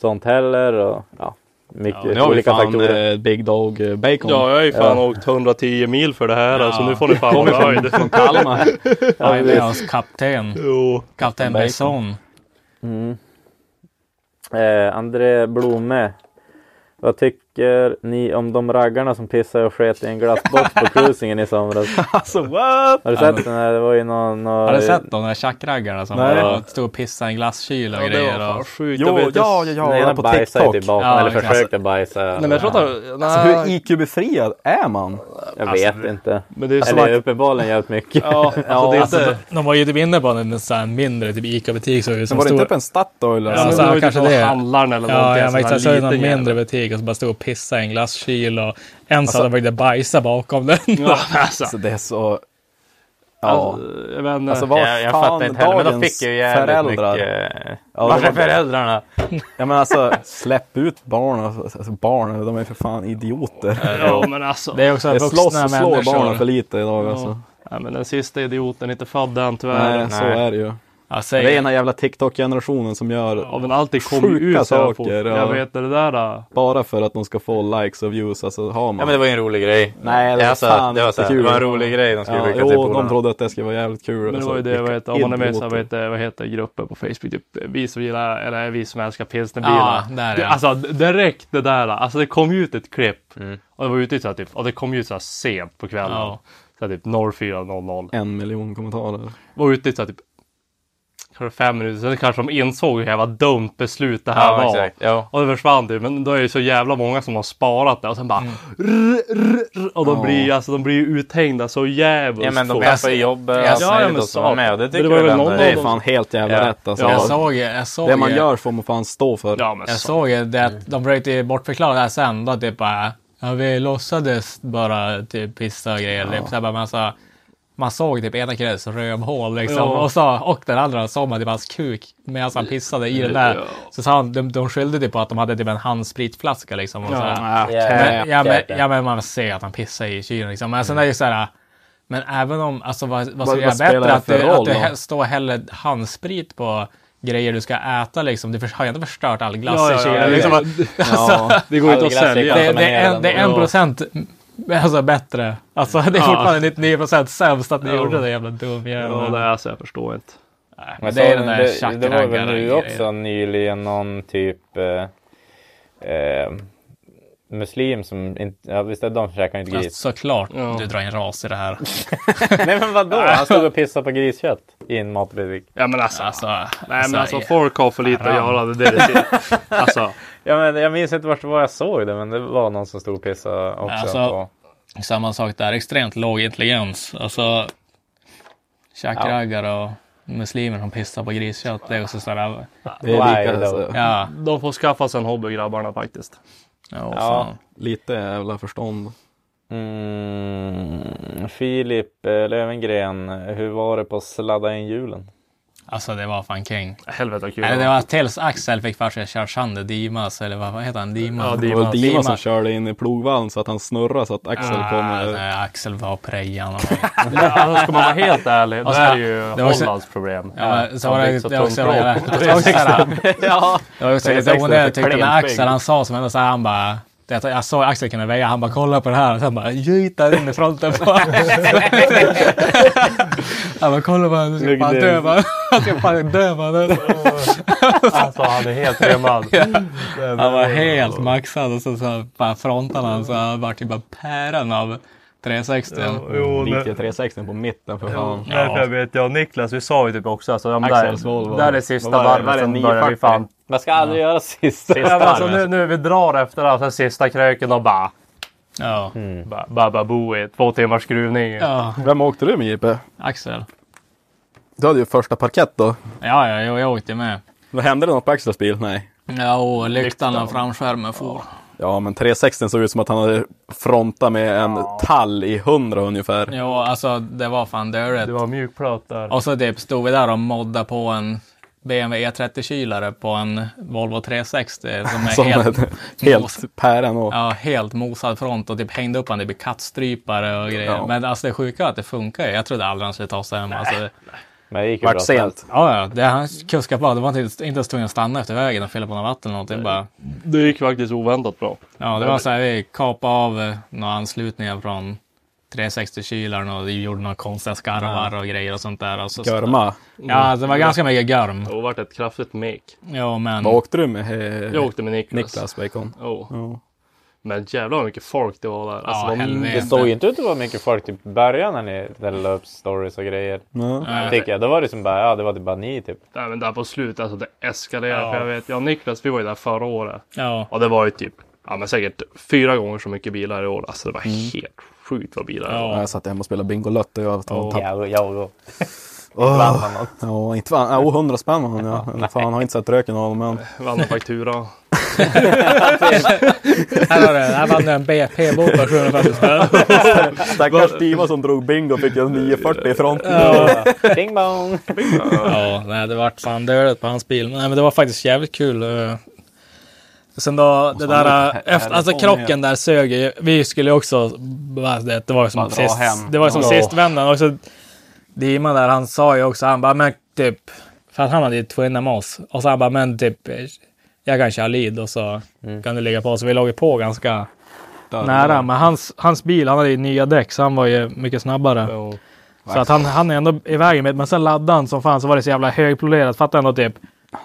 [SPEAKER 3] sånt heller och ja, mycket
[SPEAKER 6] Nu har vi
[SPEAKER 3] olika
[SPEAKER 6] fan
[SPEAKER 3] faktorer.
[SPEAKER 6] eh, Big Dog eh, Bacon.
[SPEAKER 4] Ja, jag har ju fan åkt 110 mil för det här alltså. Nu får ni fan vara nöjd.
[SPEAKER 6] Från Kalmar.
[SPEAKER 7] ja, vi är oss kapten.
[SPEAKER 4] Jo.
[SPEAKER 7] Kapten Bengtsson.
[SPEAKER 3] Eh, André Blome, vad tycker tycker ni om de raggarna som pissade och sket i en glassbox på cruisingen i somras?
[SPEAKER 7] Alltså what?
[SPEAKER 3] Har du sett den här? Det var ju någon... någon...
[SPEAKER 7] Har du sett de där tjackraggarna som
[SPEAKER 3] Nej.
[SPEAKER 7] bara stod och pissade i en glasskyl och
[SPEAKER 4] Ja, det var
[SPEAKER 7] grejer?
[SPEAKER 4] fan
[SPEAKER 7] Och...
[SPEAKER 4] sjukt.
[SPEAKER 6] Jo,
[SPEAKER 4] jag vet,
[SPEAKER 6] ja, ja,
[SPEAKER 4] jag...
[SPEAKER 6] ja,
[SPEAKER 3] Nej,
[SPEAKER 6] den
[SPEAKER 3] de
[SPEAKER 6] på
[SPEAKER 3] bajsade ju
[SPEAKER 6] TikTok.
[SPEAKER 3] tillbaka.
[SPEAKER 7] Ja,
[SPEAKER 3] eller
[SPEAKER 7] exakt.
[SPEAKER 3] försökte bajsa.
[SPEAKER 4] Nej, men jag tror att... Nej,
[SPEAKER 6] Alltså hur IQ-befriad är man?
[SPEAKER 3] Jag
[SPEAKER 4] Ah. Alltså,
[SPEAKER 3] vet
[SPEAKER 4] det-
[SPEAKER 3] inte.
[SPEAKER 4] men det är som
[SPEAKER 3] Eller
[SPEAKER 4] att...
[SPEAKER 3] uppenbarligen jävligt mycket.
[SPEAKER 4] Ja, alltså, det är
[SPEAKER 7] Alltså,
[SPEAKER 4] inte...
[SPEAKER 7] de- de var ju typ inne på en sån här mindre typ Ica-butik. Såg ut
[SPEAKER 8] Men
[SPEAKER 7] som
[SPEAKER 8] var det
[SPEAKER 7] stor...
[SPEAKER 8] inte upp en Statoil?
[SPEAKER 7] Ja,
[SPEAKER 8] Alltså?
[SPEAKER 4] Ja,
[SPEAKER 7] så
[SPEAKER 4] men det var
[SPEAKER 7] här,
[SPEAKER 4] ju
[SPEAKER 7] kanske
[SPEAKER 4] typ
[SPEAKER 7] det.
[SPEAKER 4] någon handlaren eller
[SPEAKER 7] Ja,
[SPEAKER 4] någonting,
[SPEAKER 7] jag
[SPEAKER 4] sån här
[SPEAKER 7] vet. Så är det någon
[SPEAKER 4] liten jävel.
[SPEAKER 7] mindre butik och så bara stod och pissade i en glasskyl och en satt och försökte bajsa bakom den.
[SPEAKER 4] Ja, men alltså.
[SPEAKER 8] Alltså, det är så... Ja.
[SPEAKER 4] Alltså, jag vet inte.
[SPEAKER 8] Alltså, vad
[SPEAKER 3] jag, jag
[SPEAKER 8] fan
[SPEAKER 3] fattar inte heller, men de
[SPEAKER 8] dagens
[SPEAKER 3] fick ju jävligt
[SPEAKER 8] föräldrar?
[SPEAKER 3] mycket...
[SPEAKER 8] Ja,
[SPEAKER 3] Varför
[SPEAKER 8] det var-
[SPEAKER 3] föräldrarna?
[SPEAKER 8] Ja men alltså släpp ut barn. Alltså, alltså, barn, de är för fan idioter.
[SPEAKER 4] Ja, men alltså.
[SPEAKER 7] Det är också
[SPEAKER 8] Det slåss
[SPEAKER 7] vuxna
[SPEAKER 8] och slår barnen för
[SPEAKER 7] människor.
[SPEAKER 8] lite idag
[SPEAKER 4] Ja.
[SPEAKER 8] alltså.
[SPEAKER 4] Nej, men den sista idioten är inte född än tyvärr.
[SPEAKER 8] Nej, så
[SPEAKER 3] nej.
[SPEAKER 8] är det ju.
[SPEAKER 7] Ja,
[SPEAKER 8] Det är
[SPEAKER 7] säg.
[SPEAKER 8] den här jävla TikTok-generationen som gör
[SPEAKER 4] Ja, men allt det kommer ju
[SPEAKER 8] Sjuka
[SPEAKER 4] ut så jävla
[SPEAKER 8] saker,
[SPEAKER 4] fort. Jag
[SPEAKER 8] ja.
[SPEAKER 4] vet det där. äh,
[SPEAKER 8] bara för att de ska få likes och views. Alltså har man.
[SPEAKER 3] Ja men det var ju en rolig grej.
[SPEAKER 8] Nej, det var
[SPEAKER 3] alltså,
[SPEAKER 8] fan
[SPEAKER 3] det, var
[SPEAKER 8] inte
[SPEAKER 3] så här,
[SPEAKER 8] kul.
[SPEAKER 3] det var en rolig grej de skulle
[SPEAKER 8] ja,
[SPEAKER 3] skicka till
[SPEAKER 8] jo, de
[SPEAKER 3] polarna.
[SPEAKER 8] trodde att det skulle vara jävligt kul.
[SPEAKER 4] Men det
[SPEAKER 8] alltså,
[SPEAKER 4] var ju det,
[SPEAKER 8] vilka
[SPEAKER 4] vad heter, om man är med så här, vad
[SPEAKER 8] idioter.
[SPEAKER 4] heter, vad heter grupper på Facebook? Typ, vi som gillar, eller vi som älskar
[SPEAKER 7] Ja,
[SPEAKER 4] pilsnerbilar.
[SPEAKER 7] där
[SPEAKER 4] Det-
[SPEAKER 7] ja.
[SPEAKER 4] Alltså direkt det där, alltså det kom ju ut ett klipp.
[SPEAKER 3] Mm.
[SPEAKER 4] Och det var ute i så här, typ, och det kom ju ut så här sent på kvällen.
[SPEAKER 7] Ja.
[SPEAKER 4] Så här, typ 04.00.
[SPEAKER 8] En miljon kommentarer.
[SPEAKER 4] Var ute i så här, typ kanske fem minuter, sen kanske de insåg hur jävla dumt beslut det här
[SPEAKER 3] Ja,
[SPEAKER 4] var.
[SPEAKER 3] exakt. Ja.
[SPEAKER 4] Och det försvann det, men då är det så jävla många som har sparat det och sen bara
[SPEAKER 3] Mm.
[SPEAKER 4] rr, rr, rr, Och de blir ju alltså, de blir ju uthängda så jävligt
[SPEAKER 3] ja men de
[SPEAKER 4] fort.
[SPEAKER 3] tappar ju jobbet och
[SPEAKER 7] Ja,
[SPEAKER 3] allt
[SPEAKER 4] ja,
[SPEAKER 3] möjligt
[SPEAKER 4] men
[SPEAKER 3] och så var
[SPEAKER 4] så.
[SPEAKER 3] med. Och det
[SPEAKER 4] Men
[SPEAKER 3] tycker
[SPEAKER 4] det var väl
[SPEAKER 3] väl
[SPEAKER 4] någon
[SPEAKER 3] ändå.
[SPEAKER 8] Det
[SPEAKER 3] Det
[SPEAKER 8] är fan helt jävla
[SPEAKER 3] Ja.
[SPEAKER 8] rätt alltså.
[SPEAKER 7] Jag såg, jag såg,
[SPEAKER 8] Det man gör får man fan stå för.
[SPEAKER 4] Ja men
[SPEAKER 7] jag
[SPEAKER 4] så.
[SPEAKER 7] såg ju det att de försökte ju bortförklara det här sen. Då, typ bara, ja, vi låtsades bara typ pissa och grejer. Typ, så här, bara, man, så, man såg typ ena killens rövhål liksom.
[SPEAKER 4] Ja.
[SPEAKER 7] Och, så, och den andra såg man typ hans kuk medan han pissade i den där.
[SPEAKER 4] Ja.
[SPEAKER 7] Så sa han, de, de skyllde typ på att de hade typ en handspritflaska liksom. Och så här.
[SPEAKER 8] Ah,
[SPEAKER 6] Äh,
[SPEAKER 7] Men, ja, men,
[SPEAKER 3] Jäklar.
[SPEAKER 7] ja, men man ser att han pissar i kylen liksom. Men sen är det ju så här. Men även om, alltså vad, vad
[SPEAKER 8] Vad-
[SPEAKER 7] skulle göra
[SPEAKER 8] vad spelar
[SPEAKER 7] bättre?
[SPEAKER 8] det
[SPEAKER 7] Att
[SPEAKER 8] för
[SPEAKER 7] du,
[SPEAKER 8] roll
[SPEAKER 7] att du
[SPEAKER 8] då?
[SPEAKER 7] he- står och häller handsprit på grejer du ska äta liksom. Du förs- har ju inte förstört all glass
[SPEAKER 4] Ja,
[SPEAKER 7] i
[SPEAKER 4] ja,
[SPEAKER 7] kylen.
[SPEAKER 4] ja,
[SPEAKER 7] liksom.
[SPEAKER 8] Ja.
[SPEAKER 4] Det går inte
[SPEAKER 3] All
[SPEAKER 4] att
[SPEAKER 3] glass är alltså
[SPEAKER 4] sälja.
[SPEAKER 3] kvar.
[SPEAKER 7] det,
[SPEAKER 3] men
[SPEAKER 7] det, är
[SPEAKER 3] hela
[SPEAKER 7] en, det är
[SPEAKER 4] den-
[SPEAKER 7] en
[SPEAKER 4] Ja.
[SPEAKER 7] procent mm, alltså, bättre. Alltså det är
[SPEAKER 4] Ja.
[SPEAKER 7] fortfarande 99 procent sämst att ni
[SPEAKER 4] Ja.
[SPEAKER 7] gjorde det jävla dum
[SPEAKER 4] Ja,
[SPEAKER 7] jävel.
[SPEAKER 4] det är alltså, jag förstår inte.
[SPEAKER 7] Nej,
[SPEAKER 3] Men
[SPEAKER 7] men det är
[SPEAKER 3] så-
[SPEAKER 7] den där
[SPEAKER 3] det, det var väl nu
[SPEAKER 7] tjackraggaren-grejen.
[SPEAKER 3] också nyligen någon typ eh, eh, muslim som inte, ja visst är det de som käkar inte
[SPEAKER 7] Ja,
[SPEAKER 3] gris?
[SPEAKER 7] Alltså, Såklart
[SPEAKER 4] Ja.
[SPEAKER 7] du drar in ras i det här.
[SPEAKER 3] Nej men vadå? Han stod och pissade på griskött i en matbutik.
[SPEAKER 4] Ja men alltså.
[SPEAKER 7] Alltså,
[SPEAKER 4] Nej men alltså
[SPEAKER 7] i-
[SPEAKER 4] folk har för lite att
[SPEAKER 7] Ram.
[SPEAKER 4] göra. Det är det det är. Alltså.
[SPEAKER 3] Ja, men jag minns inte vart det var jag såg det men det var någon som stod och pissade också.
[SPEAKER 7] Alltså,
[SPEAKER 3] på.
[SPEAKER 7] Samma sak där, extremt låg intelligens. Alltså, tjackraggare och muslimer som pissar på griskött. Det är också sådär,
[SPEAKER 8] Det är
[SPEAKER 3] Wild,
[SPEAKER 8] lika,
[SPEAKER 3] though.
[SPEAKER 8] alltså,
[SPEAKER 7] ja.
[SPEAKER 4] De får skaffa sig en hobby grabbarna faktiskt.
[SPEAKER 7] Ja,
[SPEAKER 3] Ja.
[SPEAKER 7] fan.
[SPEAKER 8] lite jävla förstånd.
[SPEAKER 3] Mm, Filip eh, Lövengren, hur var det på att sladda in julen?
[SPEAKER 7] Alltså det var fan king.
[SPEAKER 4] Helvete vad kul
[SPEAKER 7] Eller det var tills Axel fick för sig att köra sönder Dimas, eller vad, vad heter han? Dimas?
[SPEAKER 4] Ja,
[SPEAKER 8] Det
[SPEAKER 4] Dimas.
[SPEAKER 8] var Dima som körde in i plogvallen så att han snurrade så att Axel
[SPEAKER 7] Ah,
[SPEAKER 8] kommer.
[SPEAKER 7] nej, Axel var prejan.
[SPEAKER 4] alltså, ska man vara helt ärlig, det
[SPEAKER 7] Alltså,
[SPEAKER 4] här är ju
[SPEAKER 7] det var också-
[SPEAKER 4] Hollands problem.
[SPEAKER 7] Ja, så var
[SPEAKER 4] Han
[SPEAKER 7] det,
[SPEAKER 4] fick så
[SPEAKER 7] det var också
[SPEAKER 4] tungt
[SPEAKER 7] jävla-
[SPEAKER 4] bråk.
[SPEAKER 7] det var också såhär-
[SPEAKER 3] ja,
[SPEAKER 7] det var också
[SPEAKER 3] Det är
[SPEAKER 7] lite
[SPEAKER 3] Axel
[SPEAKER 7] onödigt
[SPEAKER 3] för
[SPEAKER 7] tyckte jag, men
[SPEAKER 3] klen
[SPEAKER 7] Axel han sa som ändå såhär, han bara det, jag såg Axel kunna väja, han bara kolla på det här och sen bara gjuta in i fronten på Han bara kolla på honom, han ska fan dö man. Han ska fan dö man.
[SPEAKER 4] Alltså han är helt Mm. rimmad.
[SPEAKER 7] Han var helt maxad och så, så bara frontade han så han vart typ bara päran av 360.
[SPEAKER 4] Jo,
[SPEAKER 8] Gick till 360 på mitten för fan.
[SPEAKER 4] Därför jag vet jag och Niklas, vi sa ju typ också alltså, de
[SPEAKER 8] Axels
[SPEAKER 4] där,
[SPEAKER 8] Volvo.
[SPEAKER 4] där är sista
[SPEAKER 8] Vad var det? Var
[SPEAKER 4] varvet
[SPEAKER 8] det
[SPEAKER 4] som
[SPEAKER 8] nio
[SPEAKER 4] börjar vi
[SPEAKER 8] fyrtio?
[SPEAKER 4] fan.
[SPEAKER 3] man ska aldrig göra sista.
[SPEAKER 4] Ja, men alltså, nu, nu vi drar efter det här, sen sista kröken och bara
[SPEAKER 7] Ja.
[SPEAKER 4] ba- ba- ba- boi, två timmars skruvning.
[SPEAKER 7] ja,
[SPEAKER 8] Vem åkte du med JP?
[SPEAKER 7] Axel.
[SPEAKER 8] Du hade ju första parkett då.
[SPEAKER 7] Ja, ja, jo, jag åkte med.
[SPEAKER 8] Vad hände det något på Axels bil? Nej.
[SPEAKER 7] Ja, och lyktan och framskärmen for.
[SPEAKER 8] Ja, men 360 såg ut som att han hade frontat med en tall i 100 ungefär.
[SPEAKER 7] Jo, alltså det var fan dörret.
[SPEAKER 4] Det var mjukplåt där.
[SPEAKER 7] Och så typ stod vi där och modda på en BMW E30-kylare på en Volvo 360 som är
[SPEAKER 8] Som
[SPEAKER 7] helt,
[SPEAKER 8] en helt päron och...
[SPEAKER 7] ja, helt mosad front och typ hängde upp han typ i kattstrypare och grejer.
[SPEAKER 8] Ja.
[SPEAKER 7] Men alltså det sjuka är att det funkar ju. Jag trodde aldrig han skulle ta sig hem. Alltså,
[SPEAKER 3] Men det gick ju bra.
[SPEAKER 8] Vart sent.
[SPEAKER 7] Ja, ja. Det han kuskade på. Det var inte, inte ens tvungen att stanna efter vägen och fylla på något vatten eller någonting. Bara,
[SPEAKER 4] Det gick faktiskt oväntat bra.
[SPEAKER 7] ja, det var så här, vi kapade av eh, några anslutningar från 360-kylaren och vi gjorde några konstiga skarvar och grejer och sånt där. Och så,
[SPEAKER 8] Görma.
[SPEAKER 7] Ja, alltså, det var ganska mycket görm.
[SPEAKER 4] Det har varit ett kraftigt mek.
[SPEAKER 7] Mm. Jo, men...
[SPEAKER 8] Vad åkte du med? Eh,
[SPEAKER 4] Jag åkte med Niklas.
[SPEAKER 8] Niklas Bacon.
[SPEAKER 4] Oh.
[SPEAKER 8] Ja.
[SPEAKER 4] Men jävlar vad mycket folk det var där. Alltså,
[SPEAKER 7] Ja,
[SPEAKER 4] det var
[SPEAKER 7] helvete.
[SPEAKER 3] Det såg ju inte ut att vara mycket folk typ i början när ni ställde upp stories och grejer.
[SPEAKER 7] Nej,
[SPEAKER 3] Tycker jag. Då var det som bara, ja det var typ bara ni typ.
[SPEAKER 4] Nej, men där på slutet, alltså det eskalerade.
[SPEAKER 7] Ja.
[SPEAKER 4] För jag vet, jag och Niklas, vi var ju där förra året.
[SPEAKER 7] Ja.
[SPEAKER 4] Och det var ju typ, ja men säkert fyra gånger så mycket bilar i år. Alltså det var helt sjukt vad bilar det var.
[SPEAKER 7] Mm. Ja.
[SPEAKER 6] Alltså.
[SPEAKER 8] Jag satt hemma och spelade Bingolotto. Jag tog en tapp.
[SPEAKER 3] Jag, jag och...
[SPEAKER 8] Åh,
[SPEAKER 3] Bland annat.
[SPEAKER 8] Ja, inte fan. Ja, 100 spänn var han ja. Eller Fan, har inte sett röken av honom än.
[SPEAKER 4] Vann en faktura.
[SPEAKER 7] Här var det. Här vann du en BP-bok på 750 spänn.
[SPEAKER 8] Stackars Stima som drog bingo fick jag 940 i fronten.
[SPEAKER 3] Ding bong!
[SPEAKER 7] Ja, nej, det vart fan dödligt på hans bil. Nej, men det var faktiskt jävligt kul. eh. Sen då, det där, eh, efter, alltså krocken där sög ju. Vi skulle ju också, bara, det, det var ju som
[SPEAKER 6] Bara dra
[SPEAKER 7] sist,
[SPEAKER 6] hem.
[SPEAKER 7] det var ju som
[SPEAKER 6] Ja.
[SPEAKER 7] sist vändan. Och så Dima där, han sa ju också, han bara, men typ, för att han hade ju twinna med oss. Och så han bara, men typ, eh, jag kan köra lead och så kan du ligga på. Så vi låg ju på ganska nära. Men hans, hans bil, han hade ju nya däck, så han var ju mycket snabbare. Så att han, han är ändå i vägen med men sen laddade han som fan så var det så jävla högpolerat. Fattar ändå typ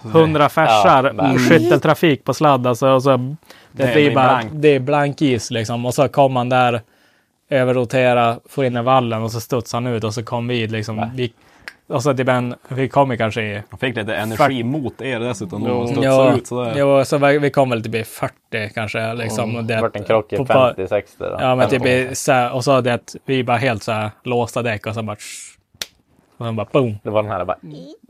[SPEAKER 6] Alltså,
[SPEAKER 7] 100 färsar,
[SPEAKER 3] Ja, verkligen.
[SPEAKER 7] skytteltrafik på sladd alltså. Och så, det,
[SPEAKER 6] Nej,
[SPEAKER 7] blir
[SPEAKER 6] det är
[SPEAKER 7] bara,
[SPEAKER 6] blankt.
[SPEAKER 7] det är blank is liksom. Och så kom han där, överrotera, får in i vallen och så studsade han ut och så kom vi liksom. Vi, och så typ en, vi kom ju kanske i...
[SPEAKER 6] Jag fick lite energi mot er dessutom.
[SPEAKER 4] Jo.
[SPEAKER 6] De studsade
[SPEAKER 7] Ja,
[SPEAKER 6] ut sådär. Mm.
[SPEAKER 7] ja, så vi, vi kom väl typ i 40 kanske. Liksom, och
[SPEAKER 3] Det
[SPEAKER 7] det,
[SPEAKER 3] vart en krock i
[SPEAKER 7] på- på-
[SPEAKER 3] 50-60 då.
[SPEAKER 7] Ja, men typ i, så här, och så det att vi bara helt så här låsta däck och så bara... Och sen bara boom.
[SPEAKER 3] Det var den här bara...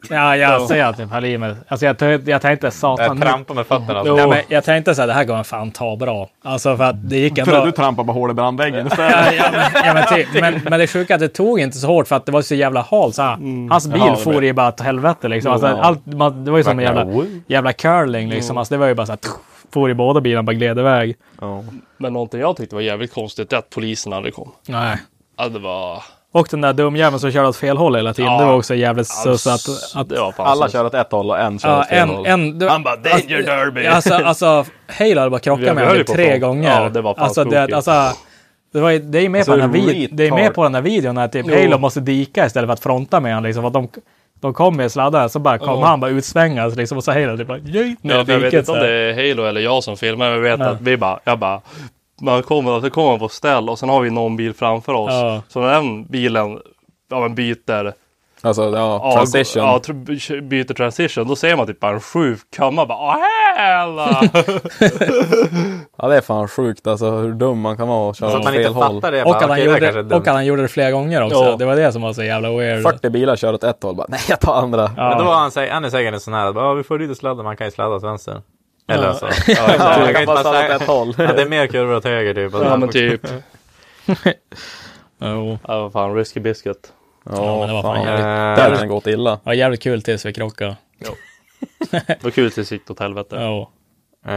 [SPEAKER 7] Ja, jag ser att det faller i mig. Alltså jag, t- jag tänkte satan.
[SPEAKER 3] Jag alltså.
[SPEAKER 7] nu-
[SPEAKER 3] trampade eh, med fötterna.
[SPEAKER 7] Jo, men jag tänkte så här, det här kommer fan ta bra. Alltså för att det gick ändå.
[SPEAKER 6] För att du trampar på hål i brandväggen istället.
[SPEAKER 7] ja, ja, men, ja, men, typ. men, men det sjuka är att det tog inte så hårt för att det var så jävla halt. Så här. Hans bil
[SPEAKER 6] Ja, det
[SPEAKER 7] for
[SPEAKER 6] blir-
[SPEAKER 7] ju bara till helvete liksom. Alltså,
[SPEAKER 6] Ja.
[SPEAKER 7] allt, man, det var ju som en jävla,
[SPEAKER 3] Verkligen.
[SPEAKER 7] jävla curling liksom. Alltså, det var ju bara så här, tuff, for i båda bilarna, bara gled iväg.
[SPEAKER 4] Men någonting jag tyckte var jävligt konstigt, det är att polisen aldrig kom.
[SPEAKER 7] Nej.
[SPEAKER 4] Ja, det var...
[SPEAKER 7] Och den där dumjäveln som körde åt fel håll hela tiden.
[SPEAKER 4] Ja. Alltså,
[SPEAKER 7] Det var också jävligt sus att... att
[SPEAKER 4] det var fan
[SPEAKER 8] Alla
[SPEAKER 4] så-
[SPEAKER 8] kör åt ett håll och en kör
[SPEAKER 7] ja,
[SPEAKER 8] åt fel
[SPEAKER 7] en,
[SPEAKER 8] håll.
[SPEAKER 7] en, det-
[SPEAKER 4] Han bara danger derby!
[SPEAKER 7] Alltså, alltså Halo hade bara krockat
[SPEAKER 4] Vi
[SPEAKER 7] med
[SPEAKER 4] höll
[SPEAKER 7] honom
[SPEAKER 4] ju på
[SPEAKER 7] tre
[SPEAKER 4] att få-
[SPEAKER 7] gånger.
[SPEAKER 4] Ja, det var fan
[SPEAKER 7] alltså, det,
[SPEAKER 4] tokigt.
[SPEAKER 7] alltså, det, var, ju- det är ju med,
[SPEAKER 8] Alltså,
[SPEAKER 7] på, den här vid,
[SPEAKER 8] retard.
[SPEAKER 7] det är med på den här videon när typ
[SPEAKER 4] Jo.
[SPEAKER 7] Halo måste dika istället för att fronta med honom. Liksom, för att de, de kom med sladdar så bara kom
[SPEAKER 4] Ja.
[SPEAKER 7] han bara utsvängas liksom, och så Halo typ bara "Jöjt ner
[SPEAKER 4] Ja,
[SPEAKER 7] i
[SPEAKER 4] för jag vet
[SPEAKER 7] diket",
[SPEAKER 4] inte om
[SPEAKER 7] så här.
[SPEAKER 4] det är Halo eller jag som filmar, men jag vet
[SPEAKER 7] Nej.
[SPEAKER 4] att vi bara, jag bara, man kommer och så kommer man på ställ och sen har vi någon bil framför oss.
[SPEAKER 7] Ja.
[SPEAKER 4] Så när den bilen ja, men byter,
[SPEAKER 8] Alltså, ja,
[SPEAKER 4] avg-
[SPEAKER 8] transition.
[SPEAKER 4] Ja, tr- byter transition, då ser man typ bara en sju komma bara "Åh, hela!
[SPEAKER 8] Ja, det är fan sjukt alltså hur dum man kan vara och köra
[SPEAKER 3] Så
[SPEAKER 8] åt
[SPEAKER 3] att man inte
[SPEAKER 8] fel håll.
[SPEAKER 3] fattar det.
[SPEAKER 7] och, att
[SPEAKER 3] bara,
[SPEAKER 7] han
[SPEAKER 3] okej, det här kanske
[SPEAKER 7] gjorde,
[SPEAKER 3] är
[SPEAKER 7] och
[SPEAKER 3] dumt.
[SPEAKER 7] att han gjorde det flera gånger också.
[SPEAKER 4] Ja.
[SPEAKER 7] Det var det som var så jävla weird.
[SPEAKER 8] 40 bilar kör åt ett håll. Bara, nej, jag tar andra.
[SPEAKER 7] Ja.
[SPEAKER 3] Men då var han, säg- han är säkert en sån här, bara, "Ja, vi får dit och sladda, man kan ju sladda åt vänster. Eller så. Ja, exakt. Man kan
[SPEAKER 8] Jag
[SPEAKER 3] inte
[SPEAKER 8] kan bara
[SPEAKER 3] bara
[SPEAKER 8] köra åt ett
[SPEAKER 3] säga-
[SPEAKER 8] håll.
[SPEAKER 3] Ja, det är mer kurvor åt höger typ. Och
[SPEAKER 4] Ja,
[SPEAKER 3] så-
[SPEAKER 4] men typ.
[SPEAKER 7] Jo.
[SPEAKER 4] Ja, vad fan, risky biscuit.
[SPEAKER 7] Ja, men det var fan
[SPEAKER 8] fan.
[SPEAKER 3] Eh,
[SPEAKER 7] jävligt-
[SPEAKER 8] Där kan det gått illa.
[SPEAKER 7] Det var jävligt kul tills vi krockade.
[SPEAKER 4] Det var kul tills det gick åt helvete.
[SPEAKER 7] Ja.
[SPEAKER 3] Eh,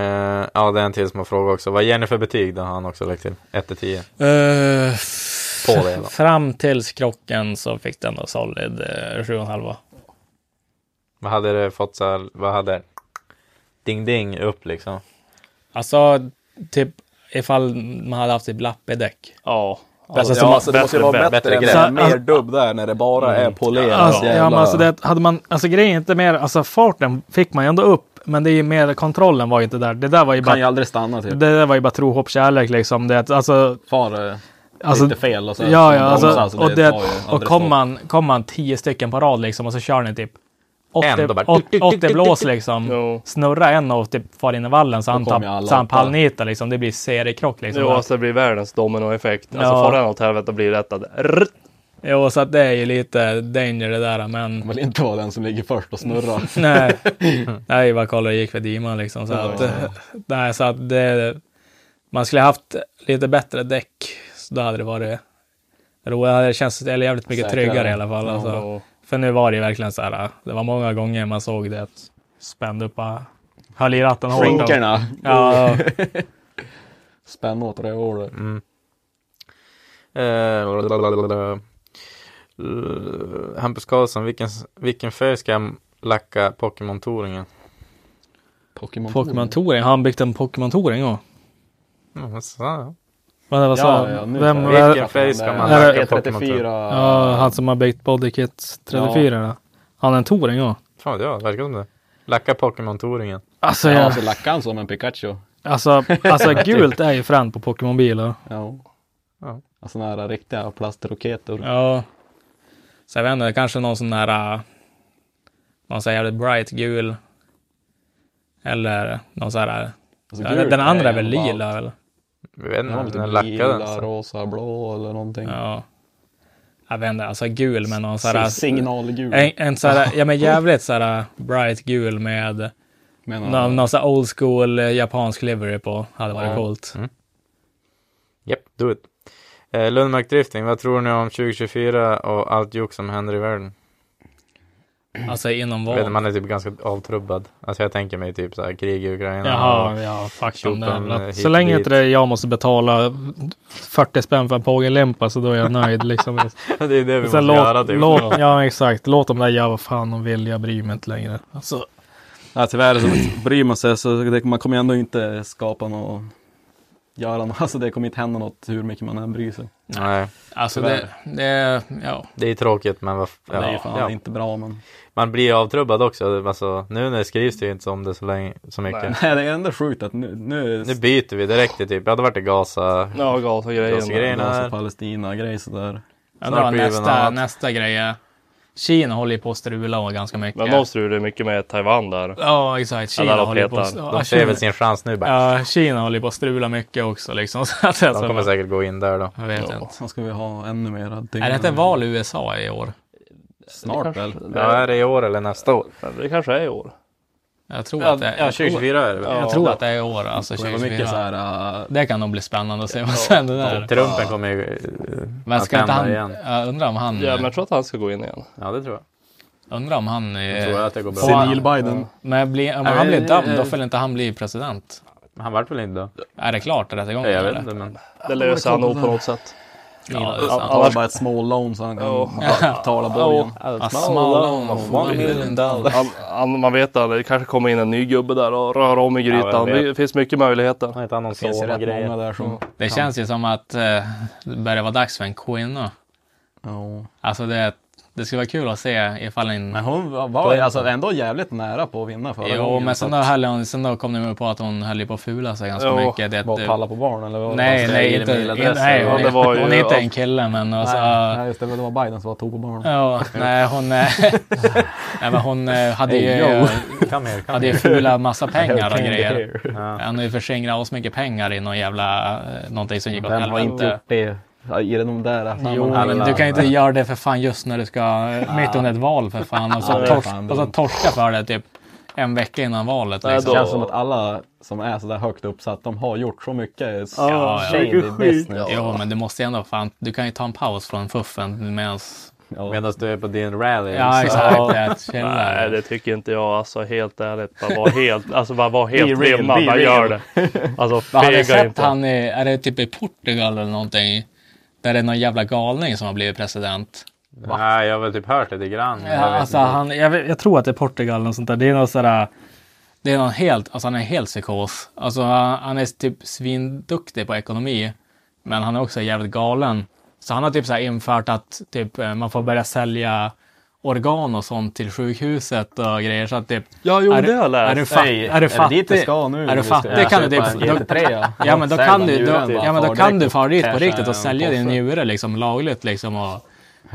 [SPEAKER 3] ja, det är en till som har frågat också. Vad ger ni för betyg? Det har han också lagt till. 1 till 10.
[SPEAKER 7] Eh,
[SPEAKER 3] På det då.
[SPEAKER 7] fram tills krocken så fick den då solid eh, 7,5.
[SPEAKER 3] Vad hade det fått så här, vad hade ding ding upp liksom?
[SPEAKER 7] Alltså, typ ifall man hade haft typ ett lappedäck.
[SPEAKER 4] Ja.
[SPEAKER 8] Alltså,
[SPEAKER 4] ja,
[SPEAKER 8] så måste, det måste
[SPEAKER 4] bättre-
[SPEAKER 8] ju vara bättre,
[SPEAKER 4] bättre
[SPEAKER 8] än
[SPEAKER 3] grej.
[SPEAKER 8] det. Mer dubb där när det bara är polerat.
[SPEAKER 7] Alltså, ja, men
[SPEAKER 8] jävla-
[SPEAKER 7] alltså, det, hade man, alltså grejen är inte mer, alltså farten fick man ju ändå upp, men det är ju mer kontrollen var ju inte där. Det där var ju
[SPEAKER 6] Kan ju
[SPEAKER 7] bara,
[SPEAKER 6] aldrig stanna
[SPEAKER 7] det
[SPEAKER 6] typ.
[SPEAKER 7] där var ju bara tro, hopp, kärlek liksom. Det, alltså,
[SPEAKER 6] Far eh,
[SPEAKER 7] alltså,
[SPEAKER 6] lite fel och så.
[SPEAKER 7] Ja, ja, alltså,
[SPEAKER 6] bromsar, så
[SPEAKER 7] och,
[SPEAKER 6] det
[SPEAKER 7] det,
[SPEAKER 6] tar ju
[SPEAKER 7] och
[SPEAKER 6] aldrig
[SPEAKER 7] kom,
[SPEAKER 6] stopp.
[SPEAKER 7] man, kom man tio stycken på rad liksom och så kör ni typ 80,
[SPEAKER 3] En, då bara-
[SPEAKER 7] 80, 80 blås liksom.
[SPEAKER 4] Jo.
[SPEAKER 7] Snurra en och typ far in i vallen så han,
[SPEAKER 6] kommer
[SPEAKER 7] tapp,
[SPEAKER 6] alla
[SPEAKER 7] så han
[SPEAKER 6] åtta.
[SPEAKER 7] pallnitar liksom. Det blir seriekrock liksom.
[SPEAKER 4] Jo, alltså det blir världens dominoeffekt. Alltså
[SPEAKER 7] Ja.
[SPEAKER 4] far den åt helvete blir rätt att rrrt,
[SPEAKER 7] Jo, så att det är ju lite danger det där men.
[SPEAKER 6] Jag vill inte vara den som ligger först och snurrar.
[SPEAKER 7] Nej, nej bara kolla hur det gick för Dima liksom. Så att, nej, så att det, man skulle haft lite bättre däck. Så då hade det varit roligt. Det hade känts eller jävligt mycket
[SPEAKER 6] Säkrare.
[SPEAKER 7] tryggare i alla fall. Alltså. För nu var det ju verkligen så här. äh, Det var många gånger man såg det. att Spände upp bara. Höll i ratten hårt. och-
[SPEAKER 6] Skinkorna.
[SPEAKER 7] Ja,
[SPEAKER 6] Spänn åt rövhålet.
[SPEAKER 3] Mm. Eh, Hampus Karlsson, vilken, vilken färg ska jag lacka Pokémon-touringen?
[SPEAKER 6] Pokémon.
[SPEAKER 7] Pokémon Touring. Har han byggt en Pokémon Touring? Ja.
[SPEAKER 3] Mm, så.
[SPEAKER 7] Vad vad sa
[SPEAKER 6] Ja, ja,
[SPEAKER 7] han?
[SPEAKER 6] nu
[SPEAKER 7] Alltså, Vem,
[SPEAKER 6] fattar jag.
[SPEAKER 7] vem,
[SPEAKER 3] Vilken färg ska man
[SPEAKER 7] Är det
[SPEAKER 3] lacka Pokémon-touringen?
[SPEAKER 6] E34.
[SPEAKER 7] ja, han som har byggt Bodykit 34. Ja. Han är en Touring? Ja.
[SPEAKER 3] Fan vet jag, verkar som det. Lacka Pokémon-touringen.
[SPEAKER 7] Alltså,
[SPEAKER 6] Ja,
[SPEAKER 7] jag,
[SPEAKER 6] så lackade han som en Pikachu.
[SPEAKER 7] Alltså, alltså gult är ju fränt på Pokémon-bilar.
[SPEAKER 6] Ja.
[SPEAKER 7] Ja.
[SPEAKER 6] Alltså nära riktiga plastroketer.
[SPEAKER 7] Ja. Så jag vet inte, kanske någon sån här... äh, Någon sån här jävligt bright gul. Eller någon sån här... äh,
[SPEAKER 6] Alltså,
[SPEAKER 7] ja,
[SPEAKER 6] gult
[SPEAKER 7] den andra är väl
[SPEAKER 6] ju allt.
[SPEAKER 7] lila eller?
[SPEAKER 3] Jag vet
[SPEAKER 6] Den har
[SPEAKER 3] inte,
[SPEAKER 6] lite
[SPEAKER 3] den lackade den.
[SPEAKER 6] lila,
[SPEAKER 3] så.
[SPEAKER 6] rosa, blå eller någonting.
[SPEAKER 7] Ja. Jag vet inte, alltså gul med någon sån
[SPEAKER 6] Så
[SPEAKER 7] här...
[SPEAKER 6] Signalgul.
[SPEAKER 7] En, en sån här, ja men jävligt sån här bright gul med
[SPEAKER 6] menar jag.
[SPEAKER 7] någon, någon sån här old school eh, japansk livery på. Hade varit
[SPEAKER 6] Ja.
[SPEAKER 7] coolt.
[SPEAKER 3] Japp, do it. Eh, Lundmark Drifting, vad tror ni om 2024 och allt jock som händer i världen?
[SPEAKER 7] Alltså inom
[SPEAKER 3] Jag vet,
[SPEAKER 7] vad?
[SPEAKER 3] man är typ ganska avtrubbad. Alltså jag tänker mig typ så här krig i Ukraina.
[SPEAKER 7] Jaha, ja fuck de där.
[SPEAKER 3] Tjotan,
[SPEAKER 7] jävla-
[SPEAKER 3] eh,
[SPEAKER 7] Så
[SPEAKER 3] hit
[SPEAKER 7] länge
[SPEAKER 3] och
[SPEAKER 7] inte
[SPEAKER 3] dit.
[SPEAKER 7] det är jag måste betala 40 spänn för en Pågen-limpa så då är jag nöjd liksom.
[SPEAKER 3] Och det är det vi måste
[SPEAKER 7] Sen
[SPEAKER 3] göra
[SPEAKER 7] låt,
[SPEAKER 3] typ.
[SPEAKER 7] låt, ja exakt, låt dem där göra vad fan de vill, jag bryr mig inte längre. Alltså,
[SPEAKER 6] Ja, tyvärr så bryr man sig så det, man kommer ändå inte skapa något, göra något, alltså det kommer inte hända något hur mycket man än bryr sig.
[SPEAKER 3] Nej,
[SPEAKER 7] alltså
[SPEAKER 6] Tyvärr.
[SPEAKER 7] det, det, ja.
[SPEAKER 3] det är tråkigt men vad f-
[SPEAKER 6] Ja, det är ju
[SPEAKER 3] ja,
[SPEAKER 6] fan
[SPEAKER 3] ja.
[SPEAKER 6] inte bra men.
[SPEAKER 3] Man blir ju avtrubbad också. Alltså, nu när det skrivs det ju inte om det så, länge, så mycket.
[SPEAKER 6] Nej det är ändå sjukt att nu, nu,
[SPEAKER 3] Nu byter vi direkt till typ, jag hade varit i Gaza,
[SPEAKER 4] Ja, gas och grejer.
[SPEAKER 3] Gasgrejen. grejerna här.
[SPEAKER 6] Gaza, Palestina grej sådär.
[SPEAKER 7] Jag
[SPEAKER 3] Snart
[SPEAKER 7] drar
[SPEAKER 3] blir det väl något
[SPEAKER 7] nästa,
[SPEAKER 3] annat.
[SPEAKER 7] nästa grej. är- Kina håller ju på att strula och ganska
[SPEAKER 4] Men de
[SPEAKER 7] mycket.
[SPEAKER 4] strular mycket med Taiwan där.
[SPEAKER 7] Ja exakt,
[SPEAKER 4] Alla
[SPEAKER 7] Kina
[SPEAKER 4] de
[SPEAKER 7] håller ju på att
[SPEAKER 4] petar.
[SPEAKER 7] ja,
[SPEAKER 3] de ser
[SPEAKER 7] Kina-
[SPEAKER 3] väl sin chans nu bara.
[SPEAKER 7] Ja, Kina håller ju på att strula mycket också liksom. Så att,
[SPEAKER 3] De
[SPEAKER 7] alltså,
[SPEAKER 3] kommer säkert gå in där då.
[SPEAKER 7] jag vet inte.
[SPEAKER 6] Så ska vi ha ännu mer allting.
[SPEAKER 7] Är det inte val i USA i år?
[SPEAKER 6] Snart väl?
[SPEAKER 3] Ja, är det i år eller nästa år?
[SPEAKER 4] Men Det kanske är i år.
[SPEAKER 7] Jag tror
[SPEAKER 3] Ja,
[SPEAKER 7] att det är,
[SPEAKER 3] ja 2024 är det väl?
[SPEAKER 7] jag tror att det är i år, alltså
[SPEAKER 6] Det var mycket
[SPEAKER 7] 2024.
[SPEAKER 6] såhär, äh,
[SPEAKER 7] Det kan nog bli spännande att se vad som händer där.
[SPEAKER 3] Typ Trumpen kommer ju eh,
[SPEAKER 7] Men
[SPEAKER 3] att
[SPEAKER 7] ska inte
[SPEAKER 3] hända
[SPEAKER 7] han,
[SPEAKER 3] igen.
[SPEAKER 7] jag undrar om han,
[SPEAKER 4] Ja, men jag tror att han ska gå in igen.
[SPEAKER 3] Ja, det tror jag.
[SPEAKER 7] undrar om han,
[SPEAKER 3] Jag tror att det går bra.
[SPEAKER 6] senil Biden.
[SPEAKER 7] men blir, om
[SPEAKER 3] Nej, eh,
[SPEAKER 7] han
[SPEAKER 3] men-
[SPEAKER 7] blir dömd då får väl inte han bli president?
[SPEAKER 3] Han vart väl inte då?
[SPEAKER 7] Är det klart i rättegången?
[SPEAKER 3] Nej, jag vet
[SPEAKER 7] eller?
[SPEAKER 3] inte men.
[SPEAKER 4] Det löser han nog på något sätt.
[SPEAKER 7] Ja, det är
[SPEAKER 4] Ja,
[SPEAKER 7] sant.
[SPEAKER 6] Han har
[SPEAKER 4] Annars,
[SPEAKER 6] Alltså, bara ett small loan så han kan
[SPEAKER 7] Ja.
[SPEAKER 6] betala borgen.
[SPEAKER 7] A
[SPEAKER 4] Alltså,
[SPEAKER 7] small loan of one million dollars.
[SPEAKER 4] han, han, man vet aldrig, det kanske kommer in en ny gubbe där och rör om i
[SPEAKER 3] Ja,
[SPEAKER 4] grytan.
[SPEAKER 3] vem vet.
[SPEAKER 4] det finns mycket möjligheter.
[SPEAKER 3] Han hette han någon
[SPEAKER 6] Det finns ju
[SPEAKER 3] son och
[SPEAKER 6] rätt många
[SPEAKER 3] grejer.
[SPEAKER 6] där som,
[SPEAKER 7] Det känns ju som att eh, det börjar vara dags för en kvinna.
[SPEAKER 6] ja.
[SPEAKER 7] Alltså det, det skulle vara kul att se ifall en...
[SPEAKER 6] Men hon var- var alltså ändå jävligt nära på att vinna förra
[SPEAKER 7] Jo,
[SPEAKER 6] gången.
[SPEAKER 7] men
[SPEAKER 6] så
[SPEAKER 7] sen
[SPEAKER 6] att-
[SPEAKER 7] då, höll hon, sen då kom det på att hon höll ju på att fula sig ganska
[SPEAKER 4] Jo,
[SPEAKER 7] mycket. Det,
[SPEAKER 6] Bara palla på barn eller? vad?
[SPEAKER 7] nej,
[SPEAKER 6] Alltså,
[SPEAKER 7] nej,
[SPEAKER 6] det-
[SPEAKER 7] inte,
[SPEAKER 6] det-
[SPEAKER 7] in, nej, hon,
[SPEAKER 4] Ja, det var ju-
[SPEAKER 7] hon är inte en kille men alltså...
[SPEAKER 6] Nej, nej, just det, men det var Biden som var tog på barn.
[SPEAKER 7] Ja, nej hon... eh, nej men hon eh, hade ju...
[SPEAKER 6] Hey, yo.
[SPEAKER 3] Kom här, kom
[SPEAKER 7] hade ju
[SPEAKER 3] här.
[SPEAKER 7] fula massa pengar och
[SPEAKER 6] Candy
[SPEAKER 7] grejer.
[SPEAKER 6] hair.
[SPEAKER 7] Han har ju förskingrat mycket pengar i någon jävla... eh, Någonting som gick åt
[SPEAKER 6] Vem har inte
[SPEAKER 7] helvete.
[SPEAKER 6] gjort det? Ja, I de där sammanhangen.
[SPEAKER 7] Jo,
[SPEAKER 3] alla
[SPEAKER 7] men du
[SPEAKER 6] alltså,
[SPEAKER 7] kan ju inte göra det för fan just när du ska mitt under ett val för fan och så,
[SPEAKER 6] Ja, det är
[SPEAKER 7] tors
[SPEAKER 6] fan
[SPEAKER 7] och så
[SPEAKER 6] dumt.
[SPEAKER 7] torska för det typ en vecka innan valet.
[SPEAKER 4] Nej,
[SPEAKER 7] Liksom.
[SPEAKER 6] Det
[SPEAKER 4] då-
[SPEAKER 6] känns som att alla som är sådär högt uppsatt, de har gjort så mycket
[SPEAKER 7] Ja, ja.
[SPEAKER 6] shady business.
[SPEAKER 7] Jo, men du måste ju ändå fan, du kan ju ta en paus från fuffen medans...
[SPEAKER 6] Ja.
[SPEAKER 3] Medan du är på din rally.
[SPEAKER 7] Ja,
[SPEAKER 3] så-
[SPEAKER 7] exakt. Ja. Chilla.
[SPEAKER 4] Nej, det tycker inte jag. Alltså helt ärligt. Bara var helt, alltså, bara var helt
[SPEAKER 6] Be real,
[SPEAKER 4] hemma.
[SPEAKER 6] be
[SPEAKER 4] Bara gör
[SPEAKER 6] real.
[SPEAKER 4] det. Alltså
[SPEAKER 7] Vad har
[SPEAKER 4] fega
[SPEAKER 7] du sett
[SPEAKER 4] inte.
[SPEAKER 7] han i, är det typ i Portugal eller någonting? Där det är någon jävla galning som har blivit president.
[SPEAKER 3] Nej, jag har väl typ hört lite grann. men
[SPEAKER 7] Ja,
[SPEAKER 3] jag vet
[SPEAKER 7] alltså,
[SPEAKER 3] inte.
[SPEAKER 7] han, jag, vet- jag tror att det är Portugal eller något sånt där. Det är någon sådär, det är någon helt, alltså han är helt psykos. Alltså han, han är typ svinduktig på ekonomi, men han är också jävligt galen. Så han har typ så här infört att typ, eh, man får börja sälja organ och sånt till sjukhuset och grejer. Så att typ,
[SPEAKER 4] Ja, jo,
[SPEAKER 7] är,
[SPEAKER 4] det har jag
[SPEAKER 7] du-
[SPEAKER 4] läst.
[SPEAKER 7] är du, fa-
[SPEAKER 6] Nej,
[SPEAKER 7] är du
[SPEAKER 6] det
[SPEAKER 7] fattig,
[SPEAKER 6] dit vi ska nu?
[SPEAKER 7] är du
[SPEAKER 6] Vi ska
[SPEAKER 7] fattig kan du
[SPEAKER 6] köpa
[SPEAKER 7] typ...
[SPEAKER 6] en GT3.
[SPEAKER 7] Ja men då
[SPEAKER 6] Sälj
[SPEAKER 7] kan
[SPEAKER 6] den
[SPEAKER 7] du, då,
[SPEAKER 6] njuren bara,
[SPEAKER 7] ja, men då
[SPEAKER 6] far
[SPEAKER 7] kan
[SPEAKER 6] direkt
[SPEAKER 7] du fara dit på
[SPEAKER 6] casha
[SPEAKER 7] riktigt
[SPEAKER 6] en
[SPEAKER 7] och sälja din
[SPEAKER 6] påse.
[SPEAKER 7] njure liksom lagligt liksom och,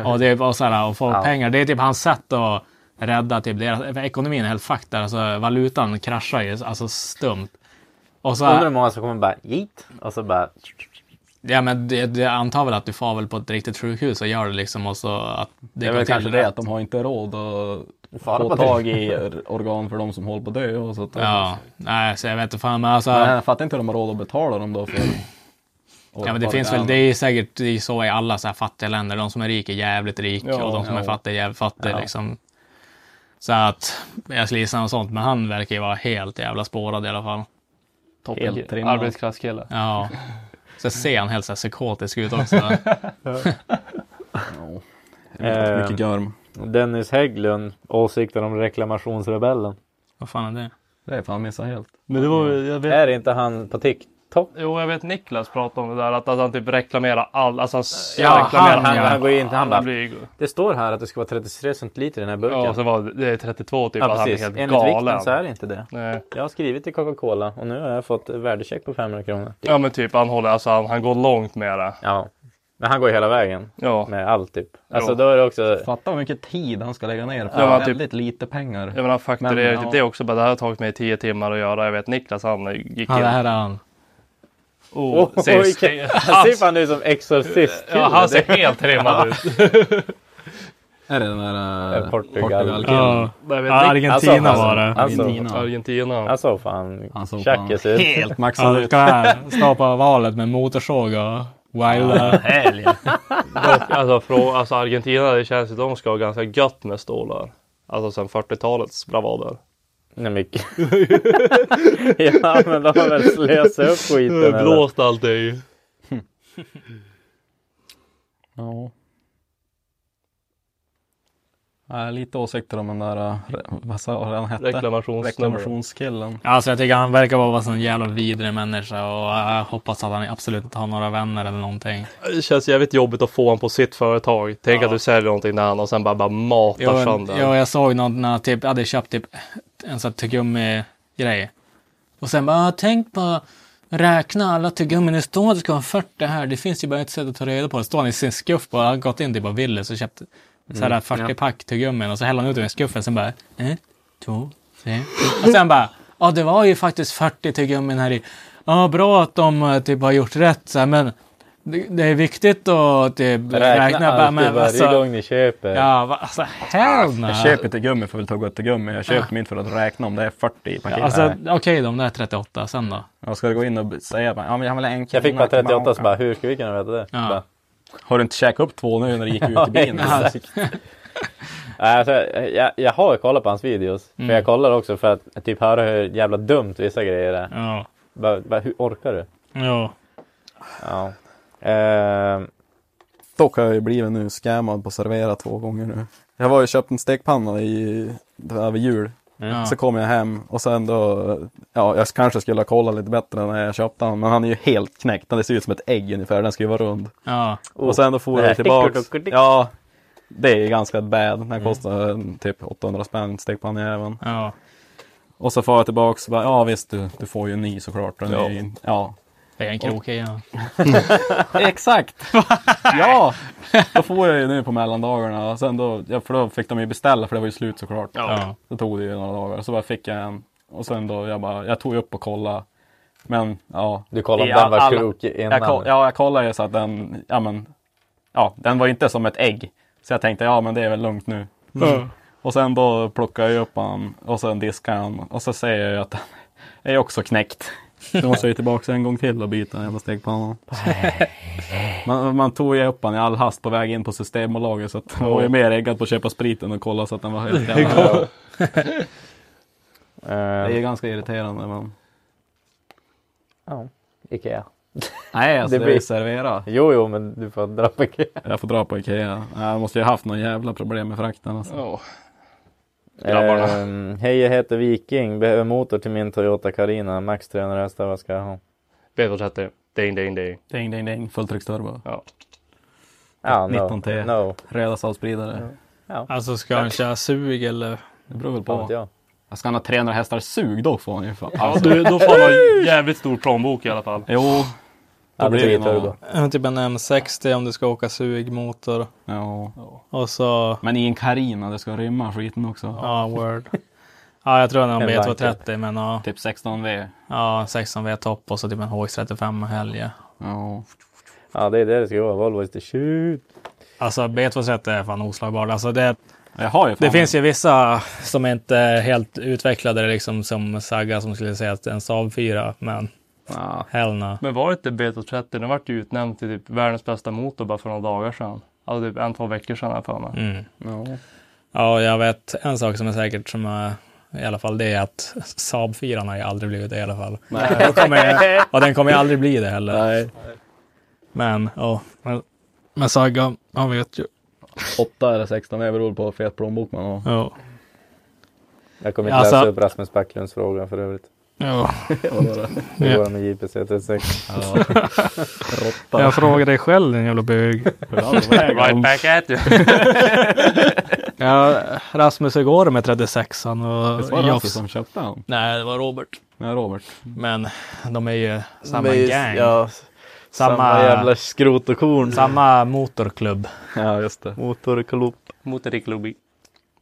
[SPEAKER 7] och, det, och, så här, och få pengar. Det är typ hans sätt att rädda typ deras, för ekonomin är helt fucked där. Alltså valutan kraschar ju alltså stumt. Och så,
[SPEAKER 3] Undrar hur många som kommer bara hit och så bara...
[SPEAKER 7] ja men det, det antar väl att du far väl på ett riktigt sjukhus och gör det liksom och så att det,
[SPEAKER 6] Det är
[SPEAKER 7] går
[SPEAKER 6] väl
[SPEAKER 7] till
[SPEAKER 6] kanske det att de har inte råd att få tag i
[SPEAKER 3] Eh,
[SPEAKER 6] organ för de som håller på att dö. Och så att de,
[SPEAKER 7] Ja, nej så jag vet inte fan men alltså.
[SPEAKER 6] Men jag fattar inte hur de har råd att betala dem då för.
[SPEAKER 7] Ja, men det finns väl, det är säkert det är så i alla så här fattiga länder. De som är rika är jävligt rika och de som är
[SPEAKER 6] ja.
[SPEAKER 7] fattiga är jävligt fattiga. Liksom. Så att, jag skulle gissa något sånt, men han verkar ju vara helt jävla spårad i alla fall.
[SPEAKER 6] Helt trimmad.
[SPEAKER 4] Arbetsklasskille.
[SPEAKER 7] Ja. Så ser han helt så här psykotisk ut också.
[SPEAKER 3] Eh,
[SPEAKER 6] Mycket görm.
[SPEAKER 3] Dennis Hägglund, åsikter om reklamationsrebellen.
[SPEAKER 7] Vad fan är det?
[SPEAKER 6] Det är fan missat helt.
[SPEAKER 4] Men det var jag vet.
[SPEAKER 3] Är inte han på TikTok? TikTok?
[SPEAKER 4] Jo, jag vet Niklas pratade om det där att, att han typ reklamerar all... Alltså han s-
[SPEAKER 3] Ja,
[SPEAKER 4] reklamerar
[SPEAKER 3] han- han-
[SPEAKER 4] alla.
[SPEAKER 3] han går in till- han bara-
[SPEAKER 4] blir,
[SPEAKER 3] Det står här att det ska vara 33 centiliter i den här burken.
[SPEAKER 4] ja, så var det, det är 32 typ.
[SPEAKER 3] Ja,
[SPEAKER 4] att han är
[SPEAKER 3] precis.
[SPEAKER 4] helt
[SPEAKER 3] Enligt
[SPEAKER 4] galen.
[SPEAKER 3] vikten så är det inte det.
[SPEAKER 4] Nej.
[SPEAKER 3] Jag har skrivit till Coca-Cola och nu har jag fått värdecheck på 500 kronor.
[SPEAKER 4] Ja men typ han håller, alltså han, han går långt med det.
[SPEAKER 3] Ja. Men han går ju hela vägen
[SPEAKER 4] Ja.
[SPEAKER 3] med allt typ. Alltså
[SPEAKER 4] Ja.
[SPEAKER 3] då är det också...
[SPEAKER 9] Fatta hur mycket tid han ska lägga ner för
[SPEAKER 4] Ja, men typ-
[SPEAKER 9] väldigt lite pengar.
[SPEAKER 4] Jag menar han fakturerar
[SPEAKER 9] Men,
[SPEAKER 4] typ
[SPEAKER 9] ja.
[SPEAKER 4] det också. Bara, det här har tagit mig 10 timmar att göra. Jag vet Niklas han gick
[SPEAKER 7] Ja,
[SPEAKER 4] in.
[SPEAKER 7] det här är han.
[SPEAKER 4] Oh,
[SPEAKER 3] Oj,
[SPEAKER 4] ser,
[SPEAKER 3] vilken- Han ser
[SPEAKER 4] han,
[SPEAKER 3] fan ut som exorcist.
[SPEAKER 4] ja, han ser helt trimmad ut.
[SPEAKER 10] Är det den där
[SPEAKER 3] Eh,
[SPEAKER 10] eh,
[SPEAKER 3] Portugal.
[SPEAKER 10] Portugal-killen?
[SPEAKER 7] Ja,
[SPEAKER 4] Jag vet, Nik-
[SPEAKER 7] Argentina
[SPEAKER 3] alltså,
[SPEAKER 7] var det.
[SPEAKER 3] Alltså,
[SPEAKER 4] Argentina.
[SPEAKER 3] han såg fan
[SPEAKER 10] Han såg fan
[SPEAKER 3] tjackis ut.
[SPEAKER 10] helt
[SPEAKER 7] Ja,
[SPEAKER 10] maxad
[SPEAKER 7] du
[SPEAKER 10] ut.
[SPEAKER 7] ska här stoppa valet med motorsåg och wilda.
[SPEAKER 4] Och, alltså, från, alltså Argentina, det känns ju att de ska ha ganska gött med stålar. Alltså sen 40-talets bravader.
[SPEAKER 3] Nej men Ja men de har väl slösat upp skiten eller?
[SPEAKER 4] Blåst allt är ju.
[SPEAKER 9] Ja.
[SPEAKER 6] Nej, lite åsikter om den där, eh, re- vad sa vad han hette?
[SPEAKER 4] Reklamationsnummer.
[SPEAKER 6] Reklamationskillen.
[SPEAKER 7] Alltså jag tycker han verkar vara en sån jävla vidrig människa och jag hoppas att han absolut inte har några vänner eller någonting.
[SPEAKER 4] Det känns jävligt jobbigt att få honom på sitt företag. Tänk
[SPEAKER 7] Ja.
[SPEAKER 4] att du säljer någonting till honom och sen bara, bara matar
[SPEAKER 7] Jo,
[SPEAKER 4] sönder.
[SPEAKER 7] jo, jag såg någon när jag typ, hade köpt typ en sån här tuggummi-grej. Och sen bara, "Ah, tänk på räkna alla tuggummin. Det står att det ska vara 40 här. Det finns ju bara ett sätt att ta reda på det. Står han i sin skuff och har gått in typ på Willys och köpt så
[SPEAKER 3] Mm,
[SPEAKER 7] här 40-pack tuggummin och så häller han ut dem i skuffen. Sen bara, ett, två, tre. Och sen bara, ja det var ju faktiskt 40 tuggummin här i. Ja, bra att de eh, typ har gjort rätt så här, men det, det är viktigt att typ, räkna.
[SPEAKER 3] Räkna
[SPEAKER 7] bara,
[SPEAKER 3] alltid
[SPEAKER 7] men
[SPEAKER 3] varje
[SPEAKER 7] alltså-
[SPEAKER 3] gång ni köper.
[SPEAKER 7] Ja, va, alltså hell no.
[SPEAKER 6] Jag köper inte gummi för att tugga ett gummi. Jag
[SPEAKER 3] Ah.
[SPEAKER 6] köper min för att räkna om det är 40 i paketet.
[SPEAKER 7] Alltså okej, de där 38, sen då?
[SPEAKER 6] Jag ska gå in och säga bara, ja men jag vill ha en
[SPEAKER 3] Jag fick
[SPEAKER 6] krona
[SPEAKER 3] bara 38 så
[SPEAKER 6] tillbaka.
[SPEAKER 3] bara hur ska vi kunna veta det?
[SPEAKER 7] Ja.
[SPEAKER 3] Bara,
[SPEAKER 6] Har du inte käkat upp två nu när du gick ut i bilen?
[SPEAKER 3] exakt. Nej, alltså, jag, jag har kollat på hans videos. För jag kollar också för att typ höra hur jävla dumt vissa grejer är.
[SPEAKER 7] Ja.
[SPEAKER 3] Bara, bara, hur orkar du?
[SPEAKER 7] Ja.
[SPEAKER 3] Ja. Ehm,
[SPEAKER 6] Dock har jag ju blivit nu scammad på Servera två gånger nu. Jag var ju köpt en stekpanna i, över jul.
[SPEAKER 7] Ja.
[SPEAKER 6] Så kom jag hem och sen då, ja jag kanske skulle ha kollat lite bättre när jag köpte den. Men han är ju helt knäckt, den ser ut som ett ägg ungefär, den ska ju vara rund.
[SPEAKER 7] ja.
[SPEAKER 3] Oh,
[SPEAKER 6] och sen då for
[SPEAKER 3] det här.
[SPEAKER 6] jag tillbaks. Ja, det är ju ganska bad.
[SPEAKER 3] Mm.
[SPEAKER 6] Den kostar eh, typ 800 spänn, stekpannjäveln.
[SPEAKER 7] ja.
[SPEAKER 6] Och så får jag tillbaks och bara, ja visst du, du får ju en ny såklart. Den ja. Är, ju- ja.
[SPEAKER 7] Det är en krok igen.
[SPEAKER 6] Exakt! ja! Då får jag ju nu på mellandagarna. Och Sen då, ja, för då fick de ju beställa för det var ju slut såklart.
[SPEAKER 7] Ja.
[SPEAKER 6] Så tog det ju några dagar. Så bara fick jag en. Och sen då, jag bara, jag tog ju upp och kollade. Men ja.
[SPEAKER 3] Du kollade om
[SPEAKER 6] Ja,
[SPEAKER 3] den var
[SPEAKER 6] alla-
[SPEAKER 3] krokig innan.
[SPEAKER 6] Jag koll, ja, jag kollade ju så att den, ja men. Ja, den var ju inte som ett ägg. Så jag tänkte, ja men det är väl lugnt nu. Mm. Och sen då plockar jag upp han och sen diskar han. Och så säger jag ju att den är också knäckt. Då måste jag ju tillbaka en gång till och byta den jävla stekpannan. Man, man tog ju upp han i all hast på väg in på Systembolaget så att man var ju mer äggad på att köpa spriten och kolla så att den var helt jävla...
[SPEAKER 3] Ehm,
[SPEAKER 6] Det är ganska irriterande men...
[SPEAKER 3] ja. Ikea.
[SPEAKER 6] Nej alltså
[SPEAKER 3] Det
[SPEAKER 6] det,
[SPEAKER 3] blir-
[SPEAKER 6] är servera.
[SPEAKER 3] Jo, jo, men du får dra på Ikea.
[SPEAKER 6] Jag får dra på Ikea. Nej, Jag måste ju ha haft någon jävla problem med frakten alltså.
[SPEAKER 4] Ja. Grabbarna.
[SPEAKER 3] Ehm, Hej, jag heter Viking. Behöver motor till min Toyota Carina. Max 300 hästar. Vad ska jag ha?
[SPEAKER 4] B230. Ding, ding, ding.
[SPEAKER 6] Ding ding ding. Fulltrycksturbo.
[SPEAKER 4] Ja.
[SPEAKER 3] Ja,
[SPEAKER 6] 19T.
[SPEAKER 3] No. no.
[SPEAKER 6] Redastavspridare.
[SPEAKER 7] Alltså ska han köra sug eller?
[SPEAKER 6] Det beror väl
[SPEAKER 3] Fan vet
[SPEAKER 6] på.
[SPEAKER 3] jag.
[SPEAKER 6] Jag ska han ha 300 hästar sug då får han ju fan.
[SPEAKER 4] Ja, Alltså, du, då får man en jävligt stor plånbok i alla fall.
[SPEAKER 6] Jo.
[SPEAKER 3] Ja, det
[SPEAKER 6] blir
[SPEAKER 3] blir
[SPEAKER 6] det nog-
[SPEAKER 3] turbo.
[SPEAKER 7] Typ en M60 om du ska åka sugmotor.
[SPEAKER 6] Ja.
[SPEAKER 7] Och så,
[SPEAKER 6] Men i en Carina, det ska rymma skiten också.
[SPEAKER 7] ja, word. Ja, jag tror han har en
[SPEAKER 3] En
[SPEAKER 7] B230 men ja,
[SPEAKER 6] Typ 16V.
[SPEAKER 7] ja 16 V-topp och så typ en HX35 och helge.
[SPEAKER 6] Ja.
[SPEAKER 3] Ja, det är det det ska vara. Volvo is the shoot.
[SPEAKER 7] Alltså B230 är fan oslagbar. Alltså det,
[SPEAKER 6] Jag har ju fan.
[SPEAKER 7] det finns ju vissa som inte är helt utvecklade liksom som Saga som skulle säga att en Saab 4 men
[SPEAKER 6] Ja.
[SPEAKER 7] hell no.
[SPEAKER 4] Men var inte B230, den vart ju utnämnd till typ världens bästa motor bara för några dagar sedan. Alltså typ en, två veckor sedan har jag för mig.
[SPEAKER 7] Mm.
[SPEAKER 6] Ja.
[SPEAKER 7] Ja, jag vet en sak som är säkert som är i alla fall det är att Saab 4 har ju aldrig blivit det i alla fall. Den kommer, ju- och den kommer ju aldrig bli det heller.
[SPEAKER 6] Nej.
[SPEAKER 7] Men, ja. Men, men Saga, han vet ju.
[SPEAKER 6] 8 eller 16 V beror på hur fet plånbok man har.
[SPEAKER 7] Ja.
[SPEAKER 3] Jag kommer inte
[SPEAKER 7] Alltså-
[SPEAKER 3] läsa upp Rasmus Backlunds fråga för övrigt.
[SPEAKER 4] Ja.
[SPEAKER 3] Hur
[SPEAKER 4] Ja.
[SPEAKER 3] går det med JPC 36?
[SPEAKER 7] Jag frågar dig själv din jävla bög.
[SPEAKER 4] Right back at you.
[SPEAKER 7] Ja, Rasmus, hur går det med 36an
[SPEAKER 6] Det alltså.
[SPEAKER 7] och
[SPEAKER 6] var Raffe
[SPEAKER 7] Jofs?
[SPEAKER 6] som köpte han.
[SPEAKER 7] Nej, det var Robert.
[SPEAKER 6] Nej, Robert.
[SPEAKER 7] Men de är ju samma
[SPEAKER 3] Men just-
[SPEAKER 7] gang.
[SPEAKER 3] Ja, samma...
[SPEAKER 7] samma,
[SPEAKER 3] jävla skrot och korn.
[SPEAKER 7] samma motorklubb.
[SPEAKER 6] Ja, just det.
[SPEAKER 3] Motorklubb.
[SPEAKER 4] Motorklubbi.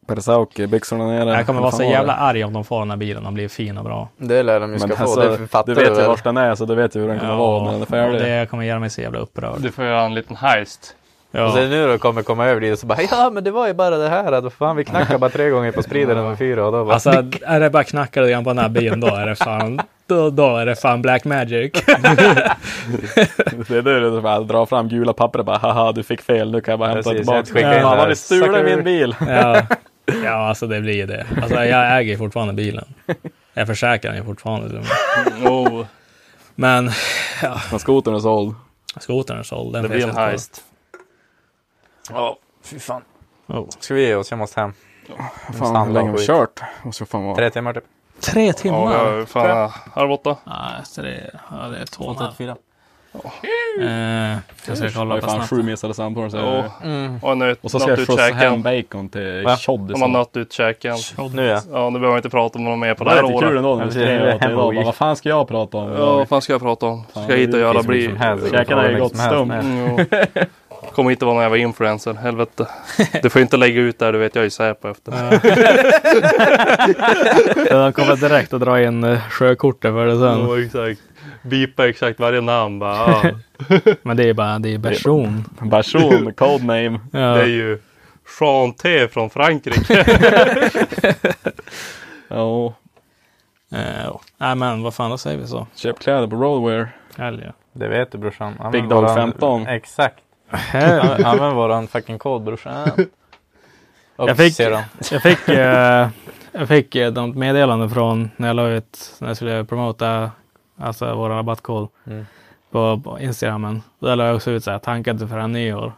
[SPEAKER 11] Persauki, byxorna nere.
[SPEAKER 7] Jag kommer
[SPEAKER 11] Vad
[SPEAKER 7] vara så
[SPEAKER 11] fan var
[SPEAKER 7] jävla
[SPEAKER 11] det?
[SPEAKER 7] arg om de får den här bilen och blir fin och bra.
[SPEAKER 3] Det lär de ju ska
[SPEAKER 11] Men
[SPEAKER 3] få.
[SPEAKER 11] alltså,
[SPEAKER 3] det fattar
[SPEAKER 11] du vet ju
[SPEAKER 3] väl?
[SPEAKER 11] vart den är så du vet ju hur den kommer vara när den är
[SPEAKER 7] och
[SPEAKER 11] färdig.
[SPEAKER 7] det kommer göra mig så jävla upprörd.
[SPEAKER 4] Du Alltså, får göra en liten heist.
[SPEAKER 3] Och
[SPEAKER 7] Ja.
[SPEAKER 3] sen nu då kommer komma över dit och så bara ja men det var ju bara det här att vad fan vi knackade bara tre gånger på spriden nummer fyra och då bara
[SPEAKER 7] Alltså, är det bara knacka lite grann på den här bilen, då är det fan, då, då är det fan black magic.
[SPEAKER 11] Det är det du bara drar fram gula papper och bara haha du fick fel nu kan jag bara hämta
[SPEAKER 3] Precis,
[SPEAKER 11] tillbaka.
[SPEAKER 3] jag skickar
[SPEAKER 11] Fan
[SPEAKER 7] in
[SPEAKER 3] det
[SPEAKER 11] vad
[SPEAKER 3] här.
[SPEAKER 11] ni stulen
[SPEAKER 3] Sucker.
[SPEAKER 11] min bil.
[SPEAKER 7] Ja. ja, alltså det blir ju det. Alltså, jag äger ju fortfarande bilen. Jag försäkrar den ju fortfarande.
[SPEAKER 4] Oh,
[SPEAKER 7] Men
[SPEAKER 11] Men skotern är såld.
[SPEAKER 7] skotern är såld. Den
[SPEAKER 4] det
[SPEAKER 7] finns
[SPEAKER 4] blir en
[SPEAKER 7] inte kvar.
[SPEAKER 4] heist. Ja, fy fan.
[SPEAKER 7] Oh.
[SPEAKER 3] ska vi ge oss, jag måste hem.
[SPEAKER 11] Fan hur länge har vi kört? Måste fan vara.
[SPEAKER 3] Tre timmar typ.
[SPEAKER 7] Tre
[SPEAKER 4] Ja,
[SPEAKER 7] timmar?
[SPEAKER 4] jag är fan halv åtta.
[SPEAKER 7] Nej, så det, ja, det är två och en halv. Eh, jag ska
[SPEAKER 6] Det var
[SPEAKER 7] kolla
[SPEAKER 6] ju
[SPEAKER 7] på
[SPEAKER 6] fan
[SPEAKER 7] snabbt.
[SPEAKER 6] sju missade samtal. Så
[SPEAKER 4] Ja.
[SPEAKER 3] Mm.
[SPEAKER 4] Och en nöt,
[SPEAKER 6] Och så ska
[SPEAKER 4] nöt
[SPEAKER 6] jag
[SPEAKER 4] ut
[SPEAKER 6] skjutsa hem
[SPEAKER 4] käken.
[SPEAKER 6] bacon till
[SPEAKER 3] Va?
[SPEAKER 6] Tjoddisen.
[SPEAKER 4] De har nött ut käken.
[SPEAKER 3] Nu ja.
[SPEAKER 4] Ja, nu behöver jag inte prata om något mer på det
[SPEAKER 6] Det
[SPEAKER 4] här
[SPEAKER 6] var lite kul
[SPEAKER 4] året.
[SPEAKER 6] ändå när vi
[SPEAKER 3] Jag ser hur
[SPEAKER 6] skrev åt dig
[SPEAKER 3] hemma
[SPEAKER 6] idag.
[SPEAKER 3] gick.
[SPEAKER 6] Bara, Vad fan ska jag prata om?
[SPEAKER 4] Ja, vad fan ska jag prata om? Ska jag hit och göra? Bli...
[SPEAKER 6] Käkarna är ju gott stum.
[SPEAKER 4] Mm, jo. Kommer inte vara någon jävla influencer, helvete. Du får inte lägga ut det här, du vet jag är ju Säpo efter.
[SPEAKER 7] De kommer direkt att dra in eh, sjökortet för det sen.
[SPEAKER 4] Ja, exakt. Bipa exakt varje namn bara. Ja,
[SPEAKER 7] Men det är bara det är person.
[SPEAKER 6] Person, codename.
[SPEAKER 4] det är
[SPEAKER 7] Ja.
[SPEAKER 4] ju Jean T från Frankrike.
[SPEAKER 6] Ja,
[SPEAKER 7] Eh, Nej men vad fan, då säger vi så.
[SPEAKER 6] köp kläder på Roadwear.
[SPEAKER 7] Helge.
[SPEAKER 3] Det vet du brorsan. Använd
[SPEAKER 6] Big Dog
[SPEAKER 3] våran-
[SPEAKER 6] 15.
[SPEAKER 3] Exakt. Använd- Använd våran fucking kod brorsan. Och
[SPEAKER 7] Jag fick-
[SPEAKER 3] ser dem.
[SPEAKER 7] Jag fick, eh, jag fick eh, något meddelande från när jag la ut, när jag skulle promota alltså vår rabattkod
[SPEAKER 3] Mm.
[SPEAKER 7] på, på Instagramen. Och Där la jag också ut så här, tankar till förrän nyår.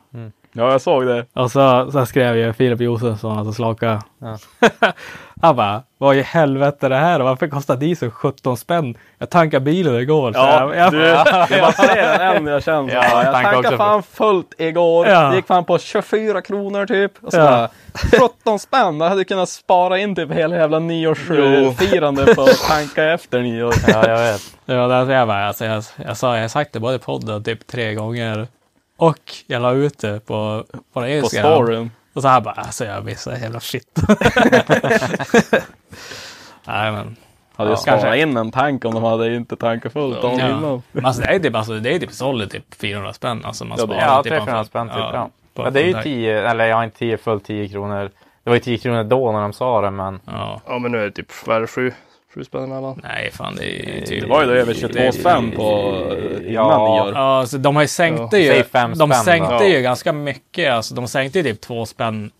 [SPEAKER 6] Ja, jag såg det.
[SPEAKER 7] Och så, så här skrev ju Filip Josefsson, alltså Slaka.
[SPEAKER 3] Ja.
[SPEAKER 7] Han bara, vad i helvete är det här? Varför kostar diesel 17 spänn? Jag tankade bilen igår. Så
[SPEAKER 6] Ja,
[SPEAKER 7] jag,
[SPEAKER 6] du, jag bara ser den än jag känner så
[SPEAKER 4] Ja,
[SPEAKER 6] här,
[SPEAKER 4] jag
[SPEAKER 6] Jag
[SPEAKER 4] tankar också
[SPEAKER 6] tankade
[SPEAKER 4] på-
[SPEAKER 6] fan fullt igår.
[SPEAKER 7] Ja.
[SPEAKER 6] Det gick fan på 24 kronor typ. Och så
[SPEAKER 7] Ja.
[SPEAKER 6] bara, 17 spänn. Jag hade kunnat spara in typ hela jävla nyårsfirande på att tanka efter nyår.
[SPEAKER 3] Ja jag vet.
[SPEAKER 7] Ja, där ser jag bara, alltså jag, jag, sa, jag har sagt det både i podden typ tre gånger och jag la ut det på, på
[SPEAKER 6] På
[SPEAKER 7] Instagram.
[SPEAKER 6] storyn.
[SPEAKER 7] Och så här bara, alltså jag missade jävla shit. Nej men.
[SPEAKER 6] Hade jag sparat in en tank om de hade inte tankat fullt om
[SPEAKER 7] Ja.
[SPEAKER 6] innan.
[SPEAKER 7] Men alltså, det är typ, alltså, det är typ solid typ 400 spänn. Alltså man
[SPEAKER 6] Ja,
[SPEAKER 7] sparar
[SPEAKER 3] Ja,
[SPEAKER 7] typ en
[SPEAKER 3] 300 spänn typ.
[SPEAKER 7] ja,
[SPEAKER 3] Ja.
[SPEAKER 7] på
[SPEAKER 3] Ja, det är ju
[SPEAKER 7] en
[SPEAKER 3] 10, eller jag har inte 10 fullt 10 kronor. Det var ju 10 kronor då när de sa det men
[SPEAKER 7] Ja.
[SPEAKER 4] ja, men nu är det typ, vad är det, sju, sju spänn emellan?
[SPEAKER 7] Nej fan det är ju typ.
[SPEAKER 6] Det var ju då över 22 spänn på eh, innan
[SPEAKER 3] Ja.
[SPEAKER 6] nyår.
[SPEAKER 7] Ja, så de har ju sänkt det
[SPEAKER 3] Ja,
[SPEAKER 7] ju.
[SPEAKER 3] säg fem
[SPEAKER 7] De
[SPEAKER 3] spänn
[SPEAKER 7] sänkte
[SPEAKER 4] då.
[SPEAKER 7] ju ganska mycket. Alltså, de sänkte ju typ två spänn.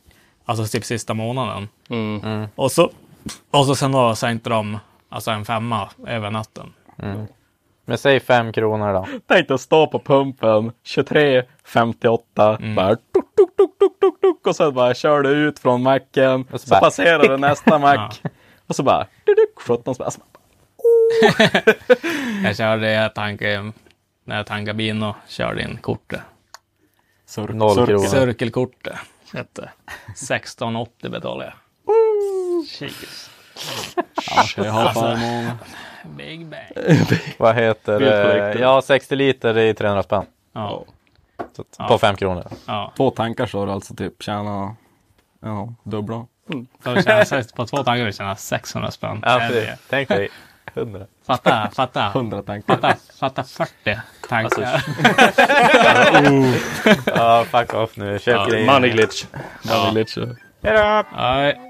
[SPEAKER 7] Alltså typ sista månaden.
[SPEAKER 4] Mm.
[SPEAKER 7] Och så, och så sen då sänkte de alltså en femma över natten.
[SPEAKER 3] Men säg 5 kronor då.
[SPEAKER 6] Tänk dig att stå på pumpen 23.58 bara tuk, tuk, tuk, tuk, tuk, tuk, och sen bara kör du ut från macken
[SPEAKER 3] Och
[SPEAKER 6] och
[SPEAKER 3] så
[SPEAKER 6] så,
[SPEAKER 3] bara-
[SPEAKER 6] passerar du nästa mack och så bara du, du, 17 spänn. Alltså,
[SPEAKER 7] Jag körde, jag tankade, när jag tankade bilen och körde in kortet.
[SPEAKER 6] surk,
[SPEAKER 3] Noll
[SPEAKER 6] surk.
[SPEAKER 3] kronor.
[SPEAKER 7] Cirkelkortet hette 16,80 betalade jag.
[SPEAKER 6] Jag har förmånen.
[SPEAKER 7] Big bang.
[SPEAKER 3] Vad heter det?
[SPEAKER 6] Bilkollektor.
[SPEAKER 3] Ja 60 liter i 300 spänn.
[SPEAKER 7] Ja,
[SPEAKER 3] Så, att- På 5 kronor.
[SPEAKER 7] ja.
[SPEAKER 6] Två tankar så har du alltså typ tjäna ja, dubbla.
[SPEAKER 7] Så det känns, sex- på två tankar tjänar 600 spänn.
[SPEAKER 3] Ja,
[SPEAKER 7] Hell
[SPEAKER 3] precis.
[SPEAKER 7] yeah.
[SPEAKER 3] Tänk dig 100.
[SPEAKER 7] Fatta, fatta.
[SPEAKER 6] 100 tankar.
[SPEAKER 7] Fatta, fatta 40 tankar.
[SPEAKER 3] Ja, fuck off nu. Köp grejer.
[SPEAKER 4] Money glitch.
[SPEAKER 6] Det är lite så.
[SPEAKER 7] Nej.